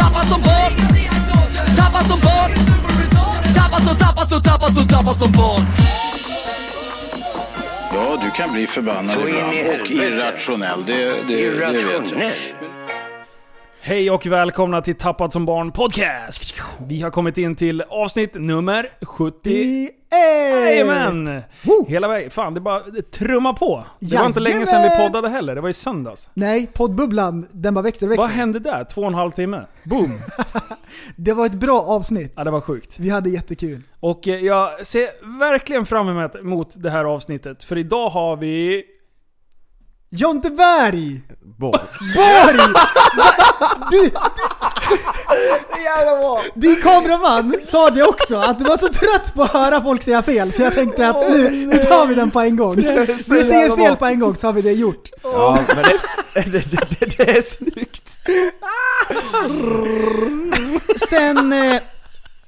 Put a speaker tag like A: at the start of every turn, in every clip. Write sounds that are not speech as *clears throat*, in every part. A: Tappad som barn Tappad som barn Tappad som, tappad som, tappad som, tappad som barn
B: Ja, du kan bli förbannad
C: Så in i
B: ibland och
C: helvete.
B: irrationell. Det, det, det vet jag.
C: Irrationell.
D: Hej och välkomna till Tappad som barn podcast! Vi har kommit in till avsnitt nummer 70... Jajamän!
E: Woo!
D: Hela vägen. Fan, det bara det trummar på. Det var inte
E: Jajamän!
D: länge sedan vi poddade heller. Det var i söndags.
E: Nej, poddbubblan, den bara växer och växer.
D: Vad hände där? Två och en halv timme? Boom!
E: Det var ett bra avsnitt.
D: Ja, det var sjukt.
E: Vi hade jättekul.
D: Och eh, jag ser verkligen fram emot emot det här avsnittet. För idag har vi...
E: Jonte Berg!
F: Bort.
E: Borg! Va? Du, du, Din kameraman sa det också, att du var så trött på att höra folk säga fel så jag tänkte att nu, nu tar vi den på en gång. Vi
F: så jävla
E: säger fel
F: bra.
E: på en gång så har vi det gjort.
F: Ja, men det, det, det, det, det är snyggt.
E: Sen, eh,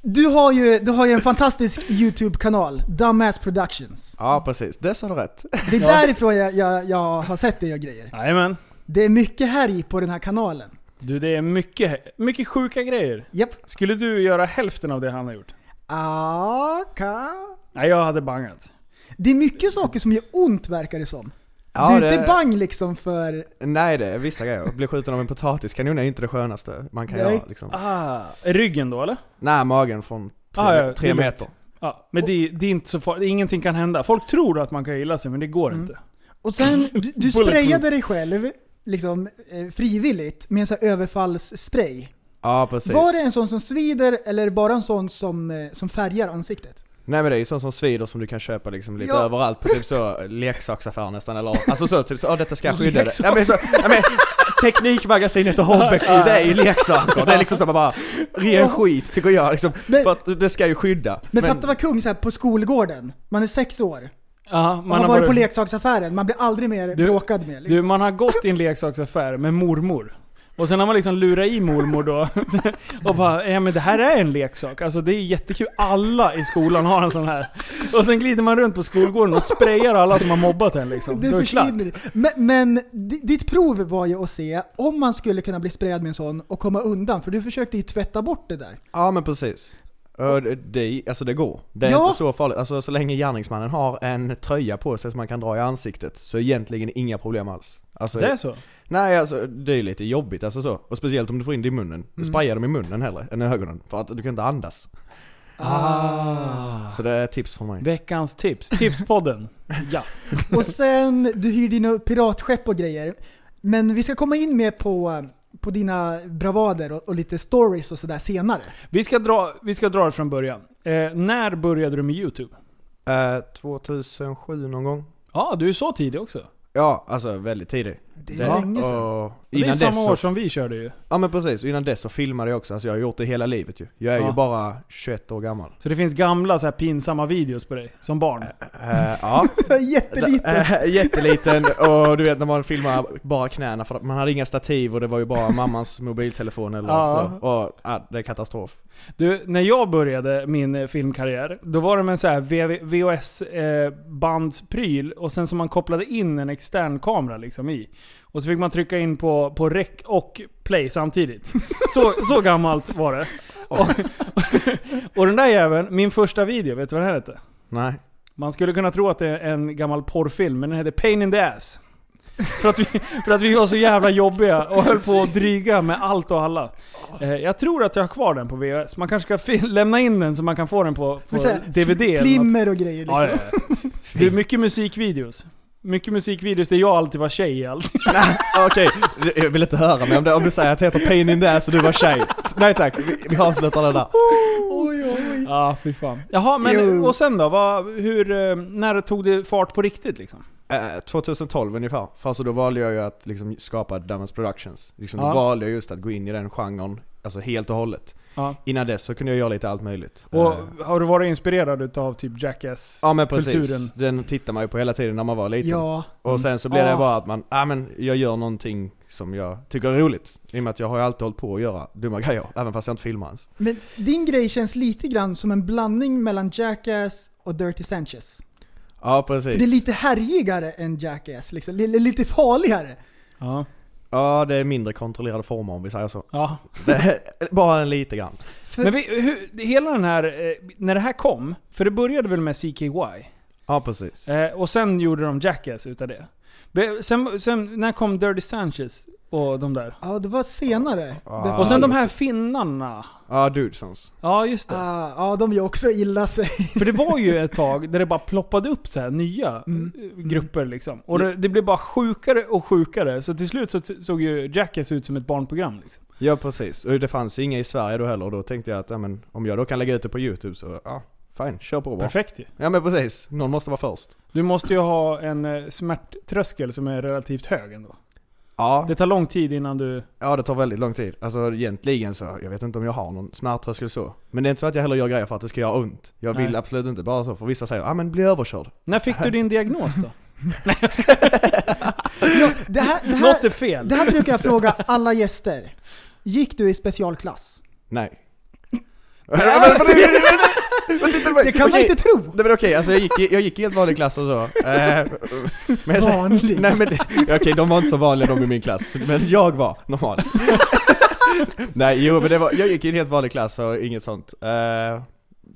E: du har ju, du har ju en fantastisk YouTube-kanal, Dumbass Productions.
F: Ja, precis. Det sa du rätt.
E: Det är därifrån jag, jag, jag har sett dig och grejer.
D: Jajamän.
E: Det är mycket härj på den här kanalen.
D: Du, det är mycket, mycket sjuka grejer.
E: Japp.
D: Skulle du göra hälften av det han har gjort?
E: Ah, ka.
D: Nej, jag hade bangat.
E: Det är mycket saker som gör ont verkar det som.
F: Ja,
E: du är
F: det-
E: inte bang liksom för...
F: Nej, det är vissa grejer. Bli skjuten av en potatiskanon är inte det skönaste man kan
E: Nej.
F: göra. Liksom.
D: Ah, ryggen då eller?
F: Nej, magen från tre,
D: Ah, ja, det
F: tre
D: är
F: meter.
D: lätt. Ja, men det, det är inte så farligt. Ingenting kan hända. Folk tror att man kan gilla sig, men det går
F: Mm.
D: inte.
E: Och sen, du, du
D: Bulletproof.
E: sprayade dig själv liksom eh, frivilligt med en sån här överfallsspray.
F: Ja, precis.
E: Var det en sån som svider eller bara en sån som, eh, som färgar ansiktet?
F: Nej men det är ju sånt som svider som du kan köpa liksom lite
E: Ja.
F: överallt på typ så leksaksaffär nästan eller alltså så typ så, åh detta ska skydda dig. Ja, men, så, ja, men, Teknikmagasinet och Hobbeck, det är ju leksaker. Det är liksom så man bara, ren skit tycker jag liksom.
E: Men-
F: för att det ska ju skydda.
E: Men, fatta vad kung så här på skolgården. Man är sex år.
D: Ja,
E: Man har varit på leksaksaffären. Man blir aldrig mer
D: Du-
E: bråkad med. liksom.
D: Du, man har gått i en leksaksaffär med mormor. Och sen har man liksom lurat i mormor då. *laughs* Och bara, ja men det här är en leksak. Alltså det är jättekul. Alla i skolan har en sån här. Och sen glider man runt på skolgården och sprayar alla som har mobbat en liksom.
E: Det
D: Då är det klart.
E: försvinner. Men, men di- ditt prov var ju att se om man skulle kunna bli sprayad med en sån och komma undan. För du försökte ju tvätta bort det där.
F: Ja men precis. Ö, det- Det, alltså det går. Det är
E: Ja.
F: inte så farligt. Alltså så länge gärningsmannen har en tröja på sig som man kan dra i ansiktet så är egentligen inga problem alls. Alltså,
D: Det är så?
F: Nej alltså det är lite jobbigt alltså så. Och speciellt om du får in det i munnen. Mm. Spraya dem i munnen hellre än i ögonen. För att du kan inte andas.
D: Ah.
F: Så det är ett tips från mig.
D: Veckans tips. Tipspodden. Ja.
E: Och sen, du hyr dina piratskepp och grejer. Men vi ska komma in mer på, på dina bravader och, och lite stories och sådär senare.
D: Vi ska dra, vi ska dra det från början. Eh, när började du med YouTube?
F: Eh, 2007 någon gång?
D: Ja, du är så tidig också.
F: Ja, alltså väldigt tidigt.
E: Det är länge *laughs* sedan.
F: Och
D: Det är
F: innan
D: samma
F: dess
D: år
F: så,
D: som vi körde ju.
F: Ja men precis, och innan dess så filmade jag också. Alltså jag har gjort det hela livet ju. Jag är
D: Ja.
F: ju bara 21 år gammal.
D: Så det finns gamla så här pinsamma videos på dig, som barn.
F: Eh, ja.
E: Jätteliten.
F: Eh, jätteliten och du vet när man filmar bara knäna för att man hade inga stativ och det var ju bara mammans mobiltelefon eller
D: Ja.
F: något. och ja, det är katastrof.
D: Du, när jag började min eh, filmkarriär, då var det med en så här VHS-bandspryl eh, och sen som man kopplade in en extern kamera liksom i. Och så fick man trycka in på, på rec och play samtidigt. Så, så gammalt var det. Och, *laughs* och den där jäveln, min första video, vet du vad den här hette?
F: Nej.
D: Man skulle kunna tro att det är en gammal porrfilm, men den hette Pain in the ass. För att, vi, för att vi var så jävla jobbiga och höll på att dryga med allt och alla. Eh, jag tror att jag har kvar den på VHS. Man kanske ska fi- lämna in den så man kan få den på, på
E: Men så här,
D: DVD eller något.
E: Flimmer och grejer liksom.
D: Ja, ja, ja. *laughs* Det är mycket musikvideos. Mycket musikvideos där jag alltid var tjej i *laughs* allt.
F: Okej, jag vill inte höra mer om det. Om du säger att det heter Pain in the ass och du var tjej. Nej tack, vi, vi avslutar det där.
E: Oj, oj, oj.
D: Ja, fy fan. Jaha, men
E: Jo.
D: och sen då? Vad, hur, eh, när tog det fart på riktigt liksom?
F: eh, 2012 ungefär. För alltså då valde jag ju att liksom skapa Damage Productions. Liksom Då
D: Ja.
F: valde jag just att gå in i den genren, alltså helt och hållet.
D: Ja.
F: Innan dess så kunde jag göra lite allt möjligt.
D: Och
F: Eh,
D: har du varit inspirerad utav typ Jackass?
F: Ja men precis,
D: kulturen.
F: den tittar man ju på hela tiden när man var liten.
E: Ja.
F: Och sen så blir det
D: Ah.
F: bara att man, ja men jag gör någonting som jag tycker är roligt. I och med att jag har ju alltid hållit på att göra dumma grejer, *laughs* även fast jag inte filmar ens.
E: Men din grej känns lite grann som en blandning mellan Jackass och Dirty Sanchez.
F: Ja
E: För
F: precis.
E: det är lite härjigare än Jackass, liksom. Lite- lite farligare.
D: Ja.
F: Ja det är mindre kontrollerade former om vi säger så.
D: ja.
F: Det är- *laughs* bara en lite grann.
D: Men vi, hur, hela den här, eh, när det här kom, för det började väl med CKY?
F: Ja precis.
D: Eh, och sen gjorde de Jackass utav det. Be- Sen, sen, när kom Dirty Sanchez och de där?
E: Ja, det var senare.
F: Ah.
D: Och sen de
F: just
D: här
F: det.
D: finnarna.
F: Ja Dudesons.
D: Ja, just det.
E: Ah, ja, de gör också illa sig. *laughs*
D: För det var ju ett tag där det bara ploppade upp så här nya
F: Mm.
D: eh, grupper liksom. Och det, det blev bara sjukare och sjukare. Så till slut så t- såg ju Jackass ut som ett barnprogram liksom.
F: Ja precis. Och det fanns ju inga i Sverige då heller och då tänkte jag att, ja men om jag då kan lägga ut det på YouTube så, ja fine, kör på bara.
D: Perfekt ju.
F: Ja men precis, någon måste vara först.
D: Du måste ju ha en eh, smärttröskel som är relativt hög ändå.
F: Ja,
D: Det tar lång tid innan du...
F: Ja det tar väldigt lång tid. Alltså egentligen så, jag vet inte om jag har någon smärttröskel så. Men det är inte så att jag heller gör grejer för att det ska göra ont. Jag vill
D: Nej.
F: absolut inte bara så, för vissa säger ja ah, men bli överkörd.
D: När fick du din diagnos då?
E: Ja, det, här, det,
D: Något är
E: här,
D: fel.
E: det här brukar jag fråga alla gäster. Gick du i specialklass?
F: Nej.
E: *laughs*
F: *laughs* men, men, men, men, men, men, titta på mig.
E: Det kan man
F: Okej.
E: inte tro!
F: Nej men okej, alltså jag gick, i- jag gick i helt vanlig klass och så. Eh, men jag säger-
E: Vanlig.
F: Nej men det- okej, de var inte så vanliga de i min klass, men jag var
D: *laughs*
F: normal. nej jo men det var, jag gick i en helt vanlig klass och inget sånt. Eh,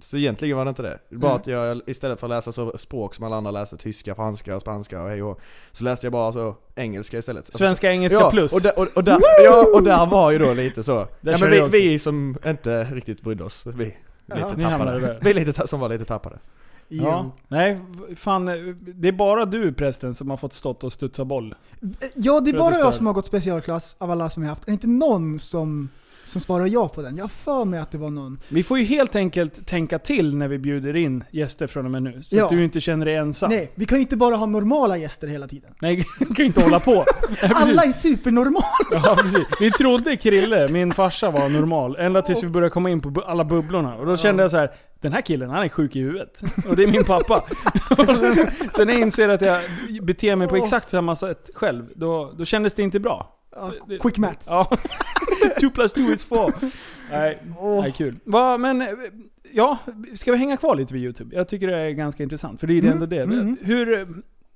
F: så egentligen var det inte det. Bara
D: Mm.
F: att jag istället för att läsa så språk som alla andra läste, tyska, franska och spanska och hej och hå, Så läste jag bara så engelska istället. Alltså,
D: Svenska, engelska
F: ja,
D: plus.
F: Och där, och, och, där, ja, och där var ju då lite så. Ja, men
D: körde jag
F: vi,
D: också.
F: vi som inte riktigt brydde oss, vi lite
D: ni hamnade
F: tappade.
D: där.
F: Vi lite, ta- som var lite tappade.
D: Ja. Nej, v- fan. eh, Det är bara du prästen som har fått stått och studsa boll.
E: Ja, det är
D: du
E: bara
D: stör.
E: jag som har gått specialklass av alla som jag haft. Det är inte någon som, som svarar ja på den. Jag har för mig att det var någon.
D: Vi får ju helt enkelt tänka till när vi bjuder in gäster från och med nu. Så
E: Ja.
D: att du inte känner dig ensam.
E: Nej, vi kan ju inte bara ha normala gäster hela tiden.
D: Nej, *laughs* kan ju inte hålla på. Nej, precis.
E: Alla är supernormala!
D: Ja, precis. Vi trodde Krille, min farsa, var normal. Ända tills vi började komma in på bu- alla bubblorna. Och då kände jag så här: den här killen han är sjuk i huvudet. Och det är min pappa. *laughs* Och sen, sen jag inser att jag beter mig på exakt samma sätt själv, då, då kändes det inte bra.
E: Ja,
D: det-
E: quick maths.
D: Ja. *laughs* two plus two is four. Nej, nej kul. Va, men, eh, ja, ska vi hänga kvar lite vid YouTube? Jag tycker det är ganska intressant, för det är det ändå det.
E: mm.
D: Hur, eh,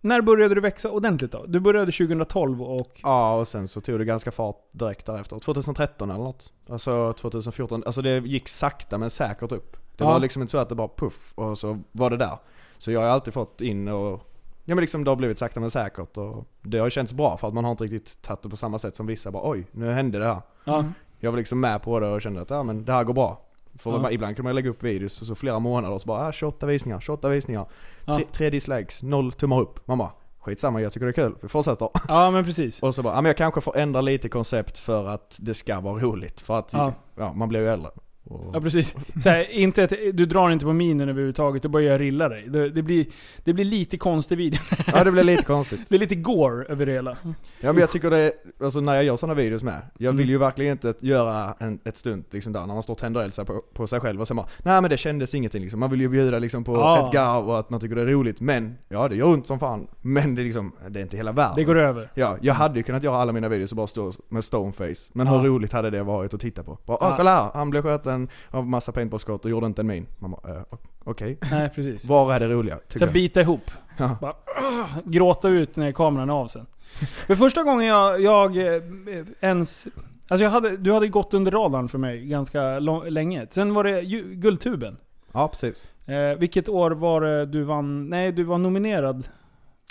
D: när började du växa ordentligt då? Du började 2012 och...
F: Ja, och sen så tog det ganska fart direkt därefter. 2013 eller något. Alltså 2014, alltså det gick sakta men säkert upp. Det
D: Ja.
F: var liksom inte så att det bara puff och så var det där. Så jag har alltid fått in och, ja men liksom det har blivit sakta men säkert och det har känts bra för att man har inte riktigt tagit det på samma sätt som vissa bara oj, nu hände det här.
D: Ja.
F: Jag var liksom med på det och kände att ja men det här går bra. För
D: Ja.
F: man- ibland kunde man lägga upp videos och så flera månader och så bara ah, 28 visningar, 28 visningar.
D: Ja.
F: Tre, tre dislikes, noll tummar upp. Man bara skitsamma jag tycker det är kul, vi fortsätter.
D: ja, men precis.
F: Och så bara, ja men jag kanske får ändra lite koncept för att det ska vara roligt. För att,
D: Ja.
F: ja, man blir ju äldre. Och,
D: Ja precis. Så här, inte att, du drar inte på minen överhuvudtaget, du börjar rilla dig. Det, det, blir, det blir lite konstig video. *laughs*
F: ja det blir lite konstigt.
D: Det är lite gore över det hela.
F: Ja men jag tycker det, alltså när jag gör sådana videos med. Jag
D: Mm.
F: vill ju verkligen inte göra en, ett stunt liksom där när man står och tänder eld sig på, på sig själv och sen bara, nej men det kändes ingenting liksom. Man vill ju bjuda liksom på
D: Ja.
F: ett garv och att man tycker det är roligt. Men, ja det gör ont som fan. Men det är liksom, det är inte hela världen.
D: Det går över.
F: Ja, jag hade ju kunnat göra alla mina videos och bara stå med stoneface. Men
D: Mm. Ja.
F: hur roligt hade det varit att titta på? Bara,
D: Ja.
F: åh kolla här, han blev skjuten av massa paintballskott och gjorde inte en min. Man bara, eh, okej.
D: Nej precis.
F: Var är det roliga? tycker
D: Sen
F: jag.
D: bita ihop.
F: Ja.
D: Bara, *clears throat* "Åh!" gråta ut när kameran är av sen. För första gången jag, jag eh, ens... Alltså jag hade, du hade gått under radarn för mig ganska lång, länge. Sen var det ju, Guldtuben.
F: Ja, precis.
D: Eh, vilket år var det du vann? Nej, du var nominerad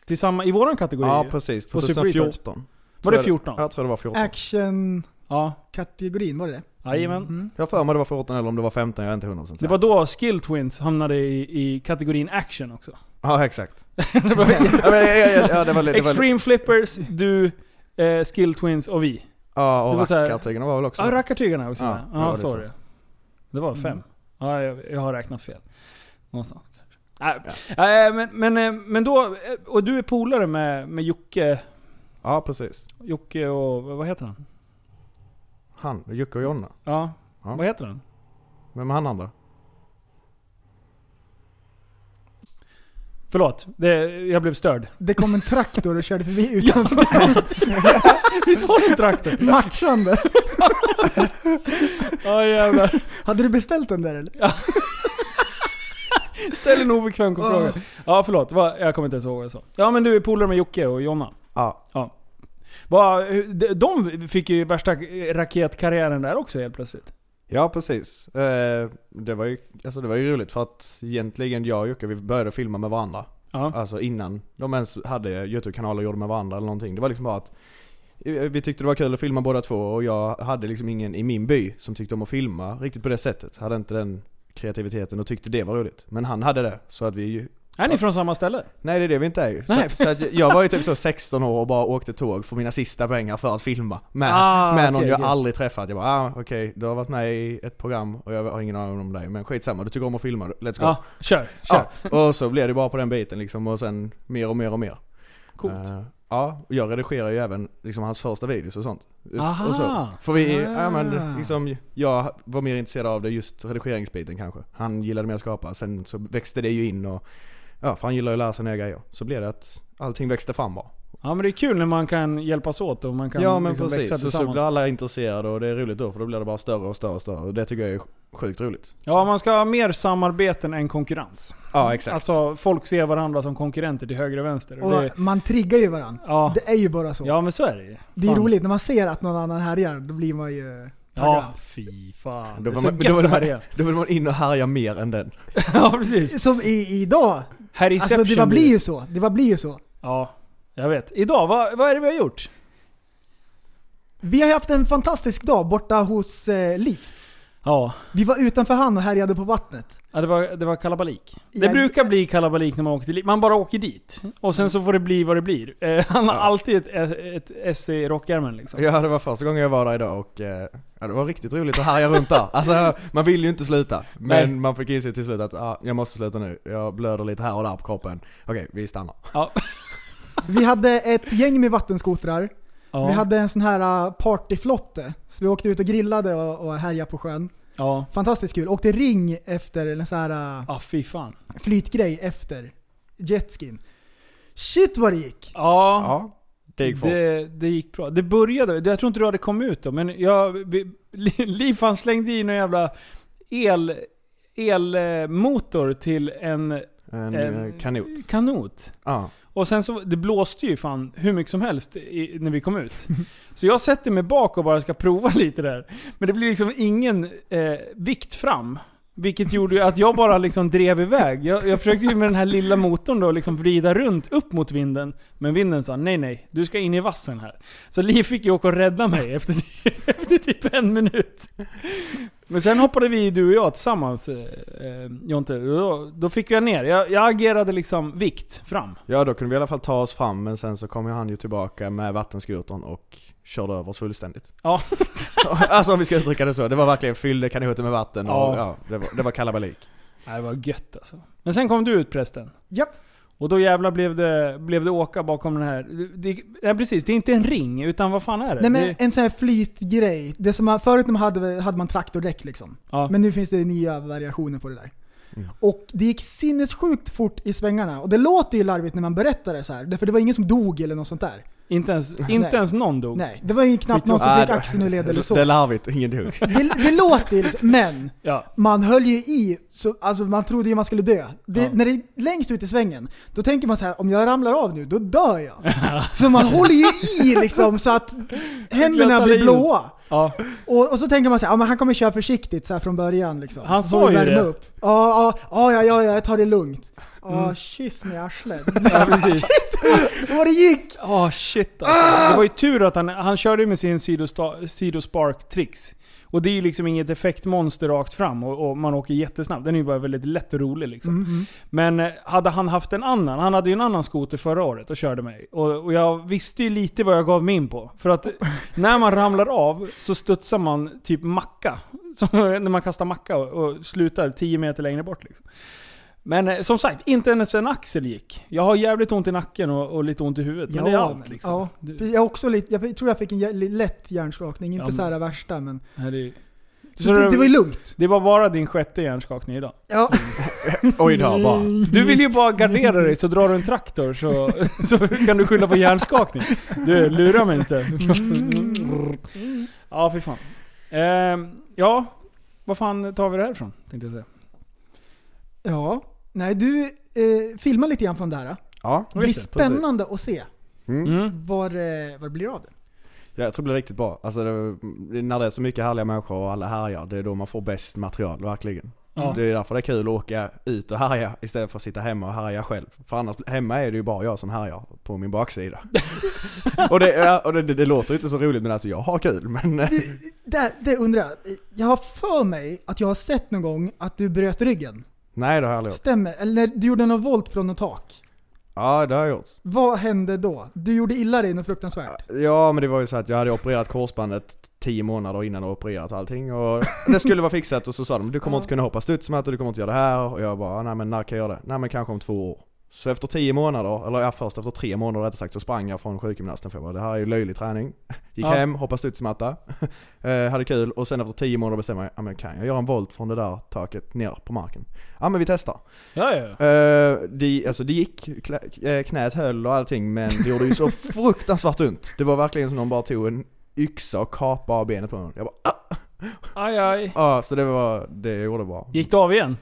D: till samma, i våran kategori.
F: Ja, precis.
D: Och Super
F: 2014.
D: var det 14?
F: Jag tror det var 14.
E: Action-kategorin,
D: Ja.
E: var det det?
D: Jajamän.
F: Jag har för mig det var 14 eller om det var 15, jag är inte 100% säker.
D: Det var då Skill Twins hamnade i, i kategorin action också.
F: *laughs* Ja, exakt.
D: *laughs*
F: ja, men, ja, ja, ja, det var lite... det var lite-
D: Extreme Flippers, du, eh, Skill Twins och vi.
F: Ja,
D: det var
F: och
D: så här-
F: rackartygarna var väl också...
D: Ja, ah, rackartygarna också.
F: Ja,
D: Ja, ah,
F: det var Mm. det
D: sorry. Det var fem. Ja, jag, jag har räknat fel. Någonstans. kanske. Nej. Eh, men, men, eh, men då, eh, och du är polare med, med Jocke,
F: Ja, precis.
D: Jocke och, vad heter han?
F: Han, Jocke och Jonna.
D: Ja,
F: Ja.
D: vad heter han?
F: Vem är han andra?
D: Förlåt, det, jag blev störd.
E: Det kom en traktor och körde förbi utanför.
D: Visst var det en traktor?
E: Matchande.
D: *laughs* Ja jävlar.
E: *laughs* Hade du beställt den där eller?
D: Ställ en obekväm fråga. Ja förlåt, Vad- jag kommer inte ens ihåg vad jag sa. Ja men du är polare med Jocke och Jonna.
F: Ja.
D: Vad- hur- de- De fick ju värsta raketkarriären där också helt plötsligt.
F: Ja, precis. Eh, det, var ju, alltså det var ju roligt för att egentligen jag och Jocke vi började filma med varandra.
D: Ja.
F: Alltså innan de ens hade Youtube-kanaler och gjorde med varandra eller någonting. Det var liksom bara att eh, vi tyckte det var kul att filma båda två och jag hade liksom ingen i min by som tyckte om att filma riktigt på det sättet. Hade inte den kreativiteten och tyckte det var roligt. Men han hade det. Så att vi ju
D: Är ni från samma ställe?
F: Nej det är det vi inte är ju. Så,
D: Nej.
F: att, så att jag var ju typ så 16 år och bara åkte tåg för mina sista pengar för att filma. Med,
D: Ah,
F: med någon
D: okej,
F: jag
D: okej.
F: aldrig träffat. Jag bara ah, okej, du har varit med i ett program och jag har ingen aning om dig. Men skitsamma, du tycker om att filma, let's go.
D: Ja, kör. kör. *laughs*
F: Ja, och så blev det bara på den biten liksom och sen mer och mer och mer.
D: Coolt.
F: Eh, ja, och jag redigerar ju även liksom hans första videos och sånt.
D: Aha.
F: Eh, Och så. För vi, ja
E: Ah.
F: men liksom, jag var mer intresserad av det just redigeringsbiten kanske. Han gillade mer att skapa, sen så växte det ju in och ja, för han gillar ju att lära sig nya grejer. Så blev det att allting växte fram bara.
D: Ja men det är kul när man kan hjälpas åt och man kan
F: ja men
D: liksom växa
F: precis, så, så
D: tillsammans.
F: blir alla intresserade och det är roligt då för då blir det bara större och större och större och det tycker jag är sjukt roligt.
D: Ja man ska ha mer samarbeten än konkurrens.
F: Ja exakt.
D: Alltså folk ser varandra som konkurrenter till höger och vänster. Och det,
E: Och man triggar ju varandra.
D: ja,
E: Det är ju bara så.
D: ja men så är det ju.
E: Det är
D: Fan.
E: roligt, när man ser att någon annan härjar, då blir man ju taggad.
D: Ja, fy fan.
F: Då
D: Det är
F: vill,
D: så
F: man, då,
D: gött
F: vill
D: att
F: man,
D: härja.
F: då vill man in och härja mer än den.
D: *laughs* Ja, precis.
E: Som i, idag.
D: Här i
E: Alltså det bara blir ju så. Det bara blir ju så.
D: Ja, jag vet. Idag, vad, vad är det vi har gjort?
E: Vi har haft en fantastisk dag borta hos eh, Liv.
D: Ja,
E: Vi var utanför han och härjade på vattnet.
D: ja, det var, det var kalabalik. Det
E: Ja,
D: brukar bli kalabalik när man åker dit. Man bara åker dit. Och sen så får det bli vad det blir. Eh, *laughs* han har
F: Ja.
D: alltid ett, ett, ett S i rockärmen liksom.
F: *laughs* Ja det var första gången jag var där idag och eh, ja, det var riktigt roligt att härja runt där. Alltså man vill ju inte sluta. Men
D: Nej.
F: man fick inse till slut att ah, jag måste sluta nu. Jag blöder lite här och där på kroppen. Okej, vi stannar.
D: Ja.
E: Vi hade ett gäng med vattenskotrar.
D: Ja.
E: Vi hade en sån här eh, partyflotte. Så vi åkte ut och grillade och, och härjade på sjön.
D: ja.
E: Fantastiskt kul. Åkte ring efter, eller en sån här eh,
D: Ja, fy fan.
E: flytgrej efter jetskin. Shit vad det gick!
D: Ja.
F: Ja, det gick fort.
D: Det, det gick bra. Det började, jag tror inte du hade kommit ut då, men jag, vi- *laughs* Liv han slängde i någon jävla el, elmotor till en
F: En
D: Ehm,
F: eh, kanot.
D: kanot.
F: Ja.
D: Och sen så, det blåste ju fan hur mycket som helst i, när vi kom ut. Så jag sätter mig bak och bara ska prova *laughs* lite där. Men det blir liksom ingen eh, vikt fram. Vilket gjorde ju att jag bara liksom drev iväg. Jag, jag försökte ju med den här lilla motorn då liksom vrida runt upp mot vinden. Men vinden sa nej nej, du ska in i vassen här. Så Liv fick ju åka och rädda mig *laughs* efter, efter typ en minut. Men sen hoppade vi, du och jag, tillsammans eh, eh, Jonte. Då, då fick jag ner. Jag, jag agerade liksom vikt fram.
F: ja, då kunde vi i alla fall ta oss fram men sen så kom ju han ju tillbaka med vattenskotern och körde över oss fullständigt.
D: Ja.
F: *laughs* alltså om vi ska uttrycka det så. Det var verkligen fyllde kanoten med vatten och
D: Ja.
F: ja, det, var, det var kalabalik.
D: Nej, det var gött alltså. Men sen kom du ut prästen.
E: Japp.
D: Och då jävlar blev det, blev det åka bakom den här... Det, det, nej precis, det är inte en ring, utan vad fan är det?
E: Nej men
D: det
E: en sån här flytgrej. Det som man, förut när man hade, hade man traktordäck liksom.
D: ja.
E: Men nu finns det nya variationer på det där.
F: Mm.
E: Och det gick sinnessjukt fort i svängarna. Och det låter ju larvigt när man berättar det så här. För det var ingen som dog eller något sånt där.
D: inte ens, inte ens någon dog.
E: Nej, det var ju knappt någon som
F: Nej,
E: fick
F: det-
E: axeln ur led eller så.
F: Det är larvigt, ingen dog.
E: Det, det låter ju liksom, men
D: Ja.
E: man höll ju i, så, alltså man trodde ju man skulle dö. Det,
D: Ja.
E: När det är längst ut i svängen, då tänker man så här: om jag ramlar av nu, då
D: *laughs*
E: dör jag. Så man håller ju i liksom så att händerna
D: Glatta
E: blir
D: livet.
E: blåa.
D: ja.
E: Och, och så tänker man så här, ja, men han kommer köra försiktigt så här från början liksom.
D: Han
E: Så
D: sa
E: får vi
D: ju
E: värma
D: det.
E: Upp. Ja, ja, ja, ja, ja, jag tar det lugnt. Ja, kyss mig i arslet.
D: Mm. *laughs* ja precis.
E: *laughs* Vad det gick!
D: Åh Ah, shit alltså. Det var ju tur att han, han körde ju med sin sidosta- sidospark tricks. Och det är ju liksom inget effektmonster rakt fram och, och man åker jättesnabbt. Den är ju bara väldigt lätt och rolig liksom.
E: Mm,
D: Men eh, hade han haft en annan, han hade ju en annan skoter förra året och körde mig. Och, och jag visste ju lite vad jag gav mig in på. För
E: *laughs*
D: att när man ramlar av så studsar man *laughs* typ macka. Som när man kastar macka och, och slutar 10 meter längre bort liksom. Men eh, som sagt, inte ens en axel gick. Jag har jävligt ont i nacken och, och lite ont i huvudet. men det är allt
E: men-
D: liksom.
E: ja.
D: Du-
E: Jag, har också lite, jag tror jag fick en jä- lätt hjärnskakning, inte
D: Ja, men-
E: så här värsta men...
D: Nej, det, är-
E: Så,
D: Så
E: det,
D: det-
E: det var ju lugnt.
D: det var bara din sjätte hjärnskakning idag.
E: Ja.
F: Oj då, bara.
E: Mm.
D: Du vill ju bara gardera dig så drar du en traktor så, *laughs* så kan du skylla på hjärnskakning. Du, lura mig inte. Mm. Ja, fy fan. Ehm, ja, vad fan tar vi det här ifrån? Tänkte jag säga.
E: Ja. Nej, du eh, filmar lite grann från det här.
F: Ja.
E: Det blir
D: Just det,
E: spännande att se
F: Mm.
D: Mm.
E: vad, eh, vad det blir av det.
F: Ja, Jag tror det blir riktigt bra. Alltså det, när det är så mycket härliga människor och alla härjar, det är då man får bäst material, verkligen.
D: Ja.
F: Det är därför det är kul att åka ut och härja istället för att sitta hemma och härja själv. För annars, hemma är det ju bara jag som härjar på min baksida. och det, ja, och det, det, det låter ju inte så roligt men alltså jag har kul men...
E: Du, det, det undrar jag. Jag har för mig att jag har sett någon gång att du bröt ryggen.
F: Nej det har jag aldrig gjort.
E: Stämmer? Eller när du gjorde någon volt från något tak.
F: Ja det har jag gjort.
E: Vad hände då? Du gjorde illa dig något fruktansvärt.
F: Ja men det var ju så att jag hade opererat korsbandet 10 månader innan och opererat allting och det skulle vara fixat och så sa de du kommer
E: Ja.
F: inte kunna hoppa studsmatta, du kommer inte göra det här och jag bara nej men när kan jag göra det? Nej men kanske om två år. Så efter 10 månader, eller ja, först efter 3 månader rättare sagt så sprang jag från sjukgymnasten för jag bara det här är ju löjlig träning. *laughs* Gick
D: Ja.
F: hem, hoppade studsmatta, *laughs* eh, hade kul och sen efter 10 månader bestämde jag ja men kan jag göra en volt från det där taket ner på marken? Ja men vi testar.
D: Ja, ja.
F: Eh, det, alltså det gick, klä- eh, knät höll och allting men det gjorde ju *laughs* så fruktansvärt ont. Det var verkligen som någon bara tog en yxa och kapade av benet på honom. Jag bara ah,
D: Aj, aj.
F: ah, så det var det jag gjorde bra.
D: Gick det av igen?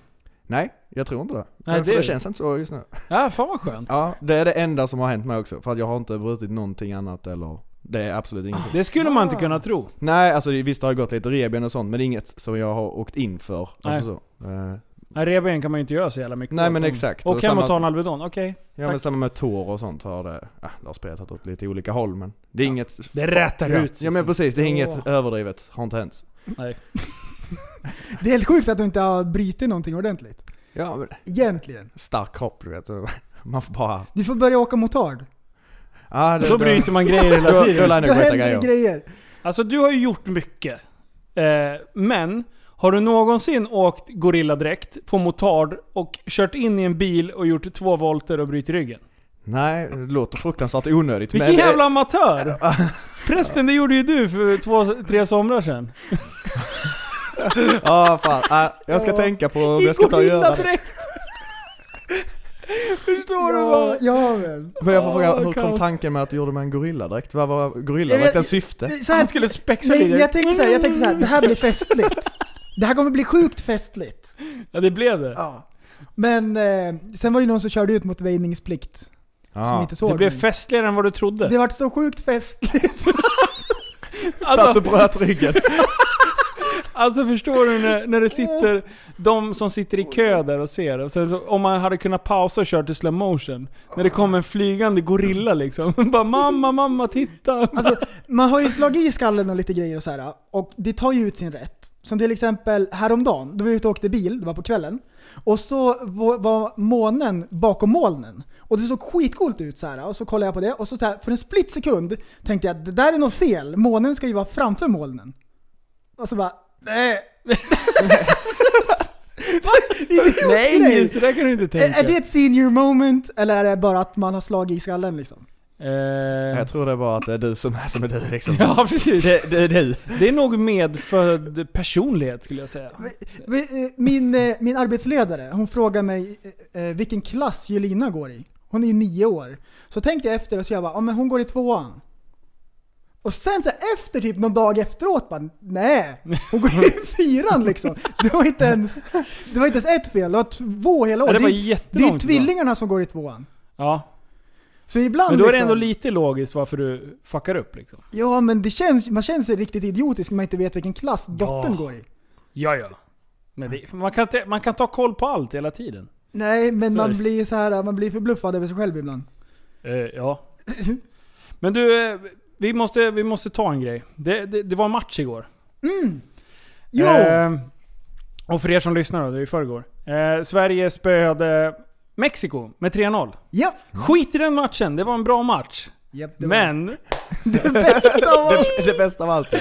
F: Nej, jag tror inte det.
D: Nej,
F: för
D: det-
F: det känns inte så just nu.
D: Ja, fan vad skönt.
F: Ja, det är det enda som har hänt mig också. För att jag har inte brutit någonting annat eller det är absolut ingenting.
D: Det skulle man inte kunna tro.
F: Nej, alltså det- visst har jag gått lite reben och sånt men det är inget som jag har åkt in för.
D: Nej.
F: Alltså så. Eh,
D: Nej, revben kan man ju inte göra så jävla mycket
F: Nej,
D: åt.
F: men exakt.
D: Och
F: Och
D: hem och
F: samma-
D: ta en Alvedon, okej.
F: Ja
D: Tack.
F: men samma med tår och sånt har det, ah, det har spretat åt lite olika håll men det är inget...
D: Det rätar
F: ja.
D: ut sig
F: Ja men
D: sen.
F: precis, det är inget
E: Åh.
F: överdrivet, har inte hänt.
D: Nej.
E: Det är helt sjukt att du inte har brutit någonting ordentligt.
F: Ja men...
E: Egentligen.
F: Stark kropp du vet, *laughs* man får bara...
E: Du får börja åka motard.
F: Ah,
D: Då bryter man grejer hela
F: Då,
D: tiden.
F: då lär ni
E: Då
F: gå hitta
E: händer det
F: grejer.
E: grejer.
D: Alltså du har ju gjort mycket. Eh, men, har du någonsin åkt gorilladräkt på motard och kört in i en bil och gjort två volter och brutit ryggen?
F: Nej, det låter fruktansvärt onödigt
D: Vilken
F: men...
D: jävla amatör! *laughs* Prästen, det gjorde ju du för två, tre somrar sedan.
F: Ja ah, fan, ah, jag ska
E: Ja.
F: tänka på om jag ska ta och göra det.
D: *laughs* Förstår du
E: Ja,
D: vad?
E: ja men.
F: Men jag får fråga,
D: Åh,
F: hur kom
D: kaos.
F: tanken med att du gjorde med en gorilladräkt? Vad var
E: Jag vet-
F: gorilladräktens syfte?
E: Så här,
D: Han skulle spexa
E: nej,
D: lite.
E: men jag tänkte så här, jag tänkte så här, det här blir festligt. Det här kommer bli sjukt festligt.
D: Ja, det blev det.
E: Ja. Men eh, sen var det någon som körde ut mot väjningsplikt. Som
F: Ah.
E: inte såg
D: Det blev
E: mig.
D: festligare än vad du trodde.
E: Det vart så sjukt festligt.
F: Satt och bröt ryggen.
D: Alltså förstår du när, när det sitter de som sitter i kö där och ser. Och Så, om man hade kunnat pausa och kört i slow motion När det kom en flygande gorilla liksom. *laughs* Bara mamma, mamma titta.
E: Alltså, man har ju slagit i skallen och lite grejer och så här. Och det tar ju ut sin rätt. Som till exempel häromdagen, då var jag ute och åkte bil, det var på kvällen. Och så var- var månen bakom molnen. Och det såg skitcoolt ut så här. Och så kollade jag på det och så, så här, för en split sekund tänkte jag att det där är något fel. Månen ska ju vara framför molnen. Och så bara, nej. *laughs*
D: *laughs* Nej,
E: nej.
D: så där kan du inte
E: Är,
D: tänka.
E: är det ett senior moment eller är det bara att man har slagit i skallen liksom?
D: Eh,
F: Jag tror det var att det är du som är som är du liksom.
D: *laughs* ja, precis. Det,
F: Det, det är du. *laughs*
D: är nog medfödd personlighet skulle jag säga.
E: Vi- eh, Min, eh, min arbetsledare, hon frågar mig eh, eh, vilken klass Julina går i. Hon är ju nio år. Så tänkte jag efter och så jag bara, ja men hon går i tvåan. Och sen så här, efter typ någon dag efteråt bara, nej. Hon går i
D: *laughs*
E: fyran liksom. Det var inte ens, det var inte ens ett fel, det var två hela år.
D: det var
E: är- det är ju
D: jättelångt ifrån.
E: tvillingarna som går i tvåan.
D: Ja.
E: Så ibland
D: Men då är det
E: liksom-
D: ändå lite logiskt varför du fuckar upp liksom.
E: Ja men det känns, man känner sig riktigt idiotisk när man inte vet vilken klass dottern
D: Ja.
E: går i.
D: Ja, ja. Men det, man, kan, ta- man kan ta koll på allt hela tiden.
E: Nej men
D: Så är
E: man
D: det.
E: blir så här, man blir förbluffad över sig själv ibland.
D: Eh, ja. Men du, eh, vi måste, vi måste ta en grej. Det, det, det var en match igår.
E: Jo!
D: Eh, och för er som lyssnar då, det är i förrgår. Eh, Sverige spöade Mexiko med 3-0.
E: Japp!
D: Skit i den matchen, det var en bra match.
E: Japp, Mm. det var-
D: Men
F: Det, det bästa av allt.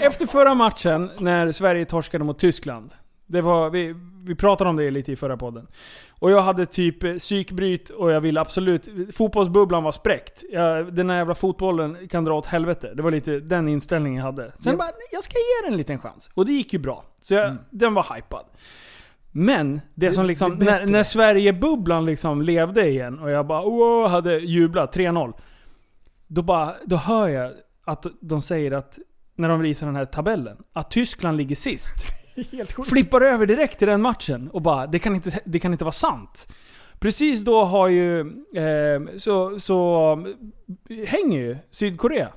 D: efter förra matchen när Sverige torskade mot Tyskland. Det var, vi, vi pratade om det lite i förra podden. Och jag hade typ eh, psykbryt och jag ville absolut... Fotbollsbubblan var spräckt. Jag, den här jävla fotbollen kan dra åt helvete. Det var lite den inställningen jag hade. Sen
E: Ja. Mm.
D: bara, "Nej, jag ska ge den en liten chans. Och det gick ju bra. Så jag, den var hypad. Men det som liksom,
E: det är
D: när,
E: bättre.
D: när Sverigebubblan liksom levde igen och jag bara wow, hade jublat 3-0. Då, bara, då hör jag att de säger att, när de visar den här tabellen, att Tyskland ligger
F: *laughs*
D: sist.
E: Helt sjukt.
D: Flippar över direkt i den matchen och bara det kan inte, det kan inte vara sant. Precis då har ju, eh, så, så eh, hänger ju Sydkorea.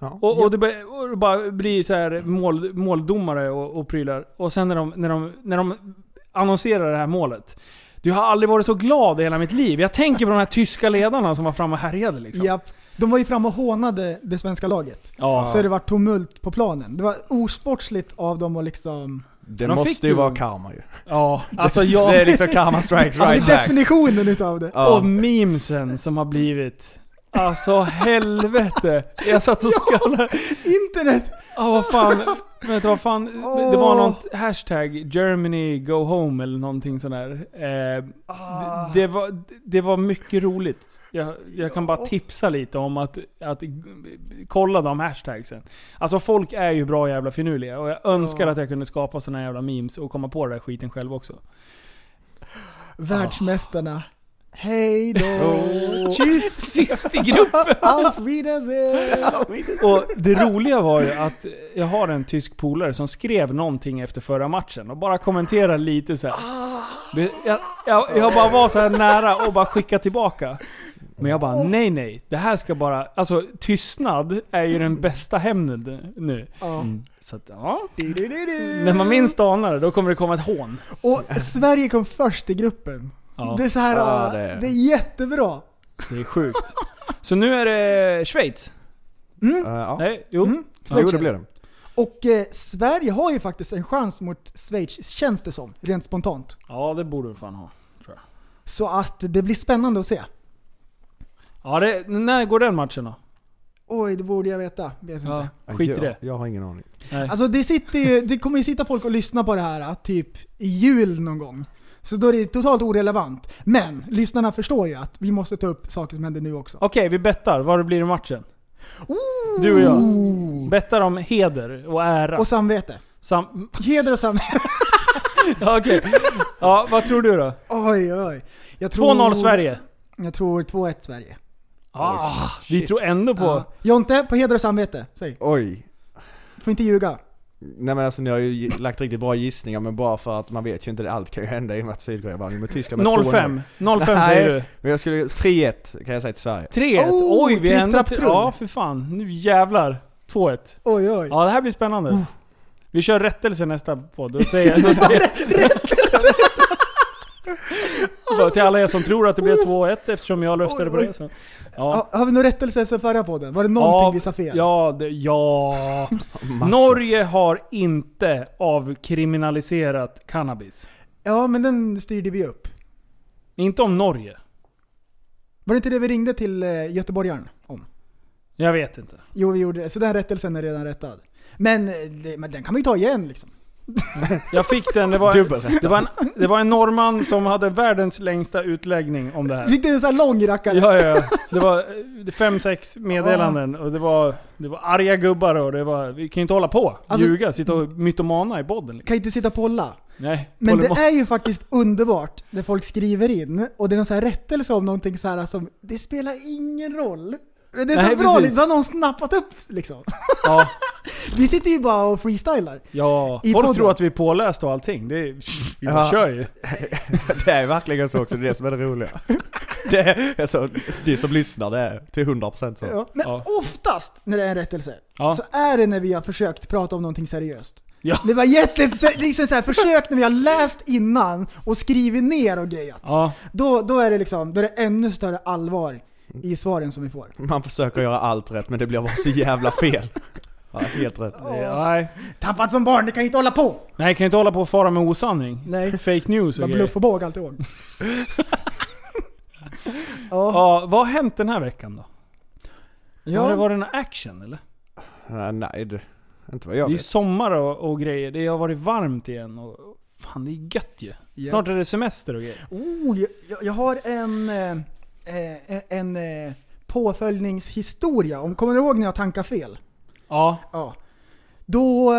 F: Ja.
D: Och, och, det, bör- och det bara blir så här mål, måldomare och, och prylar. Och sen när de, när, de, när de annonserar det här målet. Du har aldrig varit så glad i hela mitt liv. Jag tänker på de här tyska ledarna som var framme och härjade liksom.
E: Japp. De var ju framme och hånade det svenska laget.
D: Ja.
E: Så det var tumult på planen. Det var osportsligt av dem att liksom...
F: Det
D: de fick
F: måste ju
D: ju-
F: vara karma ju.
D: ja.
F: *laughs*
D: Alltså jag...
F: Det är liksom karma strikes
E: Alltså
F: right back.
E: definitionen utav det.
F: Ja.
D: Och memesen som har blivit... Alltså helvete. Jag satt *laughs* och skallade.
E: Internet!
D: Ja vad fan. Vänta vad fan. Det var något hashtag Germany go home eller någonting sånt där. Eh, det, det, var, det var mycket roligt. Jag, jag kan bara tipsa lite om att, att kolla de hashtagsen. Alltså folk är ju bra jävla finurliga och jag önskar att jag kunde skapa såna jävla memes och komma på den där skiten själv också.
E: Världsmästarna. Hej då!
D: Tjus! Sist i gruppen!
E: Auf Wiedersehen!
D: Och det roliga var ju att jag har en tysk polare som skrev någonting efter förra matchen och bara kommenterade lite så här. Det- Jag, jag, jag bara var så här nära och bara skicka tillbaka. Men jag bara nej nej, det här ska bara... Alltså tystnad är ju den bästa hämnden nu.
E: Ja.
D: Så att, ja.
E: Du, du, du, du.
D: När man minst anar det, då kommer det komma ett hån.
E: Och Sverige kom först i gruppen.
D: Ja,
E: Det är så här,
F: Ja,
E: ah,
F: det är-
E: det är jättebra.
D: det är sjukt. Så nu är det Schweiz?
F: Eh, ja.
D: Nej, jo.
E: Mm.
F: Jo det blev det.
E: Och eh, Sverige har ju faktiskt en chans mot Schweiz, känns det som. Rent spontant.
D: Ja, det borde du fan ha.
E: Så att det blir spännande att se.
D: Ja, det, när går den matchen då?
E: Oj, det borde jag veta. Vet inte.
D: Ja, skit i det.
F: Jag, jag har ingen aning.
D: Nej.
E: Alltså det, sitter ju, det kommer ju sitta folk och lyssna på det här typ i jul någon gång. Så då är det totalt orelevant. Men lyssnarna förstår ju att vi måste ta upp saker som händer nu också.
D: Okej, vi bettar. Vad det blir i matchen?
E: Ooh.
D: Du och jag. Bettar om heder och ära.
E: Och samvete.
D: Sam-
E: Heder och samvete. *laughs*
D: ja, okej. Ja, vad tror du då?
E: Oj, oj. Jag
D: 2-0 Sverige.
E: Jag tror 2-1 Sverige.
D: Ah, vi tror ändå på...
E: Ja. Jonte, på heder och samvete. Säg.
F: Oj.
E: Får inte ljuga.
F: Nej men alltså ni har ju gi- lagt riktigt bra gissningar men bara för att man vet ju inte, allt kan ju hända i och med att Sydkorea vann med Tyskland med 2-0.
D: 0-5. 0-5 säger du.
F: Nej, Men jag skulle, 3-1 kan jag säga till Sverige.
D: 3-1.
E: Oh,
D: Oj, vi
E: tripp,
D: är ändå...
E: trapp,
D: till-
E: trull.
D: Ja, för fan. Nu jävlar. 2-1.
E: Oj, oj.
D: Ja, det här blir
E: Oh.
D: spännande. Vi kör rättelse nästa podd. Då
E: *laughs*
D: säger, då säger... *laughs* Bara Till alla er som tror att det blev 2-1 eftersom jag röstade på
E: Oj, oj.
D: det. Så. Ja.
E: Ha- Har vi någon rättelse sen förra podden? Var det någonting vi sa fel?
D: Ja, det, ja.
F: Massa.
D: Norge har inte avkriminaliserat cannabis.
E: ja, men den styrde vi upp.
D: Inte om Norge.
E: Var det inte det vi ringde till eh, göteborgaren om?
D: Jag vet inte.
E: Jo, vi gjorde det. Så den rättelsen är redan rättad. Men, eh, det, men den kan man ju ta igen liksom.
D: Jag fick den, det var,
E: *laughs*
F: Dubbelrättad.
D: det var, en, det var en norrman som hade världens längsta utläggning om det här.
E: Fick du en sån här lång rackare?
D: Ja, ja, ja. Det var eh, fem, sex meddelanden och det var, det var arga gubbar och det var... Vi kan ju inte hålla på.
E: Alltså-
D: Ljuga, sitta och mytomana i podden. Liksom.
E: Kan ju inte sitta och polla.
D: Nej,
E: Men det
D: polyma-
E: är ju faktiskt underbart när folk skriver in och det är någon sån här rättelse om någonting så här som det spelar ingen roll. Men det är så
D: Nej,
E: bra,
D: precis.
E: liksom, så har någon snappat upp liksom.
D: Ja,
E: Vi sitter ju bara och freestylar.
D: ja.
E: I
D: Folk
E: podden.
D: tror att vi är pålästa och allting. Det är, vi bara
F: Ja.
D: kör ju.
F: *laughs* Det är verkligen så också, det är det som är det roliga. *laughs* Det är, alltså, de som lyssnar det är till 100% så.
E: Ja. Men
D: Ja.
E: oftast när det är en rättelse
D: Ja.
E: så är det när vi har försökt prata om någonting seriöst.
D: Ja.
E: Det var jätte, liksom så här, försök när vi har läst innan och skrivit ner och grejat.
D: Ja.
E: Då, då är det liksom, då är det ännu större allvar i svaren som vi får.
F: Man försöker göra allt rätt men det blir bara så jävla fel. Ja, helt rätt.
D: Det, nej.
E: Tappat som barn, det kan ju inte hålla på!
D: nej, kan ju inte hålla på och fara med osanning.
E: Nej.
D: Fake news
E: Det var
D: och grejer.
E: bluff och
D: *laughs*
E: båg alltihop. ja.
D: Ja, vad har hänt den här veckan då? Har det varit någon action eller?
F: Ja, nej, det, Inte vad jag
D: Det är ju
F: vet.
D: sommar och, och grejer. Det har varit varmt igen och... och Fan, det är gött ju. Snart är det semester och grejer.
E: Oh, jag- jag, jag har en, eh, eh, en eh, påföljningshistoria. Om, kommer du ihåg när jag tankade fel?
D: Ja.
E: Ja. Då, eh,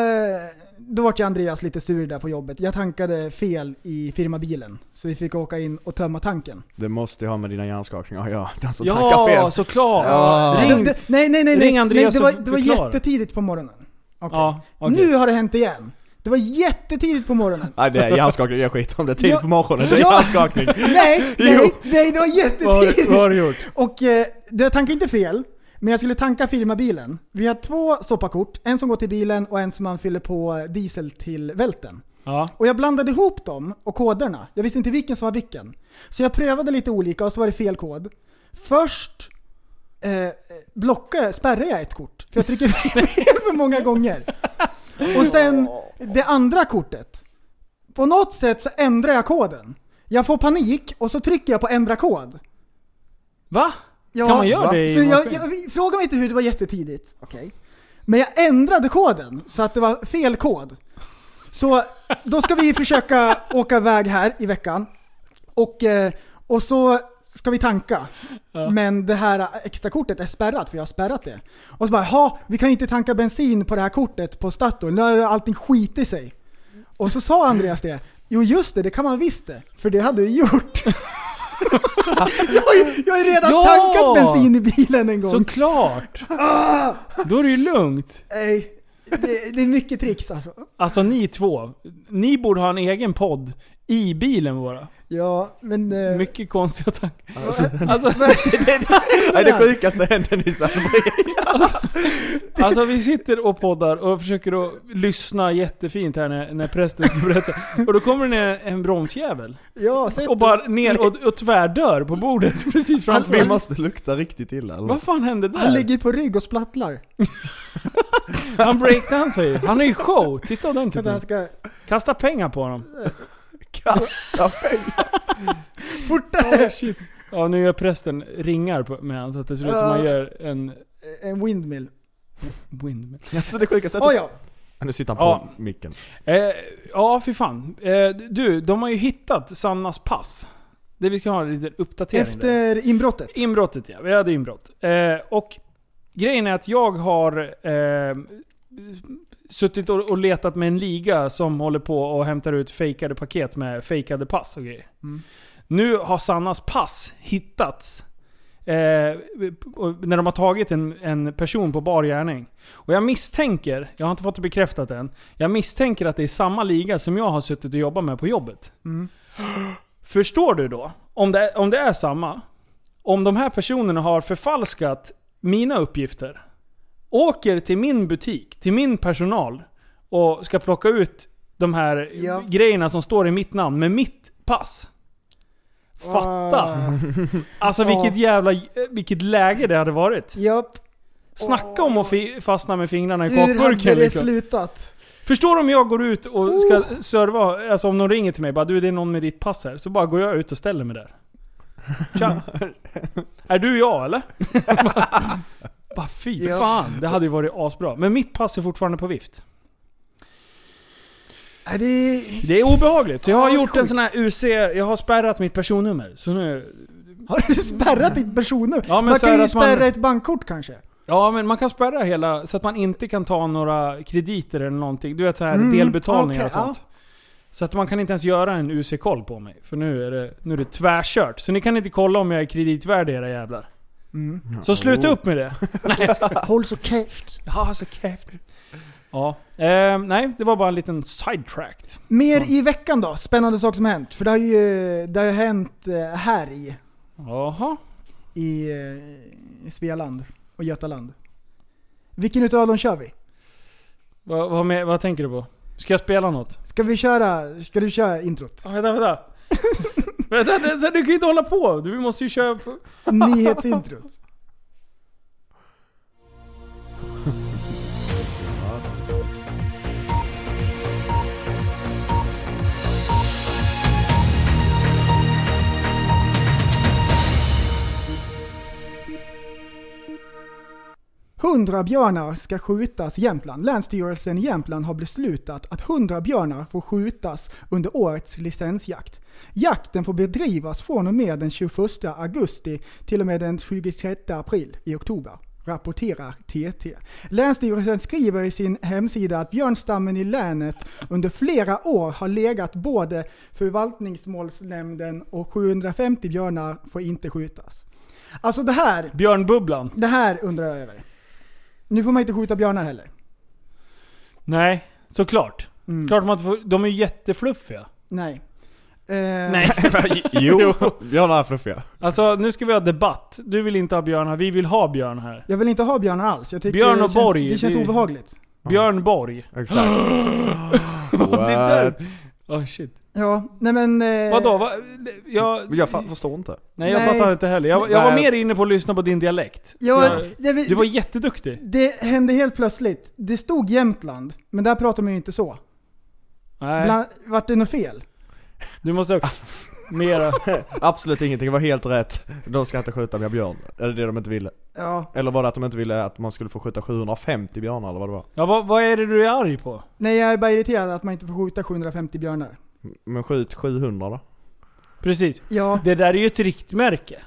E: då vart jag Andreas lite sur där på jobbet. Jag tankade fel i firmabilen. Så vi fick åka in och tömma tanken.
F: Det måste ju ha med dina hjärnskakningar att göra. Den som tackar
D: Ja,
F: fel.
D: såklart!
F: Ja.
D: Ring!
E: Det, nej, nej, nej.
D: Ring
E: nej, nej
D: Andreas
E: det var,
D: och
E: det var
D: förklara.
E: jättetidigt på morgonen. Okej.
D: Ja, okej.
E: Nu har det hänt igen. Det var jättetidigt
D: *laughs*
E: på morgonen.
F: Nej det är hjärnskakning, jag skiter om det. Tid
E: Ja.
F: på morgonen, det är
E: Ja.
F: hjärnskakning.
E: nej, nej, nej, det var
D: Vad har-
E: jättetidigt.
D: vad har du gjort?
E: Och eh, det- jag tankade inte fel, men jag skulle tanka firmabilen. Vi har två soppakort, en som går till bilen och en som man fyller på eh, diesel till välten.
D: Ja.
E: Och jag blandade ihop dem och koderna. Jag visste inte vilken som var vilken. Så jag prövade lite olika och så var det fel kod. Först eh, blockade, spärrade jag ett kort. För jag trycker fel för många gånger. Och sen det andra kortet. På något sätt så ändrar jag koden. Jag får panik och så trycker jag på ändra kod.
D: Va?
E: Ja,
D: Kan man göra
E: va?
D: det i
E: Så jag,
D: maskin?
E: jag, fråga mig inte hur, det var jättetidigt. Okej. Men jag ändrade koden så att det var fel kod. Så då ska vi försöka åka iväg här i veckan. Och, eh, och så ska vi tanka. Men det här extra kortet är spärrat, för jag har spärrat det. Och så bara, ha, vi kan ju inte tanka bensin på det här kortet på Statoil, nu har allting skit i sig. Och så sa Andreas det, jo just det, det kan man visst det, för det hade vi gjort. *laughs* jag, har ju, jag har ju redan
D: Ja!
E: tankat bensin i bilen en gång.
D: Såklart!
E: Ah!
D: Då är det ju lugnt.
E: Nej, det, det är mycket tricks alltså.
D: Alltså ni två, ni borde ha en egen podd i bilen bara.
E: Ja, men... eh,
D: Mycket konstiga tankar.
E: Alltså,
D: *laughs* Alltså,
F: Nej det sjukaste hände nyss alltså.
D: alltså vi sitter och poddar och försöker att lyssna jättefint här när, när prästen ska berätta. Och då kommer det ner en bromsjävel.
E: *laughs* ja, säg
D: Och bara ner och, och tvärdör på bordet *laughs* precis framför
F: Vi
D: mig.
F: måste lukta riktigt illa eller?
D: Vad fan hände
E: Han
D: där?
E: ligger på rygg och splattlar.
D: Han breakdansar ju. Han är ju show. Titta ordentligt
E: Vänta,
D: nu.
E: han ska...
D: Kasta pengar på honom.
F: Kasta pengar.
D: Fortare! shit. Ja, nu gör prästen ringar på, med han så att det ser ut som
E: Ja.
D: han gör en
E: En windmill.
D: windmill.
F: Alltså det sjukaste är
E: Oh,
F: att...
E: ja.
F: Ja, Nu sitter han
D: Ja.
F: på micken. *laughs*
D: Eh, ja, fy fan. Eh, du, de har ju hittat Sannas pass. Det vi ska ha en liten uppdatering där.
E: Efter inbrottet.
D: Inbrottet ja, vi hade inbrott. Eh, och grejen är att jag har eh, suttit och, och letat med en liga som håller på och hämtar ut fejkade paket med fejkade pass och grejer. Nu har Sannas pass hittats. Eh, och när de har tagit en, en person på bar gärning. Och jag misstänker, jag har inte fått det bekräftat än, jag misstänker att det är samma liga som jag har suttit och jobbat med på jobbet. Förstår du då? Om det, om det är samma, om de här personerna har förfalskat mina uppgifter, åker till min butik, till min personal och ska plocka ut de här
E: Ja.
D: grejerna som står i mitt namn med mitt pass. Fatta!
E: Ah,
D: Alltså vilket jävla, vilket läge det hade varit. *laughs*
E: Japp.
D: Snacka om att fi- fastna med fingrarna i
E: Hur hade
D: kakburken
E: det Oh.
D: liksom.
E: slutat?
D: Förstår du om jag går ut och ska serva, alltså om någon ringer till mig bara du det är någon med ditt pass här, så bara går jag ut och ställer mig där.
E: *laughs*
D: Tja. är du jag eller? bara fy
E: Ja.
D: fan, det hade ju varit asbra. Men mitt pass är fortfarande på vift.
E: Nej, Det...
D: Det är obehagligt. Så jag har
E: Ja, Ah, det är
D: gjort en
E: sjukt.
D: sån här UC, jag har spärrat mitt personnummer. Så nu
E: Har du spärrat ditt personnummer?
D: Ja, men
E: man
D: så
E: kan
D: här
E: ju
D: att man-
E: spärra ett bankkort kanske.
D: Ja, men man kan spärra hela så att man inte kan ta några krediter eller någonting. Du vet så här
E: Mm,
D: delbetalningar
E: okej,
D: och sånt. Så att man kan inte ens göra en UC-koll på mig. För nu är, det, nu är det tvärkört. Så ni kan inte kolla om jag är kreditvärdig era jävlar. Så sluta upp med det.
E: *laughs*
D: *laughs*
E: Håll så käft.
D: Ja, så käft. Ja. Ehm, nej, det var bara en liten sidetrack.
E: Mer
D: Ja.
E: i veckan då? Spännande saker som har hänt. För det har ju det har ju hänt eh, här i,
D: Jaha.
E: i, eh, i Svealand och Götaland. Vilken utav dem kör vi?
D: Vad, vad, med- vad tänker du på? Ska jag spela något?
E: Ska vi köra, ska du
D: *laughs*
E: köra introt?
D: Ah, vänta, vänta. vänta, det- så du kan ju inte hålla på. Du måste ju köra... På.
E: Nyhetsintrot. 100 björnar ska skjutas i Jämtland. Länsstyrelsen i Jämtland har beslutat att 100 björnar får skjutas under årets licensjakt. Jakten får bedrivas från och med den 21 augusti till och med den 26 april i oktober rapporterar TT. Länsstyrelsen skriver i sin hemsida att björnstammen i länet under flera år har legat både förvaltningsmålsnämnden och 750 björnar får inte skjutas. Alltså det här,
D: Björnbubblan?
E: det här undrar jag över. Nu får man inte skjuta björnar heller.
D: Nej, såklart.
E: Mm.
D: Klart man inte får, de är ju jättefluffiga.
E: Nej. Eh, *laughs*
D: Nej.
F: jo, björnar är fluffiga.
D: Alltså nu ska vi ha debatt. Du vill inte ha björn här, vi vill ha björn här.
E: Jag vill inte ha björnar alls. Jag tycker
D: Björn och
E: det känns,
D: borg,
E: Det känns
D: det-
E: obehagligt.
D: Björn Borg.
F: Exakt.
D: Det där. Oh, shit.
E: Ja, nej men... Eh,
D: Vadå? Va? Jag,
F: Men Jag fa- förstår inte.
D: nej jag
E: Nej.
D: fattar inte heller. Jag, jag var
F: Nej.
D: mer inne på att lyssna på din dialekt.
E: Ja,
D: Jag-
E: det,
D: Du var jätteduktig.
E: Det hände helt plötsligt. Det stod Jämtland, men där pratar man ju inte så.
D: Nej,
E: Bland, vart det något fel?
D: du måste också... Mera.
F: Absolut ingenting, det var helt rätt. De ska inte skjuta med björn. Eller det de inte ville.
E: Ja.
F: Eller var det att de inte ville att man skulle få skjuta 750 björnar eller vad det var?
D: Ja, vad, vad är det du är arg på?
E: Nej, jag är bara irriterad att man inte får skjuta 750 björnar.
F: Men skjut 700 då.
D: Precis.
E: Ja,
D: *laughs* Det där är ju ett riktmärke.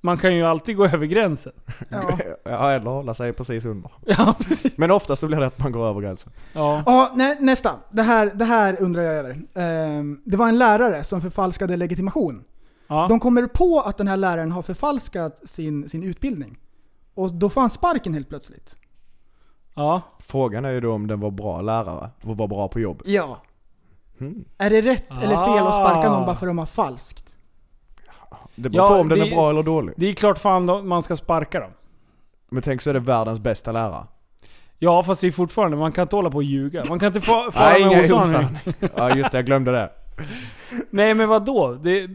D: Man kan ju alltid gå över gränsen. *laughs*
E: ja.
F: *laughs* Ja, eller hålla sig precis under.
D: Ja, precis.
F: Men ofta så blir det att man går över gränsen.
D: Ja.
E: Ja, nä, nästa. Det här, det här undrar jag över. Ehm, det var en lärare som förfalskade legitimation.
D: ja.
E: De kommer på att den här läraren har förfalskat sin, sin utbildning. Och då får han sparken helt plötsligt.
D: ja.
F: Frågan är ju då om den var bra lärare och var bra på jobb.
E: Ja.
F: Mm.
E: Är det rätt eller fel att sparka
D: Ah.
E: någon bara för att de har falskt?
F: Det beror
D: Ja,
F: på om den
D: det-
F: är bra eller dålig.
D: Det är klart fan de- man ska sparka dem.
F: Men tänk så är det världens bästa lärare.
D: Ja fast det är fortfarande, man kan inte hålla på och ljuga. Man kan inte fa- fara
F: Nej,
D: med
F: inga
D: osanning.
F: osanning. Ja just det, jag glömde det.
D: Nej men vadå? Det,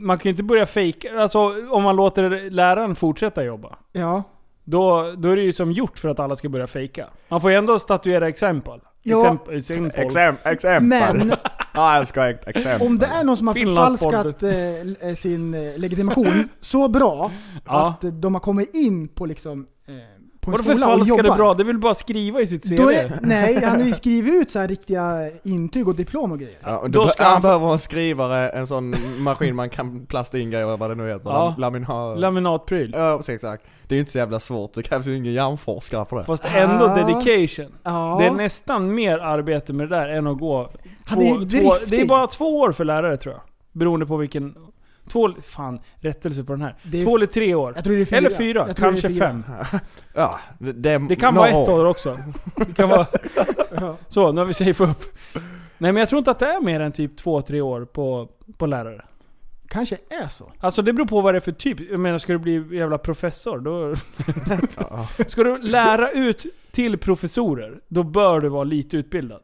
D: man kan ju inte börja fejka. Alltså om man låter läraren fortsätta jobba.
E: Ja.
D: Då, då är det ju som gjort för att alla ska börja fejka. Man får ju ändå statuera exempel.
E: Ja.
D: Exempel. exempel.
F: Exempel, exempel.
E: Men
F: Ja, jag ska ha ett exempel.
E: Om det är någon som har
D: Finlandspodden.
E: förfalskat eh, l- eh, sin eh, legitimation så bra
D: *laughs* Ja.
E: att eh, de har kommit in på, liksom, eh, på en
D: Vadå för
E: skola och
D: falska det
E: jobbar.
D: bra? Det vill bara skriva i sitt CV.
E: Då är det, nej, han
D: *laughs*
E: har ju skrivit ut så här riktiga intyg och diplom och grejer.
F: Ja, och
D: Då
F: då
D: ska
F: han,
D: han-
F: behöver ha en skrivare, en sån maskin man kan plasta in grejer vad det nu heter.
D: Ja.
F: Ja. Laminar...
D: Laminatpryl.
F: ja precis, exakt. Det är ju inte så jävla svårt, det krävs ju ingen hjärnforskare på det.
D: Fast ändå
E: Ah.
D: dedication.
E: Ja,
D: Det är nästan mer arbete med det där än att gå två,
E: Han är ju
D: två, Det är
E: driftig.
D: bara två år för lärare tror jag. Beroende på vilken... Två, fan, rättelse på den här.
E: Det är-
D: två eller tre år.
E: jag tror det är fyra.
D: Eller fyra,
E: Jag tror det är
D: kanske
E: fyra.
D: fem.
F: Ja, det, det, är
D: Det kan
F: några
D: vara ett år också. Det kan
E: *laughs*
D: vara... Så, nu har vi safe upp. Nej men jag tror inte att det är mer än typ två, tre år på, på lärare.
E: Kanske är så.
D: Alltså det beror på vad det är för typ. Jag menar, ska du bli jävla professor,
E: *laughs*
D: då...
F: Ja.
D: Ska du lära ut till professorer, då bör du vara lite utbildad.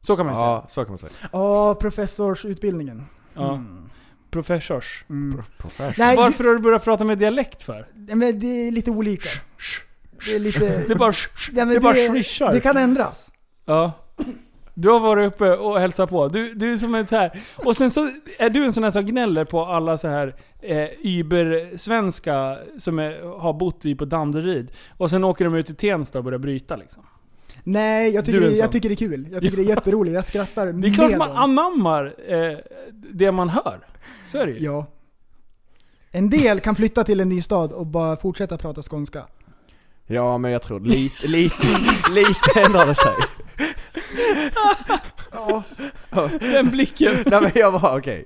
D: Så kan man ju säga.
F: Ja, så kan man säga.
E: Ja, professorsutbildningen.
D: Ja.
E: Mm.
D: Professors.
E: Mm.
F: Profession.
E: Nej,
D: Varför har du börjat prata med dialekt för?
E: det- men det är lite olika. Det är lite...
D: *laughs* Det bara,
E: Nej, men
D: det bara swishar.
E: Det kan ändras.
D: Ja. Du har varit uppe och hälsat på. Du, du är som en så här. Och sen så är du en sån här som gnäller på alla så här eh, Uber-svenska som är, har bott i på Danderyd. Och sen åker de ut till Tensta och börjar bryta liksom.
E: Nej, jag tycker,
D: Du är en
E: det, jag
D: sån.
E: tycker det är kul. Jag tycker det är jätteroligt. Jag skrattar
D: Det är klart
E: med
D: man
E: dem.
D: anammar eh, det man hör. Så är det ju.
E: Ja. En del kan flytta till en ny stad och bara fortsätta prata skånska.
F: Ja men jag tror lite, lite, lite ändrade sig.
D: Den blicken.
E: *laughs*
F: Nej men jag var okej.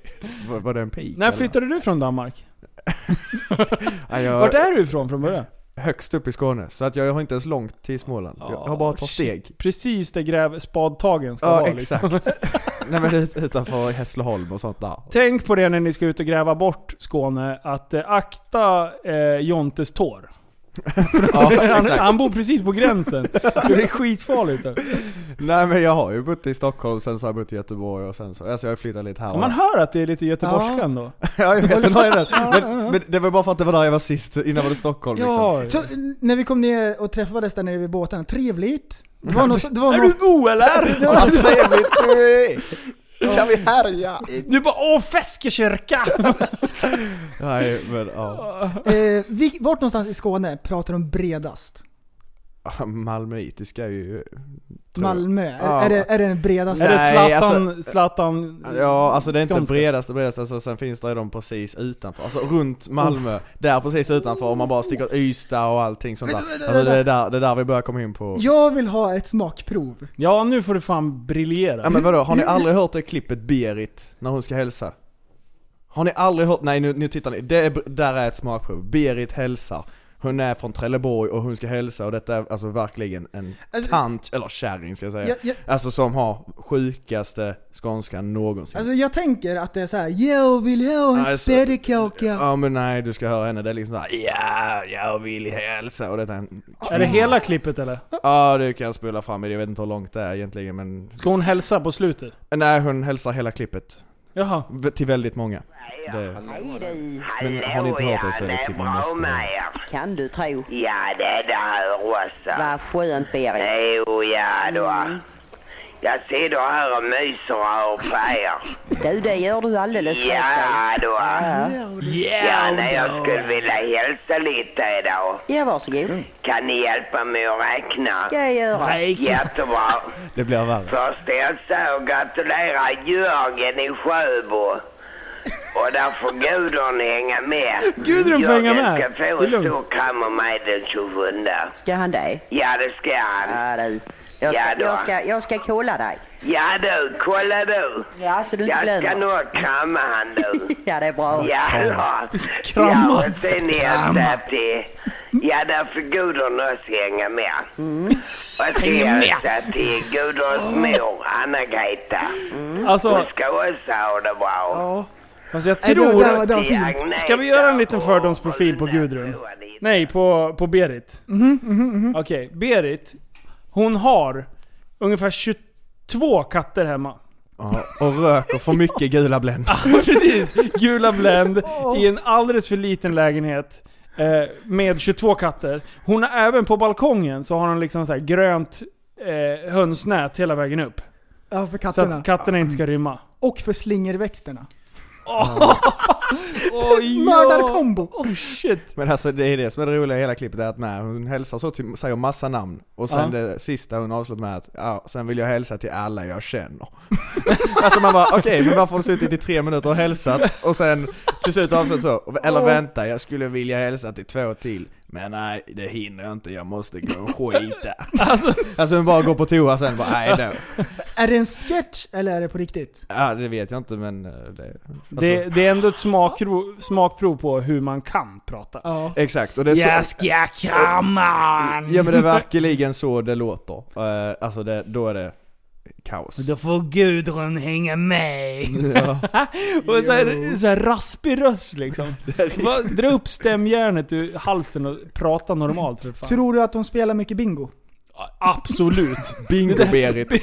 F: Var, var det en pik?
D: När
F: eller?
D: flyttade du från Danmark?
F: Ja, jag,
D: Vart är du ifrån från början?
F: Högst upp i Skåne, så att jag har inte ens långt till Småland. Jag har bara ett par
D: Ah,
F: steg.
D: shit. Precis där grävspadtagen ska
F: Ja
D: vara
F: exakt.
D: liksom.
F: Nej men ut, utanför Hässleholm och sånt där.
D: *laughs* Tänk på det när ni ska ut och gräva bort Skåne, att eh, akta eh, Jontes tår.
F: Ja,
D: *laughs* Han,
F: exakt.
D: han bor precis på
F: *laughs*
D: gränsen. Det är skitfarligt. där.
F: Nej men jag har ju bott i Stockholm, sen så har jag bott i Göteborg och sen så, alltså jag har flyttat lite här och
D: Man
F: där.
D: hör att det är lite göteborgska ändå.
F: *laughs* Ja jag vet, den har jag rätt. Men, men det var bara för att det var där jag var sist, innan var det Stockholm liksom.
D: Ja.
E: Så n- när vi kom ner och träffades där nere vid båten, trevligt. Det var något, det var
D: Är du
E: något,
D: god eller?
F: Vad trevligt du är! Ska vi härja?
D: Du bara åh feskekyrka!
F: *laughs* Nej men ja.
E: eh, vi, vart någonstans i Skåne pratar de bredast?
F: Ah, *laughs* Malmöitiska är ju... tror jag.
E: Malmö, är,
F: Ja.
E: är, det, är det den bredaste?
D: Är det
F: Nej,
D: Zlatan, Zlatan
F: alltså-
E: Mm.
F: Ja, alltså det är inte
D: skånska?
F: bredaste bredaste, alltså, sen finns det ju de precis utanför, alltså runt Malmö, där precis utanför om man bara sticker åt Ystad och allting sånt där.
E: Vänta, vänta,
F: Alltså det är
E: vänta.
F: där, det är där vi börjar komma in på...
E: Jag vill ha ett smakprov.
D: Ja, nu får du fan
F: Ja
D: briljera.
F: men vadå, har ni aldrig hört det klippet Berit, när hon ska hälsa? Har ni aldrig hört, nej nu, nu tittar ni, det är, där är ett smakprov, Berit hälsar hon är från Trelleborg och hon ska hälsa och detta är alltså verkligen en
E: Alltså-
F: tant, eller kärring ska jag säga.
E: Jag, jag,
F: Alltså som har sjukaste skånskan någonsin.
E: alltså jag tänker att det är så här. jag vill ha en
F: Alltså,
E: spädekaka.
F: Ja men nej, du ska höra henne. Det är liksom såhär ja, jag vill hälsa och detta är en...
D: Är det hela klippet eller?
F: Ja du kan spola fram i det, jag vet inte hur långt det är egentligen men...
D: Ska hon hälsa på slutet?
F: Nej hon hälsar hela klippet.
D: Jaha.
F: V- Till väldigt många. Det... Men har ni inte hört det så är det typ man måste...
G: Kan du tro?
H: Ja, det där Rosa.
G: Vad skönt Berit.
H: Jo, ja då. Jag sitter här och myser och på
G: *laughs*
H: er.
G: Du, det gör du alldeles rätt
H: Ja då.
G: i.
H: Ja, nej, jag skulle vilja hälsa lite idag.
G: Ja, varsågod.
H: Kan ni hjälpa mig att räkna?
G: Ska jag göra.
H: Jättebra.
F: Det blir värre.
H: Först hälsa och gratulera Jörgen i Sjöbo. Och där får Gudrun hänga med.
D: Gudrun får hänga med.
H: Jörgen ska
D: Det
H: få
D: är
H: en
D: lugnt.
H: stor kram av mig den 27.
G: Ska han det?
H: Ja, det ska han.
G: Ja, du. Jag ska,
H: Ja, då.
G: jag ska, jag ska kolla dig.
H: Ja du, kolla du.
G: Ja, så du inte
H: Jag ska
G: glömmer.
H: nog krama han nu.
G: *laughs* Ja, det är bra.
H: Ja, *laughs* ja.
D: Krama.
H: Ja, och sen hälsa till... Ja, där får Gudrun också hänga med. Och så hälsa till Gudruns mor, Anna-Greta.
F: Mm.
D: Alltså,
H: Hon ska också ha det bra.
D: fast jag
E: Nej, det var- det
D: tror...
E: var- det var
H: Till
E: fint.
H: Agneta
D: Ska vi göra en liten
H: och-
D: fördomsprofil på
H: och
D: Gudrun?
H: och Anita.
D: Nej, på, på Berit. Okej, Berit. Hon har ungefär 22 katter hemma.
F: Ja, och röker för mycket gula Blend.
D: *laughs* Precis! Gula Blend i en alldeles för liten lägenhet. Eh, med 22 katter. Hon har även på balkongen så har hon liksom så här grönt eh, hönsnät hela vägen upp.
E: Ja,
D: Så
E: för katterna.
D: att katterna inte ska rymma.
E: Och för slingerväxterna.
D: Oj,
E: Mördarkombo!
D: Oh shit!
F: Men alltså det är det som är det roliga i hela klippet är att när hon hälsar så till, säger massa namn och sen
D: Ja.
F: det sista hon avslutar med att ja, sen vill jag hälsa till alla jag känner. *laughs* alltså man bara okej, men varför har du suttit i tre minuter och hälsat och sen till slut avslutar så, eller vänta jag skulle vilja hälsa till två till, men nej det hinner jag inte, jag måste gå och skita.
D: Alltså,
F: alltså hon bara går på toa sen bara nej då.
E: Är det en sketch eller är det på riktigt?
F: Ja det vet jag inte men eh, det, alltså,
D: det, det är ändå ett smakprov, smakprov på hur man kan prata.
E: Ja.
F: Exakt, och det är så,
D: ska krama
F: Ja men det är verkligen så det låter. Eh, Alltså det, då är det kaos.
D: får Gudrun hänga med. och så här, så här raspig röst liksom. Va, Dra upp stämjärnet ur halsen och prata normalt för fan.
E: Tror du att de spelar mycket bingo?
F: *laughs*
D: Absolut. *laughs*
F: Bingo-Berit.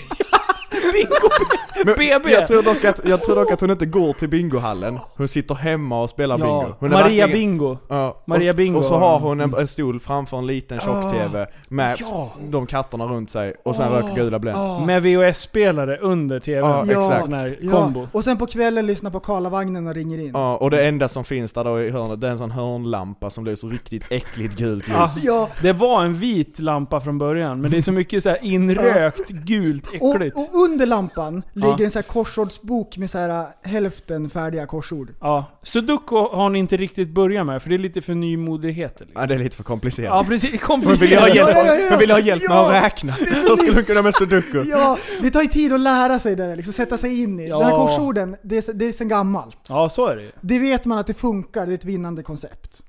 F: Men
D: BB.
F: Jag tror, dock att, jag tror dock att hon inte går till bingohallen. Hon sitter hemma och spelar bingo.
D: Ja,
F: Hon är
D: Maria
F: verkligen-
D: Bingo.
F: Ja, och-
D: Maria Bingo
F: Och så
D: har
F: har
D: hon. Mm.
F: hon en, en stol framför en liten tjock-TV med
D: Ja.
F: de katterna runt sig och sen röker gula Blend.
D: Med VHS-spelare under TV.
F: Ja, exakt.
D: Sån här
E: Ja.
D: kombo.
E: Och sen på kvällen lyssnar på Karlavagnen och ringer in.
F: Ja, och det enda som finns där då i hörnet, det är en sån hörnlampa som lyser riktigt äckligt gult ljus.
D: Ass-
E: Ja.
D: Ah, Det var en vit lampa från början, men det är så mycket så här inrökt, gult,
E: Och,
D: äckligt.
E: och under lampan ligger
D: Ja.
E: en så här korsordsbok med så här äh, hälften färdiga korsord.
D: Ja. Sudoku har ni inte riktigt börjat med, för det är lite för nymodigheter. Liksom.
F: Ja, det är lite för komplicerat.
D: Ja precis,
F: Hon vill ju ha
D: komplicerat.
F: hjälp,
E: Ja, ja, ja, ja.
F: hon vill ju ha hjälp med
E: Ja.
F: att räkna. Hur skulle hon kunna med sudoku?
E: Ja, det tar ju tid att lära sig det där, liksom sätta sig in i.
D: Ja.
E: De här korsorden, det är, det är sen gammalt.
D: Ja så är det ju.
E: Det vet man att det funkar, det är ett
D: *laughs*
E: vinnande koncept.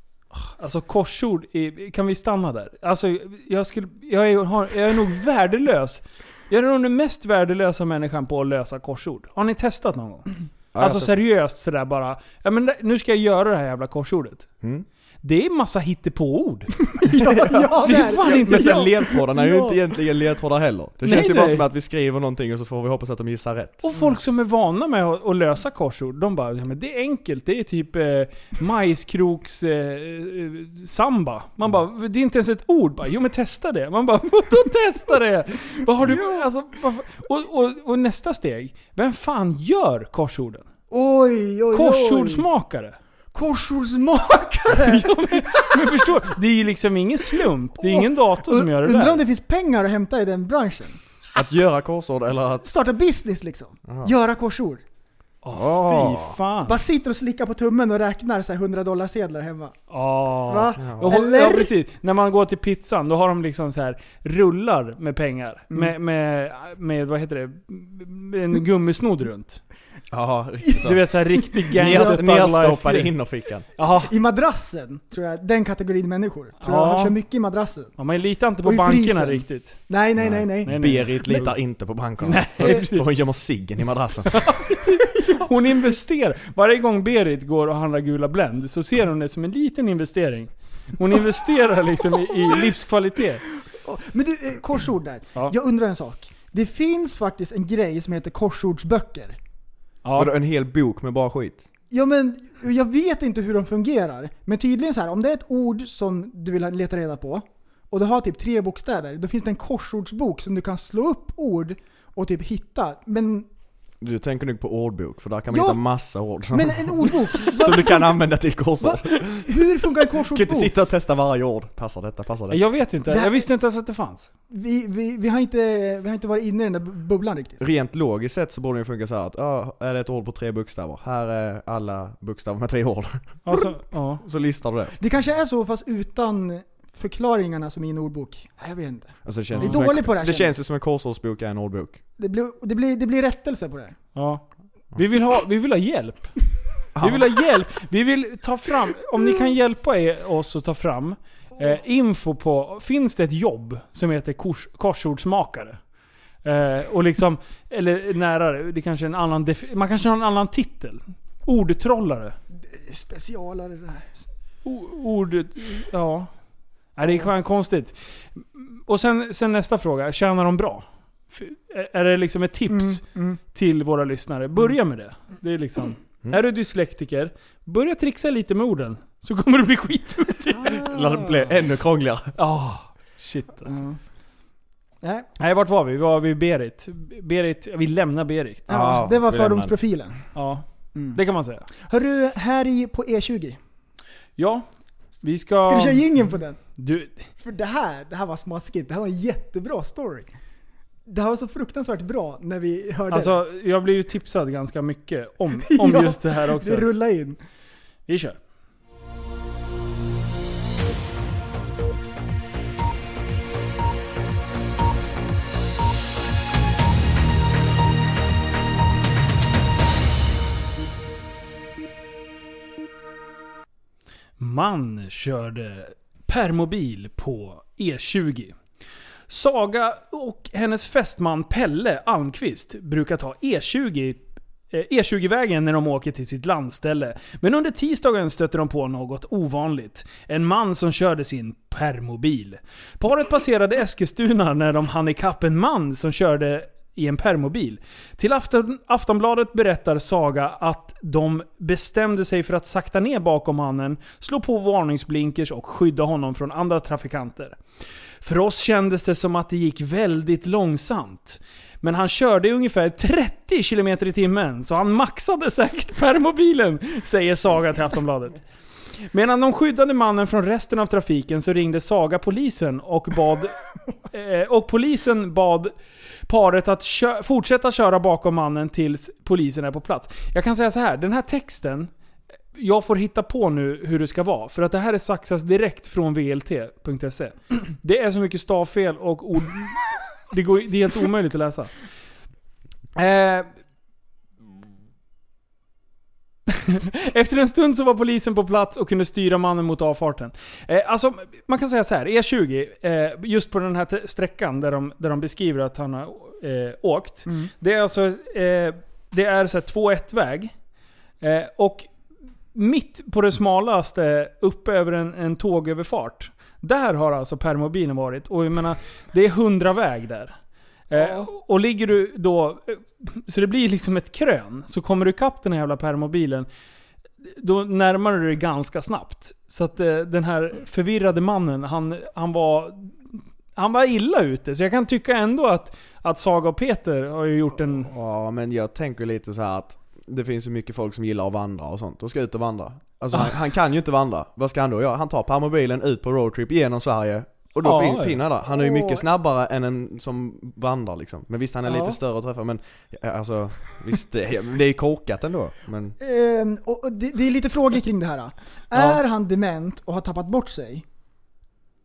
D: Alltså korsord, är, kan vi stanna där? Alltså jag, skulle, jag, är, har- jag är nog värdelös. Jag är nog den mest värdelösa människan på att lösa korsord. Har ni testat någon gång?
F: Ja,
D: alltså
F: jag
D: seriöst sådär bara. Ja, men nu ska jag göra det här jävla korsordet.
F: Mm.
D: Det är massa hittepåord.
E: Ja, ja,
D: Det
E: det
D: är
E: är
D: fan
E: det.
D: inte
F: Men
D: så.
F: sen ledtrådarna är ju
E: Ja.
F: inte egentligen ledtrådar heller. Det
D: Nej,
F: känns ju bara
D: nej.
F: som att vi skriver någonting och så får vi hoppas att de gissar rätt.
D: Och folk som är vana med att att lösa korsord, de bara ja, men det är enkelt. Det är typ eh, majskroks eh, eh, samba. Man bara, det är inte ens ett ord. Bara, jo men testa det. Man bara, vadå testa det? Vad har du, alltså, varför? och, och, och nästa steg, vem fan gör korsorden?
E: Oj, oj, oj.
D: Korsordsmakare.
E: Korsordsmakare!
D: Men förstår, det är ju liksom ingen slump. Det är ingen dator som gör det
E: Undrar
D: där.
E: om det finns pengar att hämta i den branschen?
F: Att göra korsord eller att...
E: Starta business liksom. Göra korsord.
F: Åh.
D: Fy fan.
E: Bara sitter och slickar på tummen och räknar så här 100 dollar sedlar hemma.
D: Ah. Ja.
E: Va?
D: Och hon, ja
E: Eller?
D: precis. När man går till pizzan då har de liksom så här rullar med pengar.
E: Mm.
D: Med, med, med, vad heter det? En gummisnodd runt.
F: Ja, riktigt så.
D: Du vet såhär riktig gangster
F: Nerstoppade innerfickan.
D: Jaha.
E: I madrassen, tror jag. Den kategorin människor. Tror
D: Ja.
E: jag han kör mycket i madrassen.
D: Ja, man litar inte på
E: Och i
D: bankerna
E: frysen.
D: riktigt.
E: Nej, nej, nej, nej.
D: Nej, nej.
F: Berit litar inte på bankerna.
D: Nej, precis.
F: För hon gömmer ciggen i madrassen.
D: Hon investerar. Varje gång Berit går och handlar Gula Blend så ser hon det som en liten investering. Hon investerar liksom i, i livskvalitet.
E: Men du, eh, korsord där.
D: Ja.
E: Jag undrar en sak. Det finns faktiskt en grej som heter korsordsböcker.
F: Vadå
D: Ja.
F: en hel bok med bara skit?
E: Ja men, jag vet inte hur de fungerar. Men tydligen så här, om det är ett ord som du vill leta reda på och du har typ tre bokstäver, då finns det en korsordsbok som du kan slå upp ord och typ hitta. Men,
F: Du tänker nog på ordbok, för där kan man
E: Ja.
F: hitta massa ord som,
E: men en
F: *laughs*
E: ordbok?
F: som
E: Va,
F: du kan använda till korsord.
E: va, hur funkar en
F: Du kan inte
E: korsordsbok?
F: sitta och testa varje ord. Passar detta, passar det?
D: Jag vet inte.
E: Det här-
D: Jag visste inte ens att det fanns.
E: Vi, vi, vi, har inte, vi har inte varit inne i den där bu- bubblan riktigt.
F: Rent logiskt sett så borde det ju funka så här att, ja, är det ett ord på tre bokstäver? Här är alla bokstäver med tre *laughs* ord.
D: Alltså, ja.
F: Så listar du det.
E: Det kanske är så fast utan förklaringarna som i en ordbok. Nej, Jag vet inte.
F: Alltså, det känns
E: Vi är
F: ju som en,
E: dåliga på det här
F: Det
E: känner
F: känns ju som en korsordsbok är en ordbok.
E: Det blir, det blir, det blir rättelse på det här.
D: Ja. Vi vill ha, vi vill ha hjälp. Vi vill ha hjälp. Vi vill ta fram, om ni kan hjälpa er, oss att ta fram eh, info på, finns det ett jobb som heter kors, korsordsmakare? Eh, och liksom, eller närare, det kanske är en annan defi- man kanske har en annan titel. Ordtrollare.
E: Det är Specialare det här.
D: O- Ord... Ja. Nej, det är fan konstigt. Och sen, sen nästa fråga. Tjänar de bra? F- Är det liksom ett tips
E: Mm.
D: till våra lyssnare? Börja med det. Det är liksom... Är du dyslektiker, börja trixa lite med orden. Så kommer det bli skitduktig.
E: mm.
F: *laughs* Eller det blir ännu krångligare.
D: Ah, shit alltså.
E: Ah. Nej,
D: Nej, vart var vi? Vi var vid Berit. Berit... Vi lämnar Berit.
E: ja,
F: Ja,
E: det var
F: vi lämnar.
E: fördomsprofilen.
D: Ja.
E: Mm.
D: Det kan man säga.
E: Hörru, här i på E20.
D: Ja. Vi ska...
E: Ska du köra jingeln på den?
D: Du...
E: För det här, det här var smaskigt. Det här var en jättebra story. Det här var så fruktansvärt bra när vi hörde *laughs*
D: Alltså, jag blev ju tipsad ganska mycket om,
E: det.
D: om
E: *laughs* Ja,
D: just det här också.
E: Det rullade in.
D: Vi kör. Man körde permobil på E20. Saga och hennes fästman Pelle Almqvist brukar ta E E20 eh, E20-vägen när de åker till sitt landställe. Men under tisdagen stötte de på något ovanligt. En man som körde sin permobil. Paret passerade Eskilstuna när de hann ikapp en man som körde i en permobil. Till Afton, Aftonbladet berättar Saga att de bestämde sig för att sakta ner bakom mannen, slå på varningsblinkers och skydda honom från andra trafikanter. För oss kändes det som att det gick väldigt långsamt. Men han körde i ungefär 30 km i timmen, så han maxade säkert permobilen, säger Saga till Aftonbladet. Medan de skyddade mannen från resten av trafiken så ringde Saga polisen och bad... Eh, och polisen bad paret att kö- fortsätta köra bakom mannen tills polisen är på plats. Jag kan säga så här, den här texten, jag får hitta på nu hur det ska vara. För att det här är saxas direkt från vlt.se. E. Det är så mycket stavfel och ord... Det, går, det är helt omöjligt att läsa. Eh, Efter en stund så var polisen på plats och kunde styra mannen mot avfarten. Eh, alltså, man kan säga så här. E20, eh, just på den här te- sträckan där de, där de beskriver att han har eh, åkt. Det är alltså eh, det är så här 2-1-väg. Eh, och mitt på det smalaste, uppe över en, en tågöverfart. Där har alltså permobilen varit. Och jag menar, det är 100 väg där. Eh, och ligger du då... eh, Så det blir liksom ett krön. Så kommer du ikapp den här jävla permobilen. Då närmar du dig ganska snabbt. Så att eh, den här förvirrade mannen, han, han var... Han var illa ute. Så jag kan tycka ändå att, att Saga och Peter har ju gjort en...
F: Ja men jag tänker lite så här att det finns ju mycket folk som gillar att vandra och sånt och ska ut och vandra. Alltså han, han kan ju inte vandra. Vad ska han då göra? Han tar permobilen ut på roadtrip genom Sverige och då
D: Ja,
F: fin-
D: ja.
F: finner han där. Han är ju mycket
E: Åh.
F: snabbare än en som vandrar liksom. Men visst han är
E: Ja.
F: lite större att träffa men ja, alltså visst det, ja, men det är ju korkat ändå. Men
E: Ehm, och och det, det är lite frågor kring det här. då. Är han dement och har tappat bort sig?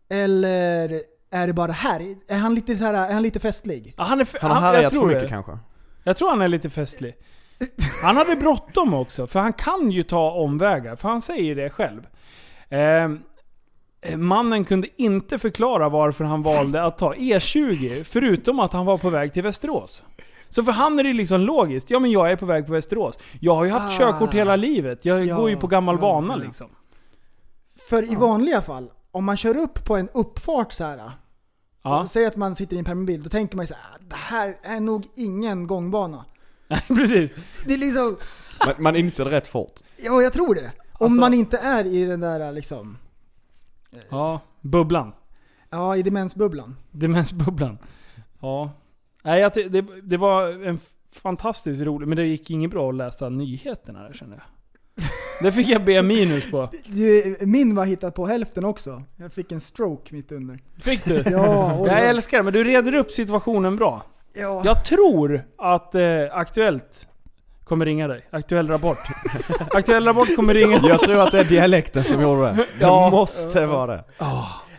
E: Eller är det bara här? Är han lite, så här, är han lite festlig?
D: Ja, han är,
F: han har
D: jag
F: härjat
D: tror
F: för mycket
D: det. *laughs*
F: kanske.
D: Jag tror han är lite festlig. Han hade bråttom också, för han kan ju ta omvägar. För han säger det själv. Ehm, mannen kunde inte förklara varför han valde att ta E20, förutom att han var på väg till Västerås. Så för han är det liksom logiskt. Ja men jag är på väg på Västerås. Jag har ju haft
E: Ah.
D: körkort hela livet. Jag
E: Ja,
D: går ju på gammal
E: ja,
D: vana
E: ja.
D: liksom.
E: För i vanliga fall, om man kör upp på en uppfart så här.
D: Ja, *laughs*
E: Säg att man sitter i en permobil, då tänker man ju så här, "Ah, det här är nog ingen gångbana.
D: precis.
E: Det är liksom,
F: Man, man inser det rätt fort.
E: ja jag tror det. Om
D: Alltså-
E: man inte är i den där liksom,
D: Ja, bubblan.
E: ja i demensbubblan.
D: Demensbubblan. Ja. Nej, jag ty- det, det var en f- fantastiskt rolig, men det gick inget bra att läsa nyheterna där kände jag. Det fick jag B minus på.
E: Det- Min var hittat på hälften också. Jag fick en stroke
D: *laughs*
E: mitt under.
D: Fick du?
E: Ja, oj,
D: Jag
E: oj.
D: älskar det, men du reder upp situationen bra.
E: ja.
D: Jag tror att eh, Aktuellt kommer ringa dig. Aktuell Rapport. Aktuell Rapport kommer ringa dig.
F: Jag tror att det är dialekten som
D: *laughs*
F: gjorde det. Det
D: Ja.
F: måste vara det.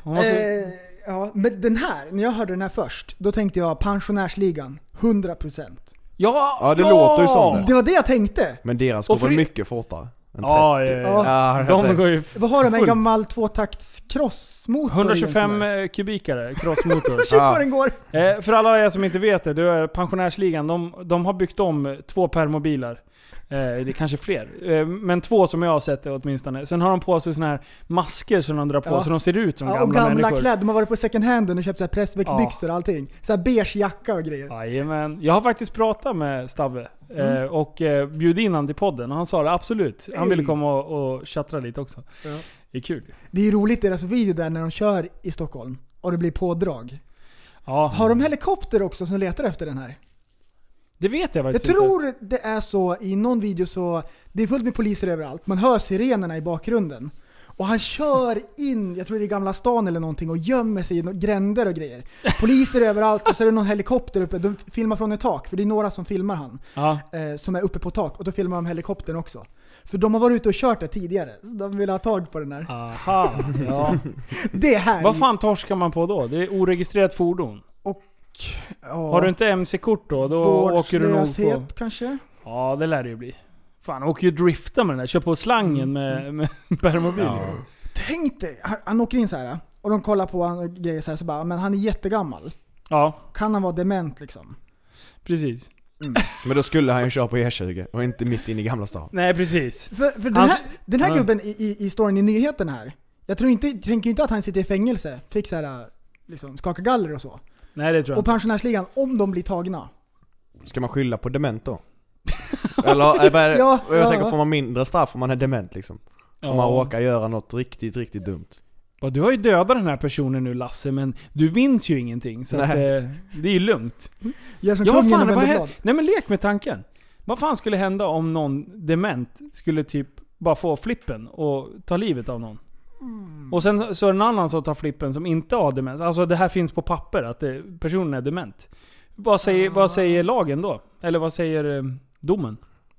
D: Hon var så-
E: Eh, ja, men den här, när jag hörde den här först, då tänkte jag pensionärsligan, 100%.
D: Ja,
F: Ja, det låter ju som
E: Det var det jag tänkte!
F: Men deras
D: Och
F: går väl
D: för-
F: mycket fortare? Än 30?
D: Ja, ja, ja.
F: Ja, jag
D: De
F: tänkte-
D: går ju... f-
E: Vad har de? En
D: Fullt.
E: gammal tvåtakts crossmotor? i en sån
D: 125
E: där?
D: eh, kubikare, crossmotor.
E: Shit vad den går!
D: Eh, för alla er som inte vet det, det är pensionärsligan. De, de har byggt om eh, två permobiler. Eh, det är kanske fler. Eh, men två som jag har sett det åtminstone. Sen har de på sig såna här masker som de drar på
E: Ja.
D: så de ser ut som
E: Ja, och
D: gamla,
E: gamla
D: människor.
E: kläder, de har varit på second handen och köpt så här pressväxtbyxor och allting. Så här beige jacka och grejer.
D: Jajamän. Jag har faktiskt pratat med Stavve eh, och eh, bjudit in han till podden och han sa det absolut. Han ville
E: Mm. Ey.
D: komma och, och tjattra lite också. Det är kul.
E: Det är ju roligt i deras video där när de kör i Stockholm och det blir pådrag.
D: Ja,
E: Har de helikopter också som letar efter den här?
D: det vet jag
E: Jag
D: faktiskt inte.
E: tror det är så i någon video så, det är fullt med poliser överallt, man hör sirenerna i bakgrunden. Och han kör in, jag tror det är Gamla stan eller någonting, och gömmer sig i nå- gränder och grejer. Poliser överallt och så är det någon helikopter uppe, de filmar från ett tak, för det är några som filmar han.
D: Ja.
E: Eh, som är uppe på tak, och då filmar de helikoptern också. För de har varit ute och kört det tidigare, så de vill ha tag på den här.
D: Aha,
E: *laughs*
D: ja.
E: Det är här.
D: Vad fan torskar man på då? Det är oregistrerat fordon.
E: Ja,
D: Har du inte MC-kort då, då åker du nog på...
E: vårdslöshet kanske?
D: Ja, det lär det ju bli. Fan, han åker ju drifta med den där. Kör på slangen med, med *laughs* permobil.
E: Tänk dig, han, han åker in så här och de kollar på han och grejer så här, så bara, men han är jättegammal.
D: Ja,
E: Kan han vara dement liksom?
D: precis.
F: Men då skulle han ju köra på E20 och inte mitt inne i Gamla stan.
D: Nej, precis.
E: För, för den
D: Han-
E: här, den här
D: Alltså, Ja.
E: gubben i, i, i storyn i nyheten här, jag tror inte, tänker inte att han sitter i fängelse, fick så här, liksom skaka galler och så.
D: Nej, det tror jag
E: Och
D: inte.
E: pensionärsligan, om de blir tagna.
F: Ska man skylla på dement då?
D: *laughs*
F: Eller, eh, vad är det?
E: Ja,
F: Och jag
E: ja,
F: tänker
E: ja.
F: får man mindre straff om man är dement liksom? Om man råkar göra något riktigt, riktigt dumt.
D: Ja, Du har ju dödat den här personen nu Lasse, men du minns ju ingenting. Så att, eh,
F: Nej.
D: det är ju lugnt.
E: Gör som
D: Ja,
E: kungen
D: fan,
E: och
D: vad
E: vänder
D: hä-
E: blad.
D: Nej men lek med tanken. Vad fan skulle hända om någon dement skulle typ bara få flippen och ta livet av någon? Och sen så är det en annan som tar flippen som inte har demens. Alltså det här finns på papper att det, personen är dement. Vad säger, vad säger lagen då? Eller vad säger eh, domen?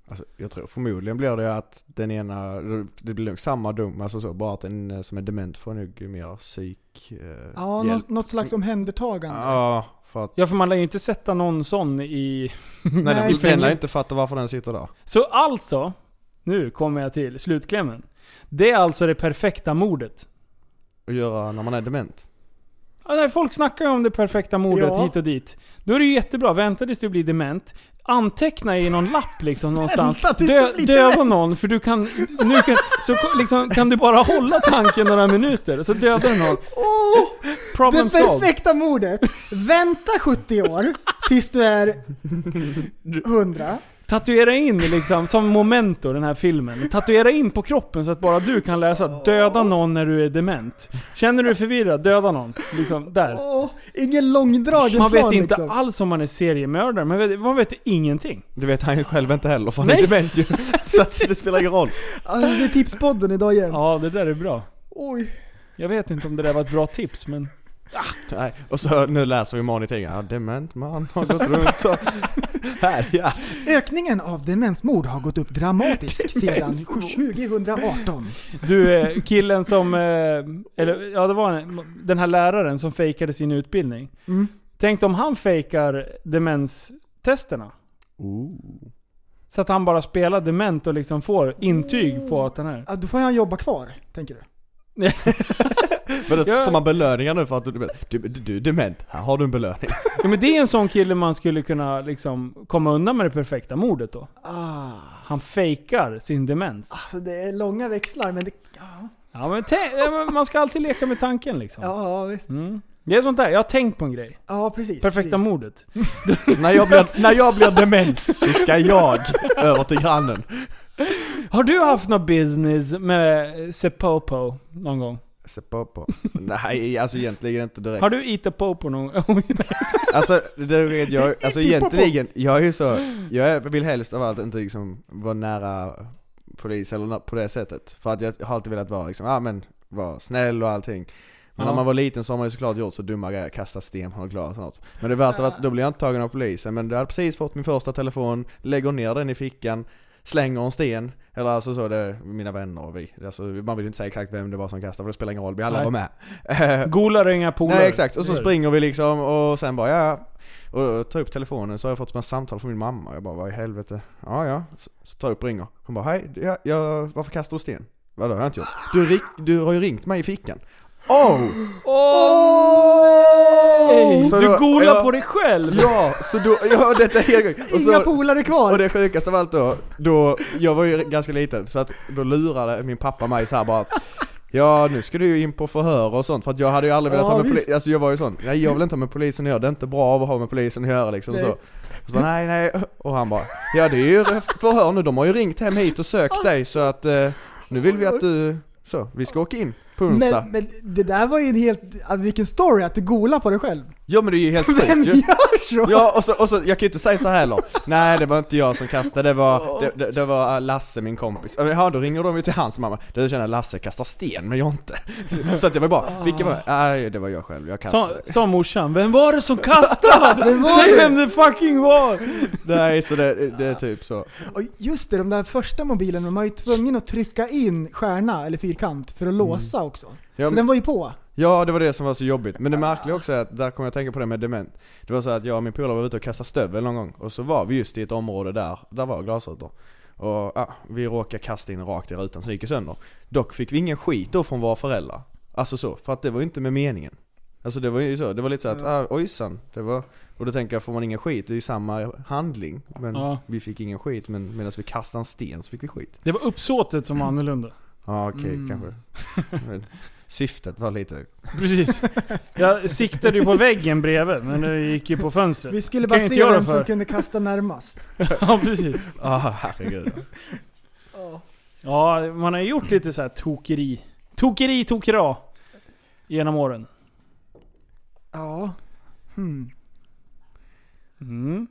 F: Alltså, jag tror förmodligen blir det att den ena, det blir nog samma dom, alltså så, bara att den eh, som är dement får nog mer psyk... Eh,
E: Ja,
F: hjälp.
E: något, något slags omhändertagande.
F: Ja, för att...
D: Ja för man lär ju inte sätta någon sån i...
E: nej,
F: nej, den, den lär
D: fängelse.
F: inte fatta varför den sitter där.
D: Så alltså, nu kommer jag till slutklämmen. Det är alltså det perfekta mordet.
F: Och göra när man är dement.
D: Ja, nej, folk snackar ju om det perfekta mordet
E: Ja.
D: hit och dit. Då är det ju jättebra. Vänta tills du blir dement. Anteckna i någon lapp liksom någonstans.
E: Vänta tills du blir
D: döda någon för du kan... Nu kan, så ko- liksom, kan du bara hålla tanken några minuter så dödar du någon.
E: Åh!
D: Problem
E: Det
D: solved.
E: perfekta mordet! Vänta 70 år tills du är 100.
D: Tatuera in liksom, som memento den här filmen. Tatuera in på kroppen så att bara du kan läsa 'Döda någon när du är dement'. Känner du dig förvirrad, döda någon. Liksom, där.
E: Åh, ingen långdragen
D: Man
E: plan
D: vet inte
E: liksom.
D: alls om man är seriemördare, men vet- man vet ingenting.
F: Det vet han ju själv inte heller, för han är
D: Nej. *laughs*
F: dement ju. Så att det spelar ingen roll.
E: Alltså, det är tipspodden idag igen.
D: Ja, det där är bra.
E: Oj.
D: Jag vet inte om det där var ett bra tips, men...
F: Nej. Och så nu läser vi imorgon i tidningen, ja dement man har gått
D: *laughs*
F: runt och härjat.
E: Ökningen av demensmord har gått upp *laughs* dramatiskt sedan 2018.
D: Du, eh, killen som... eh, Eller ja, det var en- den här läraren som fejkade sin utbildning.
E: Mm.
D: Tänk om han fejkar demenstesterna.
F: Ooh.
D: Så att han bara spelar dement och liksom får intyg på att den här...
E: Ja, då får han jobba kvar, tänker du?
F: Men då
D: Ja.
F: får man belöningar nu för att du är dement. Du, du, du är dement, här har du en belöning.
D: Ja, men det är en sån kille man skulle kunna liksom komma undan med det perfekta mordet då.
E: Ah,
D: Han fejkar sin demens.
E: alltså det är långa växlar men det... Ja,
D: Ja, men tänk, ja, men man ska alltid leka med tanken liksom.
E: ja visst.
D: Mm. Det är sånt där, jag har tänkt på en grej.
E: Ja, precis.
D: Perfekta
E: precis.
D: mordet.
F: när, jag blir, när jag blir dement så ska jag över till grannen.
D: Har du haft någon business med Sepopo någon gång?
F: Se på på. Nej, alltså egentligen inte direkt.
D: Har du Itapopo någon gång? *laughs*
F: Alltså, det vet jag, alltså egentligen, jag är ju så, jag är- vill helst av allt inte liksom vara nära polis eller nå- på det sättet. För att jag har alltid velat vara liksom, ah, men vara snäll och allting. Men
D: Ja.
F: när man var liten så har man ju såklart gjort så dumma grejer, kasta sten på något glas och något. Men det värsta var att då blev jag inte tagen av polisen, men jag hade precis fått min första telefon, lägger ner den i fickan, slänger en sten. Eller alltså så, det, mina vänner och vi. Alltså, man vill ju inte säga exakt vem det var som kastade för det spelar ingen roll, vi alla
D: Nej.
F: var med. *laughs* Eh,
D: Golare inga polare.
F: Nej exakt, och så
D: Det är det.
F: springer vi liksom och sen bara ja, och då tar jag upp telefonen så har jag fått ett samtal från min mamma jag bara vad i helvete? Ja ja, så, så tar jag upp och ringer. Hon bara hej, jag, jag, varför kastar du sten? Vadå har jag inte gjort? Du, ring, du har ju ringt mig i fickan. Oh!
D: Hey,
F: Så
D: du
F: då-
D: golar
F: ja.
D: på dig själv!
F: Ja, så då, ja detta är en gång. Och så-
E: Inga polare kvar!
F: Och det sjukaste av allt då, då, jag var ju ganska liten, så att då lurade min pappa mig så här bara att Ja nu ska du ju in på förhör och sånt för att jag hade ju aldrig velat
E: Ja,
F: ha med
E: visst.
F: polisen, alltså jag var ju sån, nej jag vill inte ha med polisen att göra, det är inte bra att ha med polisen att göra liksom och så.
E: Nej.
F: så bara, nej nej, och han bara Ja det är ju förhör nu, de har ju ringt hem hit och sökt dig så att eh, nu vill vi att du, så, vi ska åka in på onsdag.
E: men, men det där var ju en helt... ah, Vilken story, att du golar på dig själv.
F: ja men det är ju
E: *laughs*
F: helt
E: Vem
F: sjukt ju.
E: gör så? *laughs*
F: Ja och så, och så, jag kan ju inte säga så här heller. Nej det var inte jag som kastade, det var, det, det, det var eh, Lasse min kompis. Ja då ringer de ju till hans mamma, du känner Lasse kastar sten men jag inte. Så att det var bara, vilka var det? Nej det var jag själv, jag
D: Sa,
F: kastade.
D: sa morsan, vem var det som kastade? Säg vem det fucking var!
F: Nej så det, det är typ så.
E: Och just det, de där första mobilerna, de var ju tvungna att trycka in stjärna eller fyrkant för att
D: Mm.
E: låsa också.
F: Ja,
E: Så den var ju på.
F: Ja det var det som var så jobbigt, men det märkliga också är att, där kommer jag tänka på det med dement Det var så att jag och min polare var ute och kastade stövel någon gång och så var vi just i ett område där, där var glasrutor Och ja, vi råkade kasta in rakt i rutan så det gick ju sönder Dock fick vi ingen skit då från våra föräldrar Alltså så, för att det var ju inte med meningen Alltså det var ju så, det var lite så att ah, ojsan, det var Och då tänker jag, får man ingen skit, det är ju samma handling Men
D: Ja.
F: vi fick ingen skit, men medan vi kastade en sten så fick vi skit
D: Det var uppsåtet som var annorlunda.
F: Ja okej, kanske men, Syftet var lite
D: Precis. Jag siktade ju på väggen bredvid, men det gick ju på fönstret.
E: Vi skulle
D: Det
E: bara
D: kan ju
E: se
D: inte jag
E: vem
D: för.
E: som kunde kasta närmast.
D: Ja, precis.
F: Ah herregud
D: Ja, man har ju gjort lite så här tokeri. Tokeri, tokera. Genom åren.
E: Ja. Hmm.
D: Mm.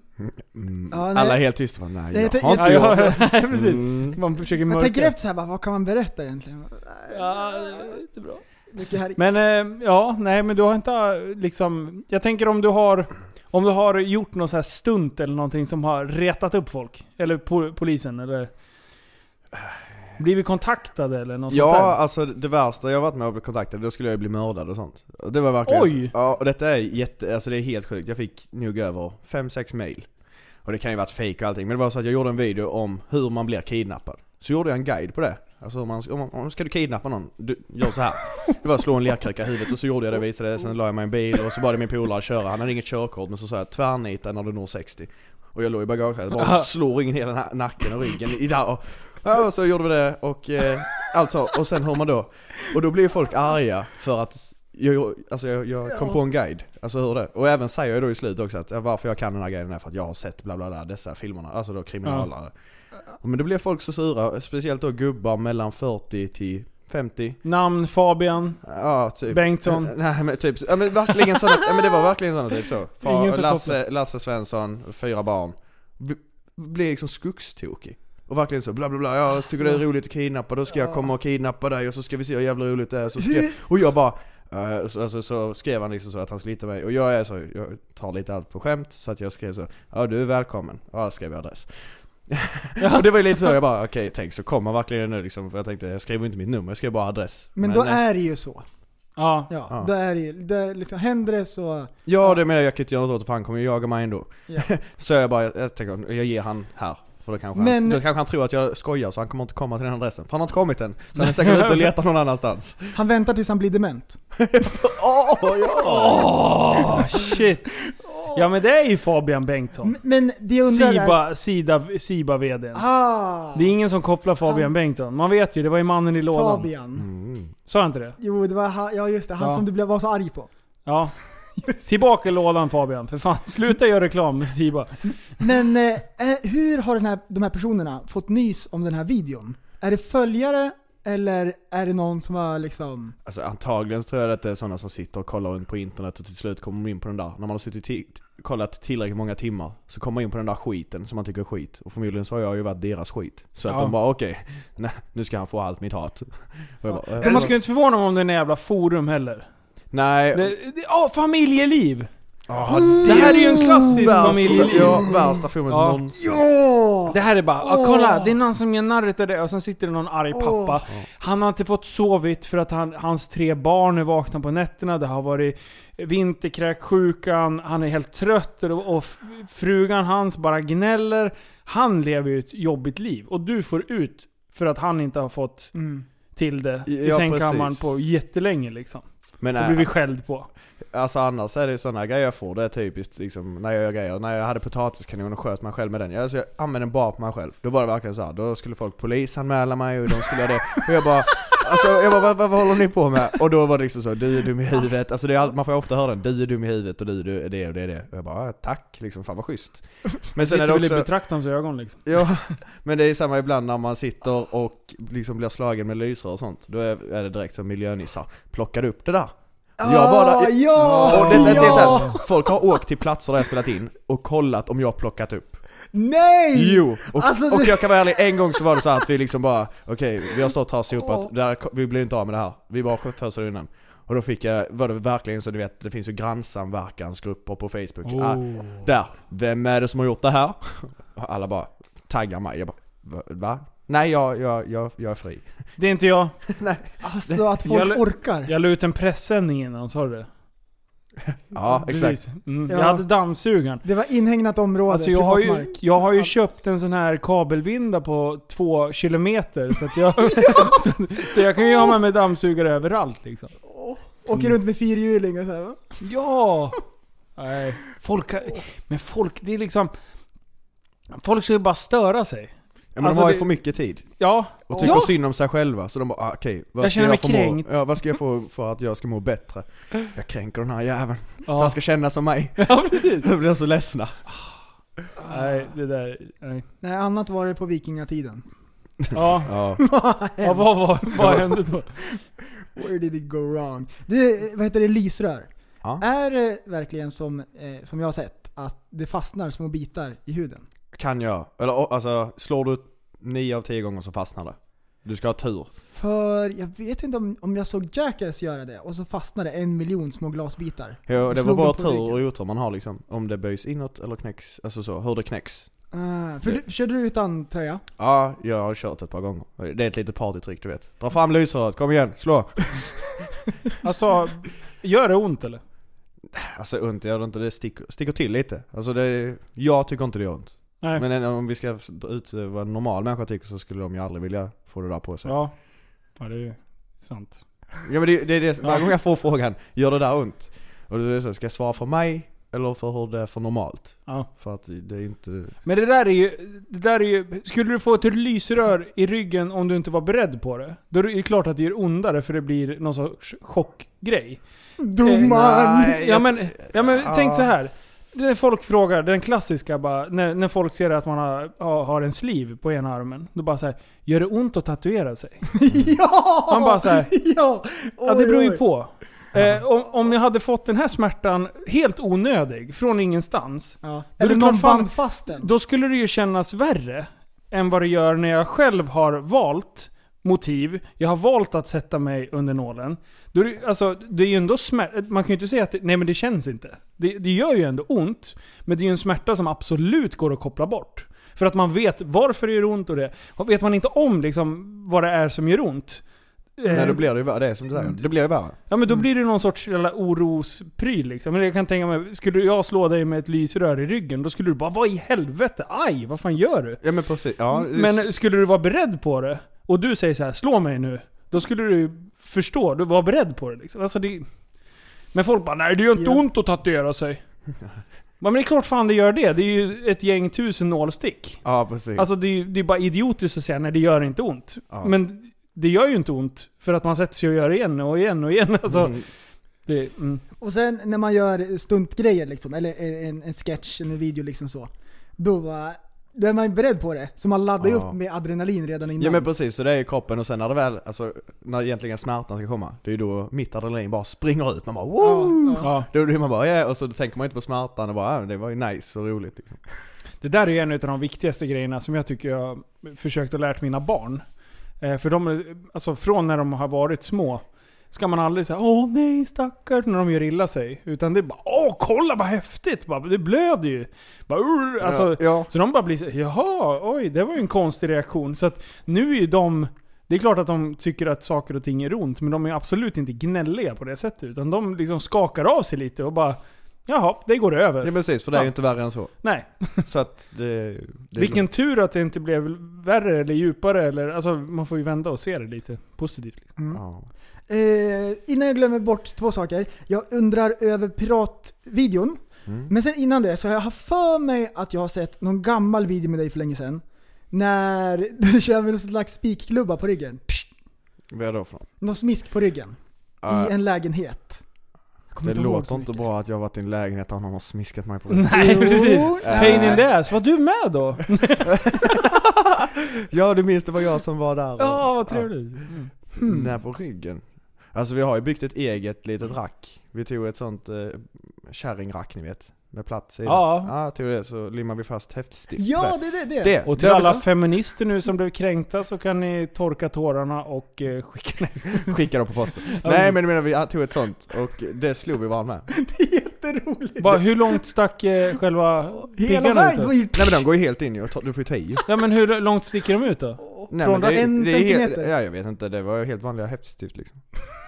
F: Mm.
E: Ja, nej.
F: Alla är helt tysta bara, nej
E: Nej,
F: jag,
E: jag tänk-
F: har inte
D: Ja,
F: gjort
D: ja,
F: det.
E: *laughs*
D: ja, *laughs* precis.
F: Mm.
D: Man försöker
E: Jag tänker
D: mörka.
E: efter så här, bara, vad kan man berätta egentligen?
D: Ja, det är inte bra.
E: Mycket här.
D: Men eh, ja, nej men du har inte eh, liksom... Jag tänker om du har... Om du har gjort någon så här stunt eller någonting som har retat upp folk. Eller po polisen eller... Blivit kontaktade eller något sånt
F: Ja,
D: där.
F: alltså det värsta jag varit med och blivit kontaktad, då skulle jag ju bli mördad och sånt. Och Det var verkligen
D: Oj!
F: Så, ja, och detta är jätte, alltså det är helt sjukt. Jag fick nog över 5-6 mail. Och det kan ju varit fake och allting, men det var så att jag gjorde en video om hur man blir kidnappad. Så gjorde jag en guide på det. Alltså om man, om man om ska du kidnappa någon, du, gör så här. Det var slå en lerkruka i huvudet och så gjorde jag det, visade det, sen la jag mig i en bil och så bad jag min polare köra. Han hade inget körkort men så sa jag tvärnita när du når 60. Och jag låg i bagaget bara slår in hela na- nacken och ryggen i där och Ja, och så gjorde vi det och eh, alltså, och sen hör man då Och då blir folk arga för att jag, alltså jag, jag kom på en guide, alltså hur det? Och även säger jag då i slutet också att ja, varför jag kan den här guiden är för att jag har sett bla bla bla dessa filmerna, alltså då kriminalare. Men då blev folk så sura, speciellt då gubbar mellan 40 till 50.
D: Namn Fabian.
F: Ja, typ.
D: Bengtsson.
F: *laughs* Nej men typ, ja, men verkligen sådana, ja, men det var verkligen sådana typ så.
D: Ingen
F: Far,
D: som
F: Lasse, Lasse Svensson, fyra barn. B- Blev liksom skogstokig. Och verkligen så bla bla bla, jag tycker det är roligt att kidnappa, då ska jag komma och kidnappa dig och så ska vi se hur jävla roligt det är. Så ska jag, och jag bara eh, så, alltså, så skrev han liksom så att han skulle hitta mig och jag är så, jag tar lite allt på skämt så att jag skrev så Ja du är välkommen, ja jag skrev jag adress *laughs* Och det var ju lite så, jag bara okej tänk så kommer verkligen nu liksom för jag tänkte jag skrev inte mitt nummer, jag skrev bara adress
E: Men, då
F: eh,
E: är det ju så.
D: Ja.
E: Ja,
F: Ja.
E: Då är det ju, det, liksom, händer det så...
F: Ja det menar jag, jag kan inte göra något åt det för han kommer ju jaga mig ändå.
E: Ja.
F: *laughs* så jag bara, jag, jag tänker, jag ger han här. För då kanske,
E: Men-
F: han, då kanske han tror att jag skojar så han kommer inte komma till den adressen. För han har inte kommit än. Så han är säkert ute och letar
D: *laughs*
F: någon annanstans.
E: Han väntar tills han blir dement.
F: Åh ja!
D: Åh, shit. Ja men det är ju Fabian Bengtsson.
E: M- Men det jag undrar
D: Siba,
E: är...
D: Sida, Siba vdn.
E: Ah!
D: Det är ingen som kopplar Fabian Bengtsson. Man vet ju, det var ju mannen i lådan.
E: Fabian.
F: Mm.
D: Sa jag inte det?
E: Jo, det var han, ja just det, han
D: Ja.
E: som du blev, var så arg på. *laughs*
D: Ja. Tillbaka i lådan Fabian, för fan. Sluta göra reklam med Siba.
E: Men eh, eh, hur har den här, de här personerna fått nys om den här videon? Är det följare eller är det någon som har liksom...
F: Alltså antagligen så tror jag att det är sådana som sitter och kollar runt på internet och till slut kommer de in på den där. När man har suttit ti- kollat tillräckligt många timmar så kommer man in på den där skiten som man tycker är skit. Och förmodligen så har jag ju varit deras skit. Så att
D: Ja.
F: de bara okej, *laughs* nej, nu ska han få allt mitt hat. Och jag bara, eh,
D: Man skulle inte förvåna mig om det är en jävla forum heller.
F: nej,
D: Det, det, åh, familjeliv!
F: Ah,
D: Det här är ju en klassisk
F: Värsta-
D: familjeliv.
F: Alltså, Ja, värsta filmen
D: Ja.
F: någonsin.
D: Det här är bara, ah, kolla det är någon som gör narret av det och sen sitter det någon arg pappa. Han har inte fått sovit för att han, hans tre barn är vakna på nätterna. Det har varit vinterkräksjukan, han är helt trött och, och f- frugan hans bara gnäller. Han lever ju ett jobbigt liv och du får ut för att han inte har fått till det i
F: Mm. Ja,
D: sängkammaren
F: precis.
D: på jättelänge liksom.
F: Men
D: Då blir vi
F: nej,
D: skälld på.
F: alltså annars är det ju sådana grejer jag får, det är typiskt liksom när jag gör grejer. När jag hade potatiskanon och sköt mig själv med den. Alltså jag använde den bara på mig själv. Då var det verkligen så här. då skulle folk polisanmäla mig och de skulle göra det. Och jag bara Alltså jag bara, vad, vad, vad håller ni på med? Och då var det liksom så, du är dum i huvudet. Alltså det är, all- man får ju ofta höra den, du är dum i huvudet och du, du är det och det är det. Och jag bara, "Ah, tack liksom, fan vad schysst. Men
D: Sitter
F: sen är det
D: väl i
F: också...
D: betraktarens ögon liksom.
F: Ja, men det är samma ibland när man sitter och liksom blir slagen med lysrör och sånt. Då är är det direkt som miljönissar. Plockade upp det där. Jag bara,
E: Ah,
D: Ah,
E: ja!
F: och detta är sent
E: ja!
F: här. Folk har åkt till platser där jag spelat in och kollat om jag har plockat upp.
E: Nej!
F: Jo! Och,
E: Alltså,
F: och
E: det-
F: jag kan vara ärlig, en gång så var det så här att vi liksom bara, okej vi har stått här och sopat, det här, vi blir inte av med det här. Vi bara föser undan. Och då fick jag, var det verkligen så du vet, det finns ju grannsamverkansgrupper på Facebook. Ah, där, vem är det som har gjort det här? Och Alla bara taggar mig, jag bara "Va- va? Nej jag, jag, jag, jag är fri.
D: Det är inte jag.
E: Alltså att folk
D: Jag-
E: orkar.
D: Jag la ut en pressändning innan, sa du det?
F: Ja exakt.
D: Precis. Mm.
E: Ja.
D: Jag hade dammsugaren.
E: Det var inhägnat område,
D: Alltså jag har, ju,
E: privatmark.
D: jag har ju
E: Ja.
D: köpt en sån här kabelvinda på två kilometer så att jag...
F: *laughs*
D: så, så jag kan ju ha med mig dammsugare överallt liksom.
E: Åker runt med fyrhjuling och så här, va?
D: Ja! Nej. Folk har- Men folk, det är liksom... Folk ska ju bara störa sig.
F: Ja, men
D: Alltså,
F: de har ju
D: det-
F: för mycket tid.
D: Ja.
F: Och tycker
D: Ja.
F: synd om sig själva, så de bara ah, okej,
D: Jag
F: vad, ska
D: känner mig
F: jag få må-
D: kränkt.
F: ja, vad ska jag få för att jag ska må bättre? Jag kränker den här jäveln, så
D: Ja.
F: han ska känna
D: *laughs*
F: som mig.
D: ja, precis.
F: Då blir jag så ledsna.
D: Nej, det där... Nej.
E: Nej, annat var det på vikingatiden.
D: Ja.
F: Ja.
D: ja vad, vad, *laughs* vad hände då?
E: *laughs* Where did it go wrong? Du, vad heter det, lysrör?
F: Ja.
E: Är det verkligen som, eh, som jag har sett, att det fastnar små bitar i huden?
F: Kan jag, eller o- alltså slår du 9 av 10 gånger så fastnar det. Du ska ha tur.
E: För jag vet inte om, om jag såg Jackass göra det och så fastnade en miljon små glasbitar.
F: Ja,
E: Och
F: det var
E: slog
F: bara
E: dem på
F: tur
E: ryggen.
F: och otur man har liksom. Om det böjs inåt eller knäcks, alltså så, hur det knäcks.
E: Ah, för du, körde du utan
D: Eh,
E: tröja?
F: Ja, jag har kört ett par gånger. Det är ett litet partytrick du vet. Dra fram lysröret, kom igen, slå!
D: Alltså, gör det ont eller?
F: Alltså ont gör det inte, det sticker, sticker till lite. Alltså det, jag tycker inte det gör ont.
D: Nej.
F: Men en- om vi ska dra ut eh, vad en normal människa tycker så skulle de ju aldrig vilja få det där på sig. Ja,
D: Ja. Ja, det är ju sant.
F: men det, det är det, varje gång jag får frågan, gör det där ont? Och då är det så, ska jag svara för mig? Eller för hur det är för normalt.
D: Ja.
F: För att det är inte...
D: Men det där är ju... Det där är ju skulle du få ett lysrör i ryggen om du inte var beredd på det, då är det ju klart att det gör ondare för det blir någon sorts chockgrej.
E: Domaren! *laughs*
F: Nej,
D: Ja
F: jag-
D: men, ja, men
F: Ja.
D: tänk så här. När folk frågar, den klassiska bara, när, när folk ser att man har, ja, har en sliv på ena armen. Då bara så här, gör det ont att tatuera sig?
E: ja!
D: Man bara så här,
E: ja!
D: ja det
E: Oj,
D: beror ju
E: oj.
D: på. Eh, om, om jag hade fått den här smärtan helt onödig, från ingenstans.
E: Ja.
D: det
E: Eller
D: är
E: någon
D: klart fan-
E: band fast den.
D: Då skulle det ju kännas värre än vad det gör när jag själv har valt motiv. Jag har valt att sätta mig under nålen. Då är det, alltså, det är ju ändå smärta. Man kan ju inte säga att det, nej men det känns inte. Det, det gör ju ändå ont. Men det är ju en smärta som absolut går att koppla bort. För att man vet varför det gör ont och det. Och Vet man inte om liksom vad det är som gör ont. eh,
F: Nej, då blir Mm. det ju värre. Det är som du
D: Mm.
F: säger. Det blir ju värre.
D: Ja men då blir det någon sorts jävla orospryl liksom. Men jag kan tänka mig, skulle jag slå dig med ett lysrör i ryggen, då skulle du bara 'Vad i helvete? Aj! Vad fan gör du?'
F: Ja men precis. Ja,
D: Mm, Men skulle du vara beredd på det, och du säger så här 'Slå mig nu' Då skulle du förstå, du var beredd på det liksom. Alltså det... Men folk bara 'Nej det gör inte
E: Ja.
D: ont att tatuera
F: *laughs*
D: sig' Men det är klart fan det gör det. Det är ju ett gäng tusen nålstick.
F: Ja precis.
D: Alltså det är, ju- det är bara idiotiskt att säga 'Nej det gör inte ont'
F: Ja.
D: Men det gör ju inte ont, för att man sätter sig och gör det igen och igen och igen. *laughs* Alltså,
F: Mm.
D: det, mm.
E: Och sen när man gör stuntgrejer liksom, eller en, en sketch, en video liksom så. Då, bara, då är man ju beredd på det. Så man laddar ju
F: Ja.
E: upp med adrenalin redan innan.
F: Ja men precis, så det är ju kroppen och sen när det väl, alltså när egentligen smärtan ska komma, det är ju då mitt adrenalin bara springer ut, man bara wow!
D: ja.
F: Då är det man bara ja, och så tänker man inte på smärtan och bara ja, det var ju nice och roligt liksom.
D: Det där är ju en av de viktigaste grejerna som jag tycker jag försökt att lärt mina barn. Eh, för de, alltså från när de har varit små, ska man aldrig säga åh nej stackar när de gör illa sig. Utan det är bara åh kolla vad häftigt, bara, det blöder ju. Bara, "Urr", alltså,
F: ja, ja.
D: Så de bara blir så, jaha, oj det var ju en konstig reaktion. Så att nu är ju de, det är klart att de tycker att saker och ting är ont, men de är absolut inte gnälliga på det sättet. Utan de liksom skakar av sig lite och bara, jaha, det går över.
F: ja men precis, för det är ju inte värre än så.
D: Nej.
F: Så att det... det
D: Vilken tur att det inte blev värre eller djupare eller, alltså man får ju vända och se det lite positivt. Liksom.
F: *laughs* Ja.
E: Eh, innan jag glömmer bort två saker. Jag undrar över piratvideon.
F: Mm.
E: Men sen innan det så har jag haft för mig att jag har sett någon gammal video med dig för länge sedan. När *laughs* du kör med någon slags spikklubba på ryggen. Psst,
F: Vad är det då för något?
E: Någon smisk på ryggen.
F: Ja,
E: I en lägenhet. Jag kommer
F: Det
E: ihåg
F: låter
E: så
F: inte
E: mycket.
F: bra att jag har varit i en lägenhet där någon har smiskat mig på ryggen.
D: Nej
E: Jo,
D: precis.
E: nej.
D: Pain in the ass. Var du med då?
F: Ja du minns det var jag som var där och,
D: Ja, hmm. vad trevligt.
F: Mm. Nej, på ryggen. Alltså vi har ju byggt ett eget litet rack. Vi tog ett sånt eh, kärringrack ni vet. Med plats i. det.
D: Ja.
F: ja. tog det så limmade vi fast häftstift
E: Ja,
F: på
E: det är det. det.
F: det.
D: Och till
F: det har vi
D: alla feminister nu som blev kränkta så kan ni torka tårarna och eh, skicka ner.
F: så- Skickade dem på posten.
D: *laughs* Ja,
F: Nej
D: men-
F: men jag menar vi tog ett sånt och det slog vi varandra med.
E: Jätteroligt.
D: Bara, hur långt stack eh, själva
E: Hela
D: piggarna ut
E: vägen. Det
D: då?
E: var ju...
F: Nej men de går ju helt in ju, och tar- du får ju ta i.
D: Ja men hur långt sticker de ut då?
F: Nej,
D: Från
F: men det,
E: en
F: det är helt-
E: centimeter?
F: Ja jag vet inte, det var ju helt vanliga häftstift liksom.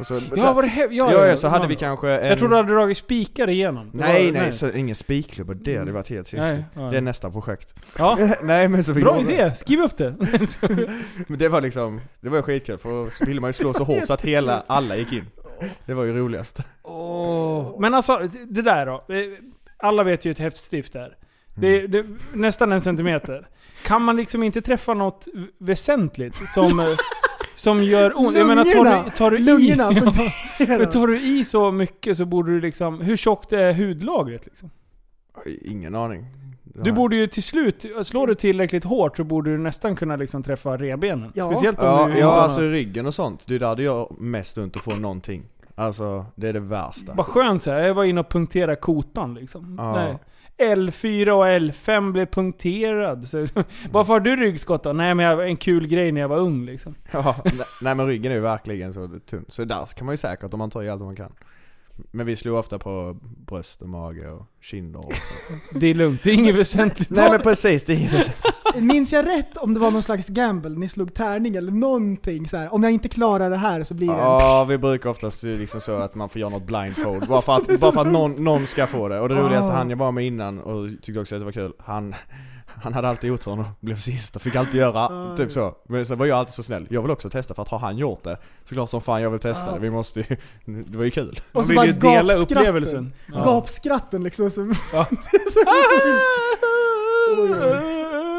F: Och så,
D: Ja var det he-
F: ja,
D: ja,
F: ja, så hade vi kanske en...
D: Jag tror du hade dragit spikar igenom. Det
F: Nej
D: var-
F: nej, så ingen spikklubb och det hade varit helt
D: Nej,
F: sinnessjukt.
D: ja.
F: Det är nästa projekt.
D: Ja,
F: *laughs* nej men så fick
D: bra
F: man-
D: idé. Skriv upp det. *laughs*
F: Men det var liksom, det var ju skitkul för då ville man ju slå så hårt så att hela, alla gick in. Det var ju roligast.
D: Åh. Men alltså, det där då. Eh, Alla vet ju hur ett häftstift
E: Mm.
D: är.
F: Mm.
D: Det, det, nästan en centimeter. Kan man liksom inte träffa något v- väsentligt som, eh, som gör ont? Jag menar, tar du, tar du i...
E: *laughs* Lungorna
D: Ja, *laughs*
E: punkterar.
D: tar du i så mycket så borde du liksom... Hur tjockt är hudlagret liksom?
F: Ingen aning.
D: Du borde ju till slut... Slår du tillräckligt hårt så borde du nästan kunna liksom träffa revbenen.
E: Ja.
D: Speciellt om
F: Ja,
D: du
F: ja
D: inte har-
F: alltså i ryggen och sånt, det är där det gör mest ont att få någonting. Alltså, det är det värsta.
D: Vad skönt såhär, jag var inne och punkterade kotan liksom.
F: Ja.
D: Nej. L4 och L5 blev punkterad. Så, *laughs* varför har du ryggskott då? Nej men jag, en kul grej när jag var ung liksom.
F: Ja, nej- nej men ryggen är ju verkligen så tunn. Så där kan man ju säkert om man tar i allt man kan. Men vi slog ofta på bröst och mage och kinder och så.
D: Det är lugnt, det är inget väsentligt.
F: Nej men precis, det är inget.
E: Minns jag rätt om det var någon slags gamble? Ni slog tärning eller någonting så här. Om jag inte klarar det här så blir det...
F: *laughs* Ja, vi brukar oftast ju liksom så att man får göra något blindfold, bara för Ah. att, bara för att någon, någon ska få det. Och det roligaste han jag var med innan, och tyckte också att det var kul, han, han hade alltid oturen och blev sist och fick alltid göra, typ så. Men sen var jag alltid så snäll, jag vill också testa för att har han gjort det, såklart som fan jag vill testa det, vi måste ju, det var ju kul.
D: Man
E: Och så
D: vill
E: bara
D: ju dela
E: gapskratten.
D: upplevelsen.
F: Ja.
E: Gapskratten liksom. Som,
D: Ja.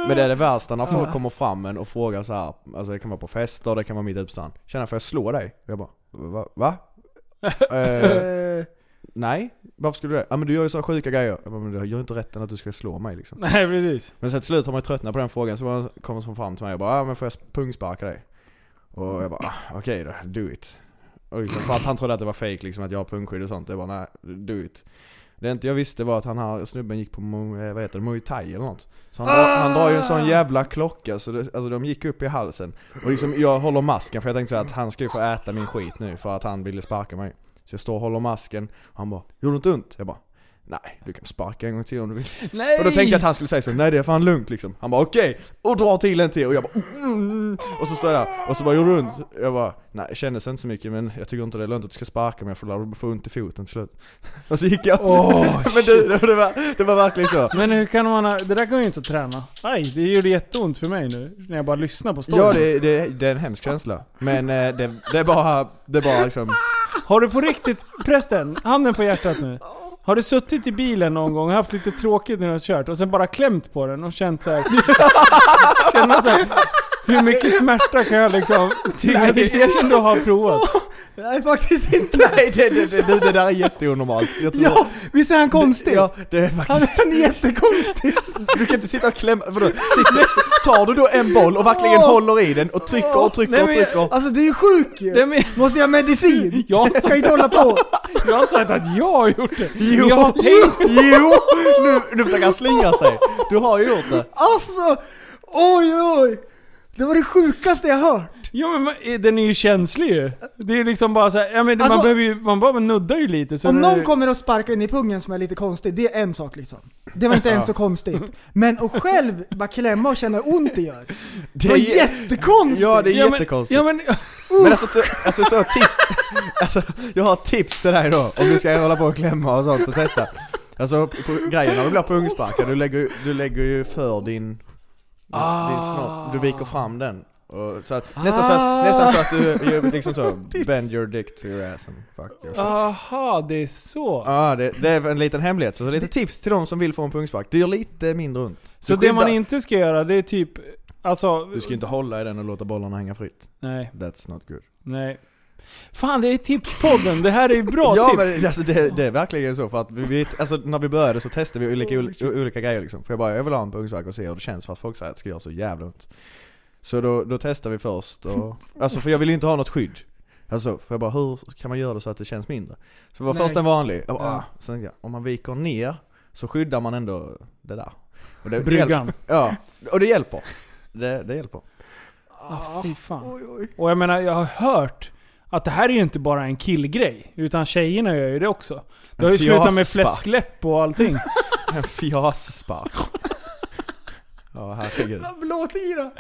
F: Men det är det värsta när folk kommer fram en och frågar så här, alltså det kan vara på fester, det kan vara mitt ute på stan. Tjena får jag slå dig? Och jag bara, va? va?
E: *laughs*
F: eh,
E: eh,
F: nej, varför skulle du det? Ja men du gör ju så här sjuka grejer. Jag bara, men du har ju inte rätten att du ska slå mig liksom.
D: *laughs* Nej precis.
F: Men sen till slut har man ju tröttnat på den frågan så var- kommer hon fram till mig och bara ja men får jag pungsparka dig? Och jag bara "Ah, okej då, do it. Och liksom, för att han trodde att det var fake liksom att jag har pungskydd och sånt. Jag bara nej, do it. Det inte jag visste var att han här snubben gick på mu- eh, vad heter det, muay thai eller något. Så han, drar- han drar ju en sån jävla klocka så det, alltså de gick upp i halsen. Och liksom jag håller masken för jag tänkte så här att han ska ju få äta min skit nu för att han ville sparka mig. Så jag står och håller masken och han bara 'Gjorde det inte ont?' Jag bara 'Nej, du kan sparka en gång till om du vill'
D: Nej!
F: Och då tänkte jag att han skulle säga så, nej det är fan lugnt liksom Han bara okej, och drar till en till och jag bara mm. Och så står jag där, och så bara gjorde det ont Jag bara, nej det kändes inte så mycket men jag tycker inte det är lönt att du ska sparka mig för då får jag ont i foten till slut *laughs* Och så gick jag
D: Åh,
F: *laughs* Men det, det, det, var, det var verkligen så
D: Men hur kan man ha, Det där går ju inte att träna. Aj, det gjorde jätteont för mig nu. När jag bara lyssnar på storyn.
F: Ja det, det, det är en hemsk känsla Men eh, det, det är bara, det är bara liksom *laughs*
D: Har du på riktigt, prästen, handen på hjärtat nu. Har du suttit i bilen någon gång och haft lite tråkigt när du har kört och sen bara klämt på den och känt såhär...
E: *laughs*
D: känna såhär... Hur mycket smärta kan jag liksom tvinga till? Erkänn du har provat.
E: nej faktiskt inte.
F: Nej det, det, det, det, det där är jätteonormalt jag tror,
E: Ja, visst är han konstig?
F: Ja, det är
E: *laughs* Han
F: faktiskt *laughs*
E: är jättekonstig.
F: Du kan inte sitta och klämma, vadå? Sitter, tar du då en boll och verkligen
E: Åh!
F: håller i den och trycker och trycker
D: Nej,
F: och
D: men jag-
F: trycker?
E: Alltså du är ju sjuk ju.
D: Nej, men-
E: Måste jag ha medicin?
D: Jag har inte-
E: Jag ska inte hålla på.
D: Jag har inte sagt att jag har gjort det.
F: Jo,
D: Men jag har tänkt
F: jo, jo! Nu, nu försöker han slingra sig. Du har ju gjort det.
E: Alltså! Oj oj! Det var det sjukaste jag hört.
D: Jo men man- den är ju känslig ju. Det är liksom bara såhär, ja men det- man
E: Alltså-
D: behöver ju, man bara nuddar ju lite. Så
E: Om
D: nu-
E: någon kommer och sparkar in i pungen som är lite konstig, det är en sak liksom. Det var inte ens så konstigt. Men att själv bara klämma och känna hur ont det
F: *laughs*
E: gör. Det var
F: är jä-
E: jättekonstigt!
F: Ja, det är
D: ja, men,
F: jättekonstigt.
D: ja, men, *laughs*
F: men, alltså, du, alltså, så tip, *laughs* alltså, jag har ett tips till dig då, om du ska hålla på och klämma och sånt och testa. Alltså på, grejen när du blir pungsparkad, du lägger, ju- du lägger ju för din, din snopp, du
D: Ah.
F: viker fram den. Och, så att, nästan, så att, nästan så att du,
D: Ah.
F: ju, liksom så,
D: *laughs*
F: bend your dick to your ass and fuck your shit.
D: aha, det är så.
F: Ja, det, det är en liten hemlighet. Så lite tips till de som vill få en pungspark. Det gör lite mindre ont.
D: så
F: Du
D: det man
F: skyddar-
D: inte ska göra det är typ, alltså...
F: Du ska ju inte hålla i den och låta bollarna hänga fritt.
D: Nej,
F: That's not good.
D: nej. Fan det är tipspodden, det här är ju bra
F: *laughs* ja
D: tips.
F: men alltså, det, det är verkligen så för att vi, vi, alltså, när vi började så testade vi olika, olika, olika grejer liksom. För jag bara, jag vill ha en pungspark och se hur det känns för att folk säger att det ska göra så jävla ont. Så då, då testade vi
D: *laughs*
F: först och, alltså för jag vill ju inte ha något skydd. Alltså, för jag bara hur kan man göra det så att det känns mindre? Så det var
E: Nej.
F: först en vanlig, jag bara,
D: Ja.
F: ah. Sen tänkte jag, om man viker ner så skyddar man ändå det där. Och det-
D: Bryggan.
F: Ja, och det hjälper. Det, det hjälper.
D: Ah, fy fan. Och jag menar, jag har hört att det här är ju inte bara en killgrej. Utan tjejerna gör ju det också. Det har ju
F: En
D: slutat med
F: fjasspark.
D: fläskläpp och
F: *laughs*
D: allting.
F: En fjasspark. Ja, herregud.
E: Blåtira!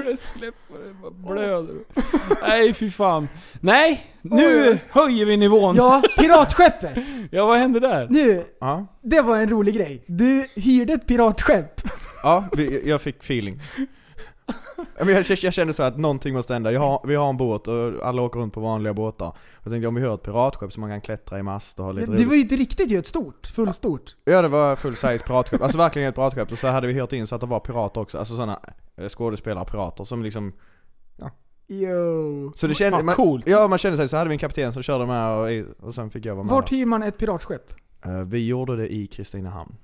D: Fläskläpp och det bara blöder. *laughs* Nej fy fan. Nej, nu höjer vi nivån. Ja.
E: Ja, piratskeppet!
D: vad hände där?
E: Nu,
F: Ja,
E: det var en rolig grej. Du hyrde ett piratskepp.
F: ja vi, jag fick feeling. Ja, men Jag, jag, jag kände så att någonting måste hända. Jag har, vi har en båt och alla åker runt på vanliga båtar. Jag tänkte om vi hör ett piratskepp som man kan klättra i mast och ha lite
E: Det
F: roligt.
E: var ju inte riktigt ju, ett stort. Fullstort.
F: Ja det var full size piratskepp, alltså verkligen ett piratskepp. Och så hade vi hyrt in så att det var pirater också, alltså sådana skådespelare-pirater som liksom
E: Jo.
F: Så det kände,
D: Ah,
F: man,
D: coolt.
F: Ja man kände sig, så hade vi en kapten som körde med och, och sen fick jag vara med.
E: Vart hyr man ett piratskepp?
F: Eh, Vi gjorde det i Kristinehamn.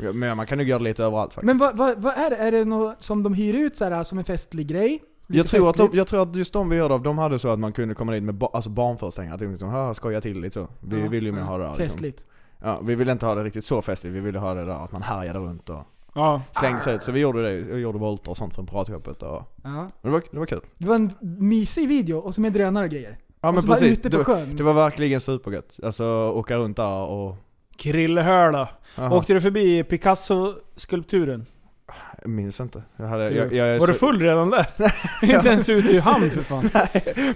F: Ja, Men man kan ju göra det lite överallt faktiskt.
E: Men vad vad- vad är det? Är det något som de hyr ut så här, som en festlig grej?
F: jag,
E: Lite
F: tror att de,
E: festligt?
F: jag tror att just de vi hörde av, de hade så att man kunde komma dit med ba, alltså barnföreställningar. Att de liksom, "Haha, skoja till lite så. Vi
E: Ja,
F: vill ju mer
E: ja,
F: ha det där, liksom.
E: Festligt.
F: ja, Vi ville inte ha det riktigt så festligt, vi ville ha det där att man härjade runt och
D: Ja.
F: slängde sig ut. Så vi gjorde det, vi gjorde volter och sånt från piratskeppet och
E: Ja.
F: men det var, det var kul.
E: Det var en mysig video, och så med drönare och grejer.
F: Ja men
E: och så bara
F: precis,
E: ute
F: det
E: på
F: var,
E: sjön.
F: det var verkligen supergött. Alltså åka runt där och...
D: Krillehöla.
F: Aha,
D: Åkte du förbi Picasso-skulpturen?
F: jag minns inte. Jag hade, jag, jag, är
D: var
F: Eh, så-
D: du full redan där?
F: *laughs*
D: inte ens ute i hamn för fan.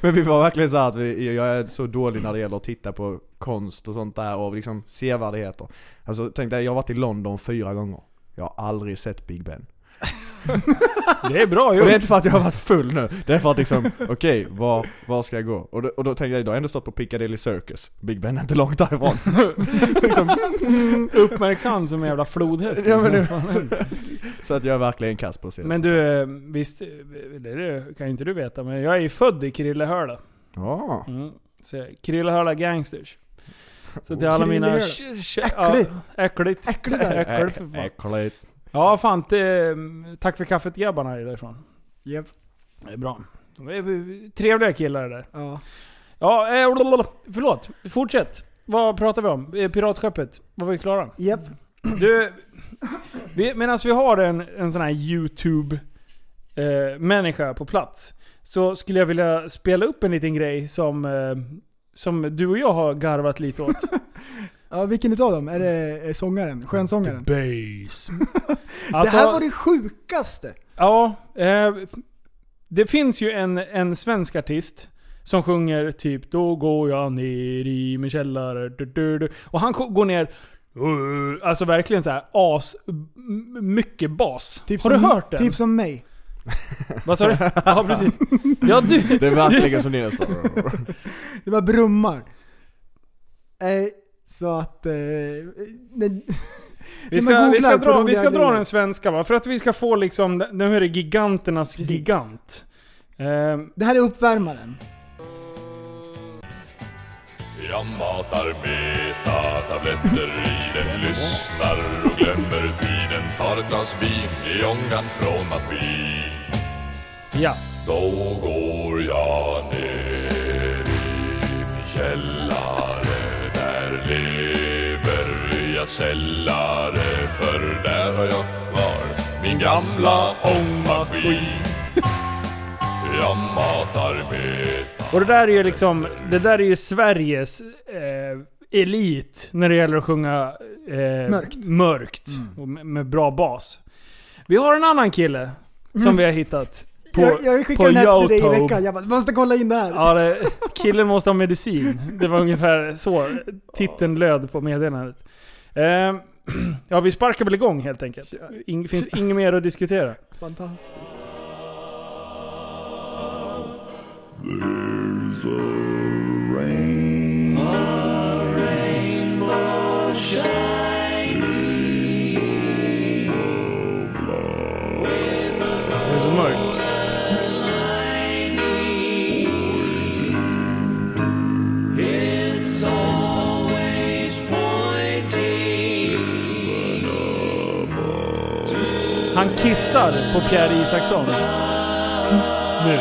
F: Men vi var verkligen så här att vi, jag är så dålig när det gäller att titta på konst och sånt där och liksom sevärdheter. Alltså tänk dig, jag har varit i London fyra gånger. Jag har aldrig sett Big Ben.
D: Det är bra
F: Och det är
D: gjort.
F: inte för att jag har varit full nu, det är för att liksom, okej, var, var ska jag gå? Och då, och då tänkte jag, idag har jag ändå stått på Piccadilly Circus, Big Ben är inte långt därifrån. liksom,
D: Uppmärksam som en jävla flodhäst.
F: ja, men nu. *laughs* Så att jag är verkligen kass på att se det.
D: Men du, eh, visst, eh, eller det kan ju inte du veta, men jag är ju född i Krillehöla.
F: Ja.
D: Mm. Så jag- Krillehöla Gangsters. Så till alla mina...
E: Krillehöla.
D: sh- sh-
E: Äckligt.
D: Ja, äckligt.
E: Äckligt är det.
D: Äckligt. för fan.
F: Äckligt.
D: Ja, fan. Det, mm, tack för kaffet grabbarna är därifrån.
E: Japp.
D: Det är bra. De är trevliga killar det där.
E: Ja.
D: Ja, eh, blablabla. förlåt. Fortsätt. Vad pratar vi om? Eh, Piratskeppet. Vad var vi klara?
E: Japp.
D: Du, medan vi har en, en sån här YouTube-människa på plats. Så skulle jag vilja spela upp en liten grej som, eh, som du och jag har garvat lite åt.
E: Ja, vilken utav dem? Är det eh, sångaren? Skönsångaren?
D: Base.
E: *laughs* det här var det sjukaste!
D: Alltså, Ja, eh, det finns ju en, en svensk artist som sjunger typ Då går jag ner i min källare. Du, du, du. Och han ko- går ner uh, Alltså verkligen så här as... m- Mycket bas.
E: Typ
D: Har du
E: som,
D: hört den?
E: Typ som mig.
D: Vad sa du? Ja, precis. Ja, du.
F: Det är verkligen *laughs* som Linus
E: Det var brummar. Eh, så att... Eh, nej,
D: Vi
E: men
D: ska,
E: googla
D: vi ska,
E: på
D: dra, vi
E: roliga
D: ska dra
E: grejer.
D: den svenska va? För att vi ska få liksom, nu är det giganternas
E: Precis.
D: gigant. Eh,
E: det här är uppvärmaren.
I: Jag matar beta-tabletter i den Lyssnar och glömmer tiden Tar ett glas vin i ångan från maskin
D: ja.
I: Då går jag ner i min källare Där lever jag sällare För där har jag kvar min gamla ångmaskin Jag matar beta
D: Och det där är ju liksom, det där är ju Sveriges eh, elit när det gäller att sjunga eh,
E: Mörkt.
D: mörkt.
F: Mm.
D: Och med, med bra bas. Vi har en annan kille som vi har hittat. På,
E: Mm. jag, jag skickade den här till dig i veckan. Jag bara, måste kolla in det här.
D: Ja, det, killen måste ha medicin. Det var ungefär så titeln löd på meddelandet. Eh, *clears throat* ja, vi sparkar väl igång helt enkelt. Ing, finns inget mer att diskutera.
E: Fantastiskt.
D: Så det är så mörkt. Han kissar på Pierre Isaksson. Nu.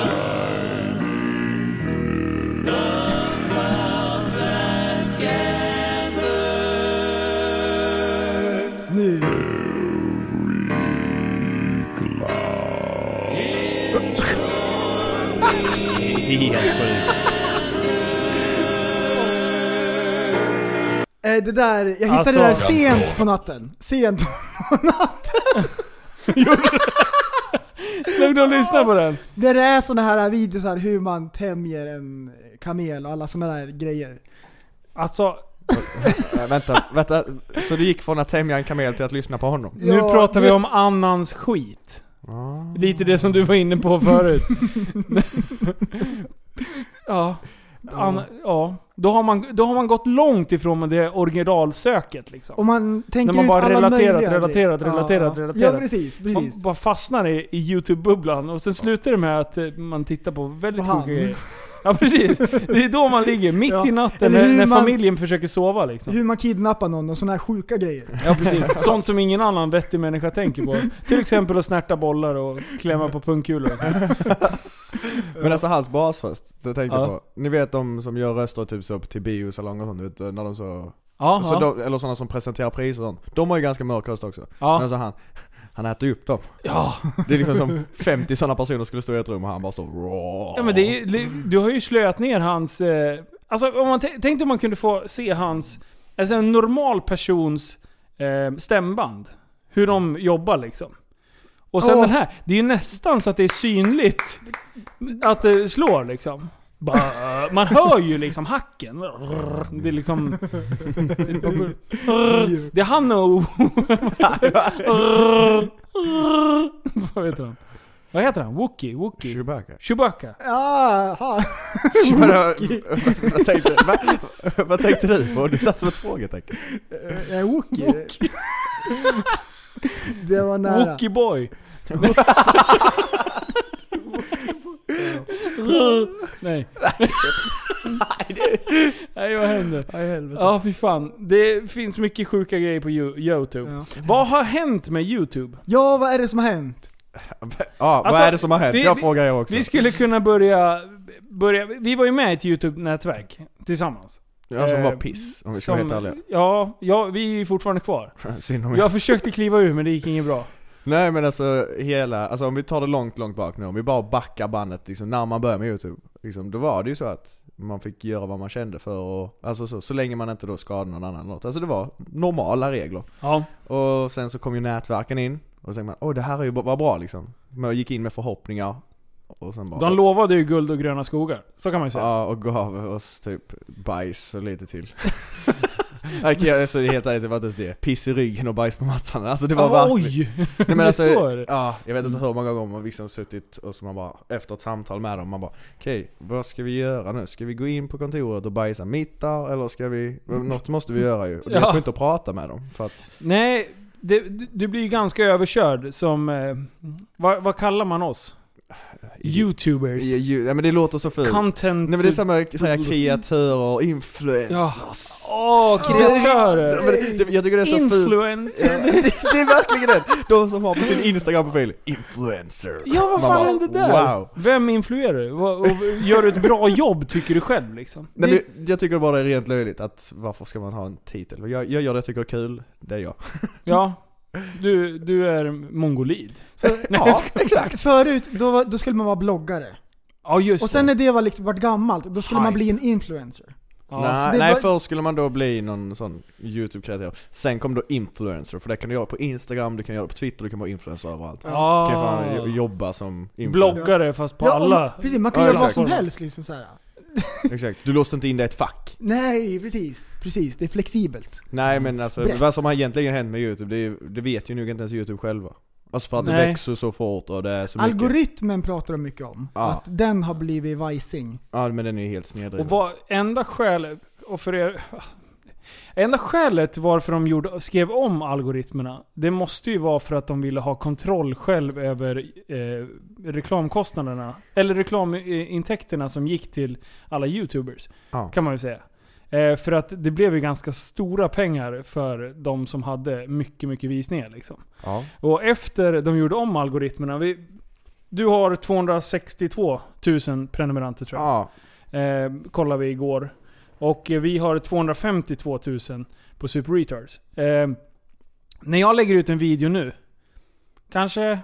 E: Nu. Eh, det där, jag hittade
D: Alltså-
E: det där sent på natten. Sent på natten.
D: Lugn och lyssna på den.
E: Där det är såna här videos här hur man tämjer en kamel och alla såna där grejer.
D: Alltså,
F: äh, vänta, vänta. Så du gick från att tämja en kamel till att lyssna på honom?
D: nu
E: Ja,
D: pratar vi
E: vet-
D: om annans skit. Lite det som du var inne på
E: *laughs*
D: förut. ja. An, ja. Då, har man, då har man gått långt ifrån det originalsöket liksom.
E: Om man
D: När
E: tänker
D: man
E: ut
D: bara
E: alla
D: relaterat,
E: möjliga
D: relaterat,
E: grejer.
D: relaterat,
E: ja.
D: relaterat.
E: Ja precis,
D: Man
E: precis.
D: bara fastnar i, i YouTube-bubblan och sen slutar det med att eh, man tittar på väldigt
E: På han.
D: sjuka grejer. Ja precis. Det är då man ligger, mitt
E: Ja.
D: i natten,
E: Eller
D: när,
E: hur
D: när
E: man-
D: familjen försöker sova liksom.
E: Hur man kidnappar någon och såna här sjuka grejer.
D: Ja precis. Sånt som ingen annan vettig människa tänker på. Till exempel att snärta bollar och klämma på pungkulor och sånt.
F: Men alltså hans basröst, det tänkte
D: Ja.
F: jag på. Ni vet de som gör röster typ så upp till biosalonger och sånt, du vet, när de så...
D: Jaha.
F: så de, eller sådana som presenterar priser och sånt. De har ju ganska mörk röst också.
D: Ja.
F: Men så han, han äter ju upp dem.
D: ja.
F: Det är liksom som 50 sådana personer skulle stå i ett rum och han bara står "Raw."
D: ja men det är, det- du har ju slöat ner hans... Eh, alltså om man t- tänk om man kunde få se hans... Alltså en normal persons eh, stämband. Hur de jobbar liksom. Och sen
E: Åh.
D: den här. Det är ju nästan så att det är synligt att det slår liksom. Bara, man hör ju liksom hacken. Det är liksom... Det är han och... Vad heter han? Vad heter han? Wookie? Wookie?
F: Chewbacca.
D: Chewbacca?
E: Jaha.
F: Vadå? vad, tänkte, va, vad tänkte du på? Du satt som ett frågetecken.
E: Eh, Wookie. Det var nära.
D: Wookie boy? *laughs* Nej. Nej vad händer?
F: Aj, helvete.
D: Ja, fy fan. Det finns mycket sjuka grejer på Yo- Youtube.
E: Ja.
D: Vad har hänt med Youtube?
E: Ja, vad är det som har hänt?
F: Ja,
D: Alltså,
F: vad är det som har hänt?
D: vi-
F: jag
D: vi-
F: frågar jag också.
D: Vi skulle kunna börja... börja vi var ju med i ett Youtube-nätverk tillsammans.
F: ja, som var
D: eh,
F: piss, om vi ska vara helt ärliga.
D: ja, ja, vi är ju fortfarande kvar.
F: Synd om jag...
D: Jag försökte kliva ur men det gick inget bra.
F: Nej men alltså hela, alltså om vi tar det långt, långt bak nu, om vi bara backar bandet liksom, när man började med YouTube. Liksom, då var det ju så att man fick göra vad man kände för och, alltså så, så länge man inte då skadade någon annan eller något. Alltså det var normala regler.
D: Ja.
F: Och sen så kom ju nätverken in, och då tänkte man åh det här är ju, var bra liksom. Men jag gick in med förhoppningar, och sen bara...
D: De lovade ju guld och gröna skogar. Så kan man ju säga.
F: Ja, och gav oss typ bajs och lite till. *laughs* Okej, alltså helt ärligt, det var inte ens det. Piss i ryggen och bajs på mattan. Alltså det var verkligen...
D: Oj!
F: Nej, men
D: Det Mm.
F: alltså,
D: står det.
F: ja, jag vet inte hur många gånger man liksom suttit och så man bara, efter ett samtal med dem, man bara Okej, vad ska vi göra nu? Ska vi gå in på kontoret och bajsa mitt där? Eller ska vi... Något måste vi göra ju. Och det
D: Mm. Ja.
F: går inte att prata med dem. För att,
D: Nej, det, du blir ju ganska överkörd som... Eh, vad, vad kallar man oss? Youtubers.
F: Ja, ju, nej men det låter så fult.
D: Content...
F: Nej men det är samma säga kreatörer, influencers.
D: Åh, kreatörer!
F: Ja, men det- det- Jag tycker det är så fult.
D: Influencer.
F: det är verkligen den! De som har på sin Instagram-profil, influencer.
D: Ja, vad
F: Man
D: fan
F: bara,
D: hände där?
F: Wow.
D: Vem influerar du? Vad- och Gör du ett
F: *laughs*
D: bra jobb tycker du själv liksom?
F: Nej,
D: Det-
F: men jag tycker bara det är rent löjligt att varför ska man ha en titel? Jag, jag gör det jag tycker är kul, det är jag.
D: Ja. Du, du är mongolid. jag
F: ja, exakt.
E: Förut, då, var, då skulle man vara bloggare.
D: *laughs* Ja just
E: Och sen
D: det.
E: när det var liksom, vart gammalt, då skulle man
D: Hype.
E: bli en influencer.
D: Ja,
F: nej,
E: det
F: nej
E: var-
F: först skulle man då bli någon sån YouTube-kreatör. Sen kom då influencer, för det kan du göra på Instagram, du kan göra det på Twitter, du kan vara influencer överallt. Du kan fan jo-
D: ah.
F: jobba som influencer.
D: Bloggare fast på
E: Ja,
D: alla.
E: och- Precis, man kan
F: Ja,
E: göra vad
F: exakt.
E: som helst liksom så här.
F: *laughs* Exakt. Du låste inte in dig i ett fack.
E: Nej, precis. Precis, det är flexibelt.
F: Nej men alltså,
E: Brett.
F: vad som har egentligen hänt med YouTube, det, är ju- det vet ju nog inte ens YouTube själva. Alltså för att det
D: Nej.
F: växer så fort och det är så mycket.
E: Algoritmen pratar de mycket om.
F: Ja.
E: Att den har blivit vajsing.
F: Ja men den är ju helt snedvriden.
D: Och vad, enda skälet, och för er, enda skälet varför de gjorde, skrev om algoritmerna, det måste ju vara för att de ville ha kontroll själv över eh, reklamkostnaderna. Eller reklamintäkterna som gick till alla YouTubers,
F: Ja.
D: kan man ju säga. Eh, för att det blev ju ganska stora pengar för de som hade mycket, mycket visningar liksom.
F: Ja.
D: Och efter de gjorde om algoritmerna, vi, du har 262 000 prenumeranter tror jag.
F: ja.
D: Eh, kollar vi igår. Och eh, vi har 252 000 på Super Retards. Eh, när jag lägger ut en video nu, kanske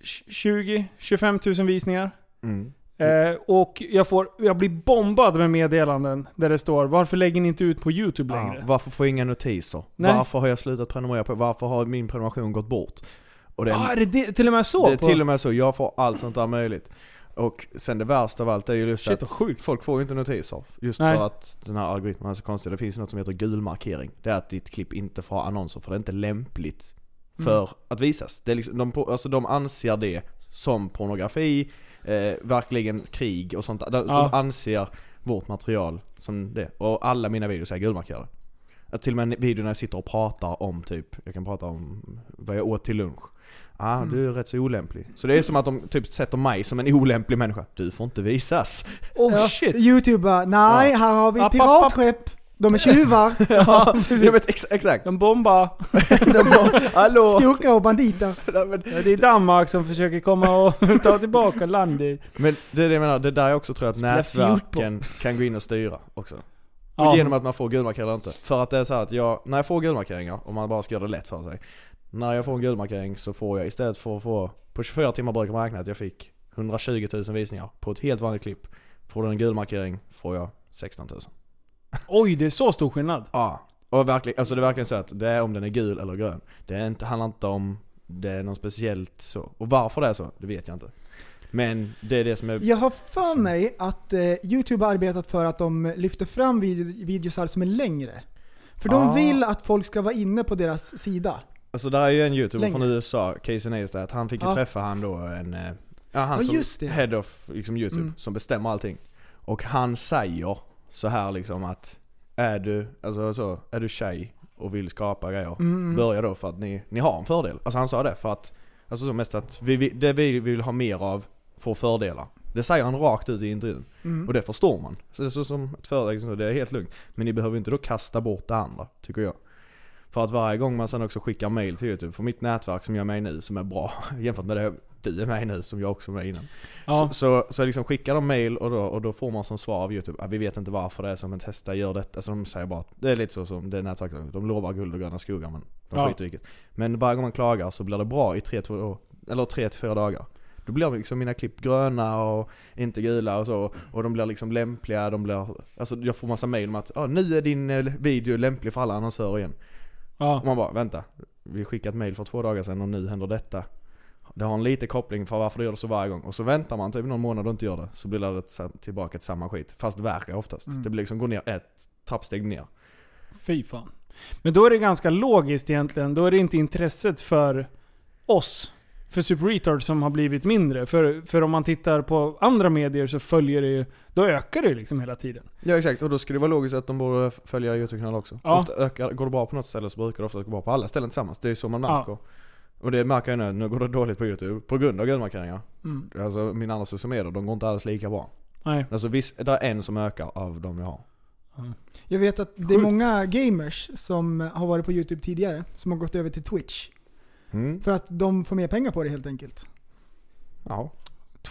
D: 20-25 000 visningar.
F: Mm.
D: Eh, och jag, får, jag blir bombad med meddelanden där det står Varför lägger ni inte ut på YouTube
F: Ja,
D: längre?
F: varför får jag inga notiser?
D: Nej.
F: Varför har jag slutat prenumerera på, varför har min prenumeration gått bort? Och det,
D: ah, är det, det till och med så?
F: det är
D: på-
F: till och med så, jag får allt sånt där möjligt. Och sen det värsta av allt är ju just
D: Shit, vad
F: att
D: sjukt.
F: folk får ju inte notiser. Just
D: Nej.
F: för att den här algoritmen är så konstig. Det finns ju något som heter gul markering. Det är att ditt klipp inte får ha annonser för det är inte lämpligt för
D: Mm.
F: att visas. Det är liksom, de, på- alltså de anser det som pornografi, eh, verkligen krig och sånt. De,
D: Ja.
F: Som anser vårt material som det. Och alla mina videos är gulmarkerade. Att till och med videon när jag sitter och pratar om typ, jag kan prata om vad jag åt till lunch. Ah,
D: Mm.
F: du är rätt så olämplig. Så det är som att de typ sätter mig som en olämplig människa. Du får inte visas.
D: *laughs* Oh
E: Ja,
D: shit!
E: Youtube bara, nej, här har vi
D: App, app,
E: piratskepp. De är tjuvar,
F: *laughs* Ja, jag vet ex- exakt.
D: De bombar.
F: *laughs* Hallå!
E: skurkar och banditer.
F: Nej, men-
D: Ja, Det är Danmark som försöker komma och *laughs* ta tillbaka landet.
F: Men det är det jag menar, det är där jag också tror att
D: Spela
F: nätverken kan gå in och styra också.
D: Ja.
F: Genom att man får gulmarkeringar eller inte. För att det är så här att jag, när jag får gulmarkeringar, om man bara ska göra det lätt för sig. När jag får en gulmarkering så får jag istället för att få, på 24 timmar brukar man räkna att jag fick 120 000 visningar på ett helt vanligt klipp. Får du en gulmarkering får jag 16 000.
D: Oj, det är så stor skillnad.
F: Ja. Och verkligen, alltså det är verkligen så att det är om den är gul eller grön. Det är inte, handlar inte om det är något speciellt så. Och varför det är så, det vet jag inte. Men det är det som är...
E: Jag har för mig att eh, Youtube har arbetat för att de lyfter fram vid- videosar som är längre. För de
F: Ah.
E: vill att folk ska vara inne på deras sida.
F: Alltså där är ju en youtuber
E: Längre.
F: från USA, Casey Neistat, han fick ju
E: Ja.
F: träffa han då en... eh, Ja han
E: Ja,
F: som
E: just det.
F: head of liksom, youtube,
E: Mm.
F: som bestämmer allting. Och han säger så här liksom att Är du, alltså så, är du tjej och vill skapa grejer,
E: Mm,
F: börja då för att ni, ni har en fördel. Alltså han sa det för att, alltså så mest att vi, vi, det vi vill ha mer av får fördelar. Det säger han rakt ut i intervjun.
E: Mm.
F: Och det förstår man. Så det är så som ett företag, som- det är helt lugnt. Men ni behöver inte då kasta bort det andra, tycker jag. För att varje gång man sen också skickar mail till Youtube, för mitt nätverk som jag är med i nu som är bra *laughs* jämfört med det du är med i nu som jag också var med i innan.
D: Ja.
F: Så, så, så liksom skickar de mail och då, och då får man som svar av Youtube att vi vet inte varför det är som en testa gör detta. Alltså de säger bara att det är lite så som det nätverket, de lovar guld och gröna skogar men de
D: Ja.
F: skiter i vilket. Men varje gång man klagar så blir det bra i 3-4 eller tre till fyra dagar. Då blir liksom mina klipp gröna och inte gula och så. Och de blir liksom lämpliga, de blir... Alltså jag får massa mail om att ah, nu är din eh, video lämplig för alla annonsörer igen.
D: Ja.
F: Och man bara, vänta. Vi skickade ett mail för två dagar sedan och nu händer detta. Det har en liten koppling för varför du gör det så varje gång. Och så väntar man typ någon månad och inte gör det. Så blir det sam- tillbaka till samma skit. Fast värre oftast.
D: Mm.
F: Det blir liksom, går ner ett trappsteg ner.
D: Fy fan. Men då är det ganska logiskt egentligen. Då är det inte intresset för oss, för Super Retard som har blivit mindre. För, för om man tittar på andra medier så följer det ju, då ökar det liksom hela tiden.
F: Ja exakt, och då skulle det vara logiskt att de borde f- följa Youtube-kanalen också.
D: Ja.
F: Ofta ökar, går det bra på något ställe så brukar det ofta gå bra på alla ställen tillsammans. Det är ju så man
D: Ja.
F: märker. Och det märker jag nu, nu går det dåligt på Youtube på grund av gudmarkeringar.
D: Mm.
F: Alltså mina andra sociala medier, de går inte alls lika bra.
D: Nej.
F: Alltså visst, det är en som ökar av de jag har.
E: Jag vet att det är
D: Sjukt.
E: många gamers som har varit på Youtube tidigare, som har gått över till Twitch.
F: Mm.
E: För att de får mer pengar på det helt enkelt.
F: Ja.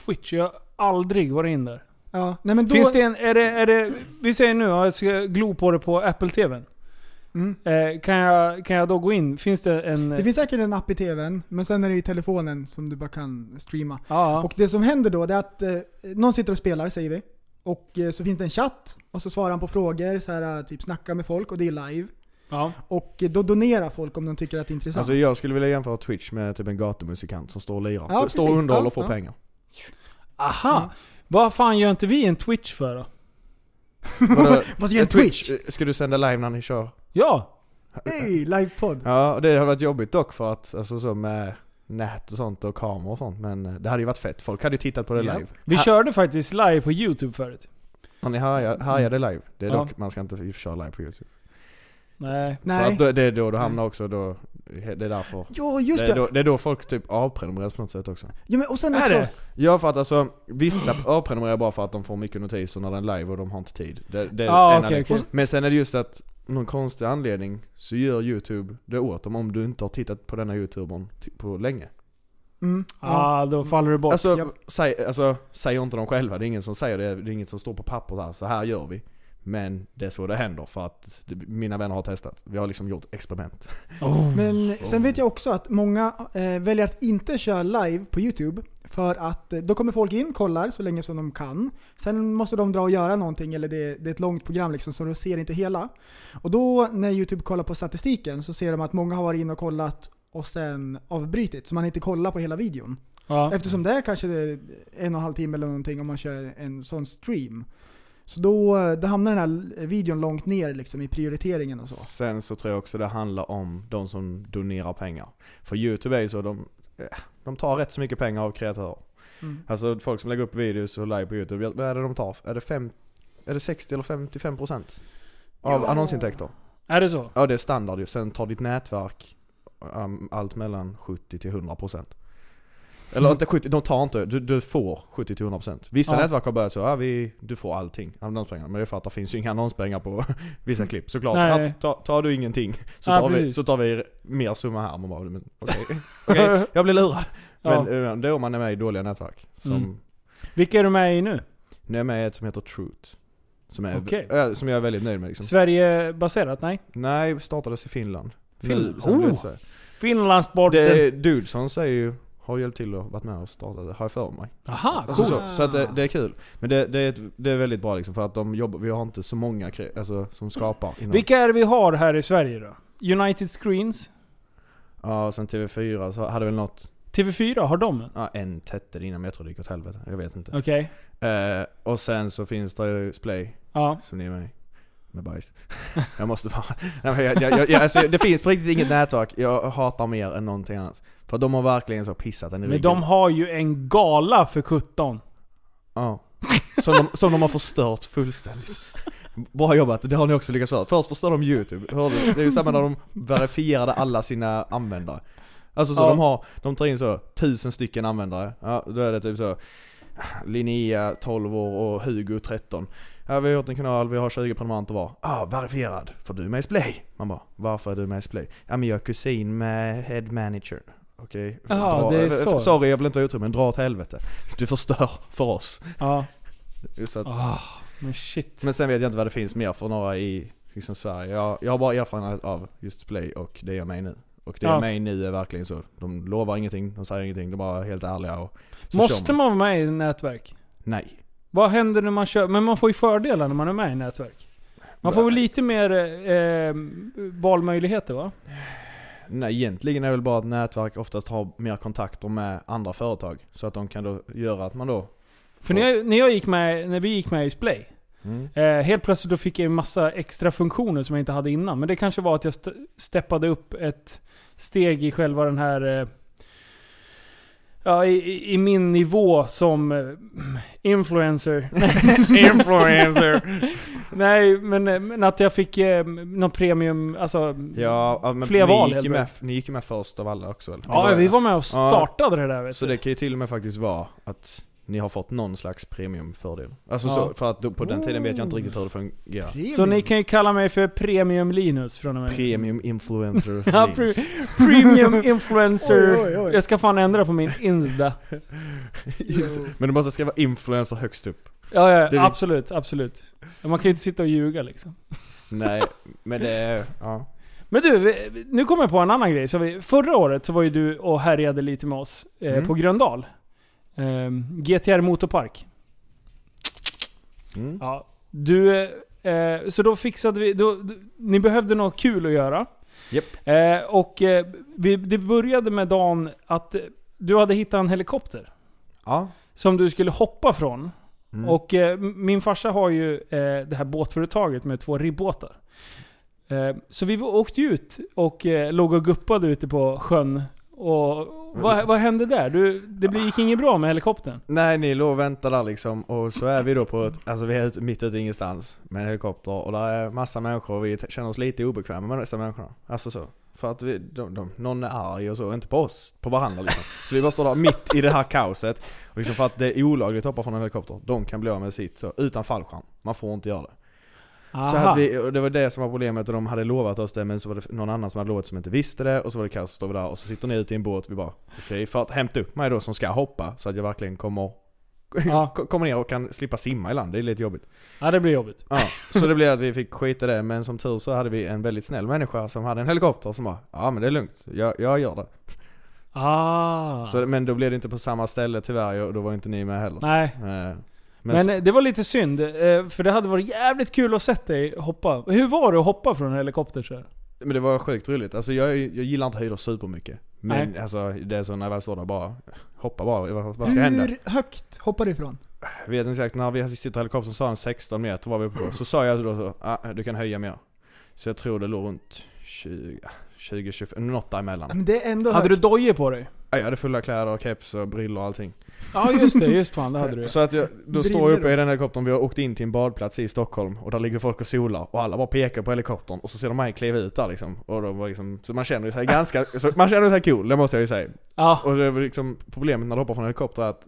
D: Twitch, jag har aldrig varit in där.
E: Ja, nej men då...
D: Finns det en, är det, är det, vi säger nu, ja, jag ska glo på det på Apple TVn.
E: Mm.
D: Eh, kan, jag, kan jag då gå in? Finns det en...
E: Det finns säkert en app i tvn, men sen är det i telefonen som du bara kan streama.
D: ja.
E: Och det som händer då det är att eh, någon sitter och spelar säger vi. Och eh, så finns det en chatt och så svarar han på frågor, så här, eh, typ snacka med folk och det är live.
D: ja.
E: Och eh, då donerar folk om de tycker att det är intressant.
F: Alltså jag skulle vilja jämföra Twitch med typ en gatumusikant som står och lirar.
E: Ja,
F: står och
E: precis.
F: underhåller
E: Ja,
F: och får
E: ja. *laughs*
F: pengar.
D: Aha! Vad fan gör inte vi en Twitch för då?
F: Vadå?
E: Vad säger
F: Eh,
E: Twitch?
F: eh, Ska du sända live när ni kör?
D: Ja!
E: Hej, livepodd!
F: Ja, och det hade varit jobbigt dock för att, alltså så med nät och sånt och kameror och sånt. Men eh, det hade ju varit fett. Folk hade ju tittat på det
E: Ja.
F: live.
D: Vi
F: Ha-
D: körde faktiskt live på YouTube förut.
F: Ja, ni härjar-
E: Mm.
F: härjade live. Det är
D: Ja.
F: dock, man ska inte köra live på youtube.
D: Nej.
F: För
E: Nej.
F: att då, det är då du hamnar också då, det är därför.
E: Ja, just
F: Det är,
E: det!
F: då, det är då folk typ avprenumererar på något sätt också.
E: Ja, men, och sen
D: Är
E: också,
D: det?
F: Ja för att alltså, vissa *clears throat* avprenumererar bara för att de får mycket notiser när den är live och de har inte tid. Det, det är
D: Ja,
F: en
D: Ah, okej,
F: anledning.
D: okej.
F: Men sen är det just att, någon konstig anledning så gör youtube det åt dem om du inte har tittat på denna youtubern ty- på länge.
E: Mm, ja.
D: Ah, då faller du bort.
F: Alltså,
E: Japp.
F: säg, alltså, säger inte de själva, det är ingen som säger det, det är inget som står på papper så här, så här gör vi. Men det är så det händer för att det, mina vänner har testat. Vi har liksom gjort experiment.
D: oh.
E: Men sen vet jag också att många eh, väljer att inte köra live på Youtube. För att eh, då kommer folk in, kollar så länge som de kan. Sen måste de dra och göra någonting, eller det, det är ett långt program liksom, så de ser inte hela. Och då när Youtube kollar på statistiken så ser de att många har varit inne och kollat och sen avbrytit, så man inte kollar på hela videon.
D: ja.
E: Eftersom det är kanske en och en halv timme eller någonting om man kör en sån stream. Så då, eh, då hamnar den här videon långt ner liksom, i prioriteringen och så.
F: Sen så tror jag också det handlar om de som donerar pengar. För youtube är ju så, de, eh, de tar rätt så mycket pengar av kreatörer.
E: Mm.
F: Alltså folk som lägger upp videos och live på youtube, vad är det de tar? Är det, fem, är det 60 eller 55% av annonsintäkter?
D: Är det så?
F: Ja det är standard ju, sen tar ditt nätverk um, allt mellan 70 till 100% Eller inte 70, de tar inte, du, du får 70 till 100% Vissa
D: Mm. Ja.
F: nätverk har börjat så, ja, vi, du får allting, annonspengar Men det är för att det finns ju inga annonspengar på *laughs* vissa klipp såklart
D: Nej.
F: ja, ta, Tar du ingenting så
D: Ja,
F: tar, vi,
D: precis.
F: så tar vi mer summa här, man bara men okej, *laughs* okej, jag blir lurad
D: Ja.
F: Men eh, det är om man är med i dåliga nätverk som,
D: Mm. Vilka är du med i
F: Mm.
D: nu?
F: Nu är jag med i ett som heter Truth som, är,
D: Okej.
F: eh, som jag är väldigt nöjd med liksom.
D: Sverigebaserat? Nej?
F: Nej, startades i Finland
D: Finland?
F: Nu, sen blev det
D: Oh.
F: Sverige.
D: Finlandsborten?
F: Det, Dudesons är ju, har hjälpt till och varit med och startat det, har jag för mig.
D: Aha,
F: Alltså
D: Ah, coolt.
F: så, så att det, det är kul. Men det, det, är, ett, det är väldigt bra liksom för att de jobbar, vi har inte så många kre- alltså, som skapar. Inom,
D: Vilka är det vi har här i Sverige då? United Screens?
F: ja, och sen TV4 så hade väl något,
D: TV4, har de en?
F: Ja, en tätter innan men jag tror det gick åt helvete. Jag vet inte.
D: Okej.
F: Eh, och sen så finns det Play,
D: Ja.
F: som ni är med i.
D: *laughs*
F: Med bajs. jag måste bara... Nej, men jag, jag, jag, jag, alltså, det finns på riktigt inget nätverk jag hatar mer än någonting annat. För de har verkligen så pissat en i
D: Men
F: ryggen.
D: de har ju en gala för 17.
F: Ja. Som de, som de har förstört fullständigt. Bra jobbat, det har ni också lyckats göra. Först förstör de YouTube, hörde du? Det är ju samma när de verifierade alla sina användare. Alltså så
D: Ja.
F: de har, de tar in så tusen stycken användare. Ja, då är det typ så Linnea 12 år och Hugo 13. Ja, vi har gjort en kanal, vi har 20 prenumeranter var. Ah, verifierad. För du är med i Splay? Man bara, varför är du med i Splay? Ja men jag är kusin med head manager. Okej,
D: Ja,
F: dra-
D: det är
F: eh,
D: så.
F: Sorry jag vill inte ha utrymmen, dra åt helvete. Du förstör för oss.
D: Ja.
F: Så att,
D: Ah, men shit.
F: Men sen vet jag inte vad det finns mer för några i liksom, Sverige. Jag, jag har bara erfarenhet av just Play och det gör mig nu. Och det
D: Ja.
F: gör mig nu är verkligen så. De lovar ingenting, de säger ingenting, de är bara helt ärliga och så
D: Måste
F: kör
D: man vara med i nätverk?
F: Nej.
D: Vad händer när man kör? Men man får ju fördelar när man är med i nätverk. Man får väl lite mer eh, valmöjligheter va?
F: Nej, egentligen är det väl bara att nätverk oftast har mer kontakter med andra företag. Så att de kan då göra att man då...
D: För när, jag, när, jag gick med, när vi gick med i Splay,
F: Mm.
D: eh, helt plötsligt då fick jag en massa extra funktioner som jag inte hade innan. Men det kanske var att jag st- steppade upp ett steg i själva den här... Eh, ja, i- i, i min nivå som eh, influencer. influencer! Nej, men, eh, men att jag fick eh, någon premium, alltså...
F: Ja, ja, men
D: Fler
F: ni,
D: val,
F: gick ju
D: helt
F: med, ni gick ju med först av alla också eller?
D: Ja, vi var med och startade det där vet
F: Så
D: du.
F: det kan ju till och med faktiskt vara att ni har fått någon slags premiumfördel. Alltså
D: Ja.
F: så, för att då, på den tiden vet jag inte riktigt hur det fungerar.
D: Så ni kan ju kalla mig för Premium Linus från och med nu.
F: Premium influencer
D: Ja,
F: names.
D: Premium influencer.
E: *laughs* Oj, oj, oj.
D: Jag ska fan ändra på min Insta.
F: Men du måste skriva influencer högst upp.
D: Ja, ja
F: Det är-
D: absolut, absolut. Ja, Man kan ju inte sitta och ljuga liksom.
F: Nej, men det är... Ja.
D: Men du, vi- nu kommer jag på en annan grej. Så vi, förra året så var ju du och härjade lite med oss eh,
F: Mm.
D: på Gröndal. Ehm, GTR Motorpark.
F: Mm.
D: Ja, du, eh, så då fixade vi, då, d- ni behövde något kul att göra.
F: Japp.
D: Eh, och eh, vi, det började med dagen att eh, du hade hittat en helikopter.
F: ja.
D: Som du skulle hoppa från.
F: Mm.
D: Och eh, m- min farsa har ju eh, det här båtföretaget med två ribbåtar. Eh, så vi åkte ju ut och eh, låg och guppade ute på sjön. Och vad, vad hände där? Du, det blir- gick inget bra med helikoptern?
F: Nej, ni låg och väntade där liksom och så är vi då på ett, alltså vi är ute, mitt ute i ingenstans med en helikopter och där är massa människor och vi t- känner oss lite obekväma med dessa människorna. Alltså så. För att vi, de, de, någon är arg och så, inte på oss, på varandra liksom. Så vi bara står där mitt i det här kaoset. Och liksom för att det är olagligt att hoppa från en helikopter, de kan bli av med sitt så, utan fallskärm. Man får inte göra det. Så
D: Aha.
F: hade vi, och det var det som var problemet och de hade lovat oss det men så var det någon annan som hade lovat som inte visste det och så var det kaos, så står vi där och så sitter ni ute i en båt vi bara Okej, för att hämta upp mig då som ska hoppa så att jag verkligen kommer
D: Ja.
F: *laughs* ko- Kommer ner och kan slippa simma i land, det är lite jobbigt.
D: Ja, det blir jobbigt.
F: Ja, så det blev att vi fick skita i det, men som tur så hade vi en väldigt snäll människa som hade en helikopter som bara Ja men det är lugnt, jag, jag gör det.
D: Ah.
F: Så, men då blev det inte på samma ställe tyvärr och då var inte ni med heller.
D: Nej.
F: Eh, Men,
D: Men,
F: s-
D: eh, det var lite synd, eh, för det hade varit jävligt kul att sett dig hoppa. Hur var det att hoppa från en helikopter så här?
F: Men det var sjukt roligt. Alltså jag, jag gillar inte höjder supermycket. Men alltså det är så när jag väl står där bara, hoppa bara. Vad, vad ska hända?
E: Hur högt hoppar du ifrån?
F: Jag vet inte exakt, när vi sitter i helikoptern så sa han 16 meter var vi uppe på. Så sa jag då så, ah, du kan höja mer. Så jag tror det låg runt 20, 20 25, något
E: Ja,
F: däremellan.
E: Men det är ändå
D: Hade
E: högt.
D: du dojer på dig?
F: Ja, Jag hade fulla kläder och keps och brillor och allting.
D: Ja just det, just fan det hade du.
F: Så att jag, då står jag uppe i den helikoptern, vi har åkt in till en badplats i Stockholm och där ligger folk och solar och alla bara pekar på helikoptern och så ser de mig kliva ut där liksom. Och de var liksom så man känner ju sig ganska, så man känner sig cool, det måste jag ju säga.
D: Ja.
F: Och det är väl liksom problemet när du hoppar från en helikopter är att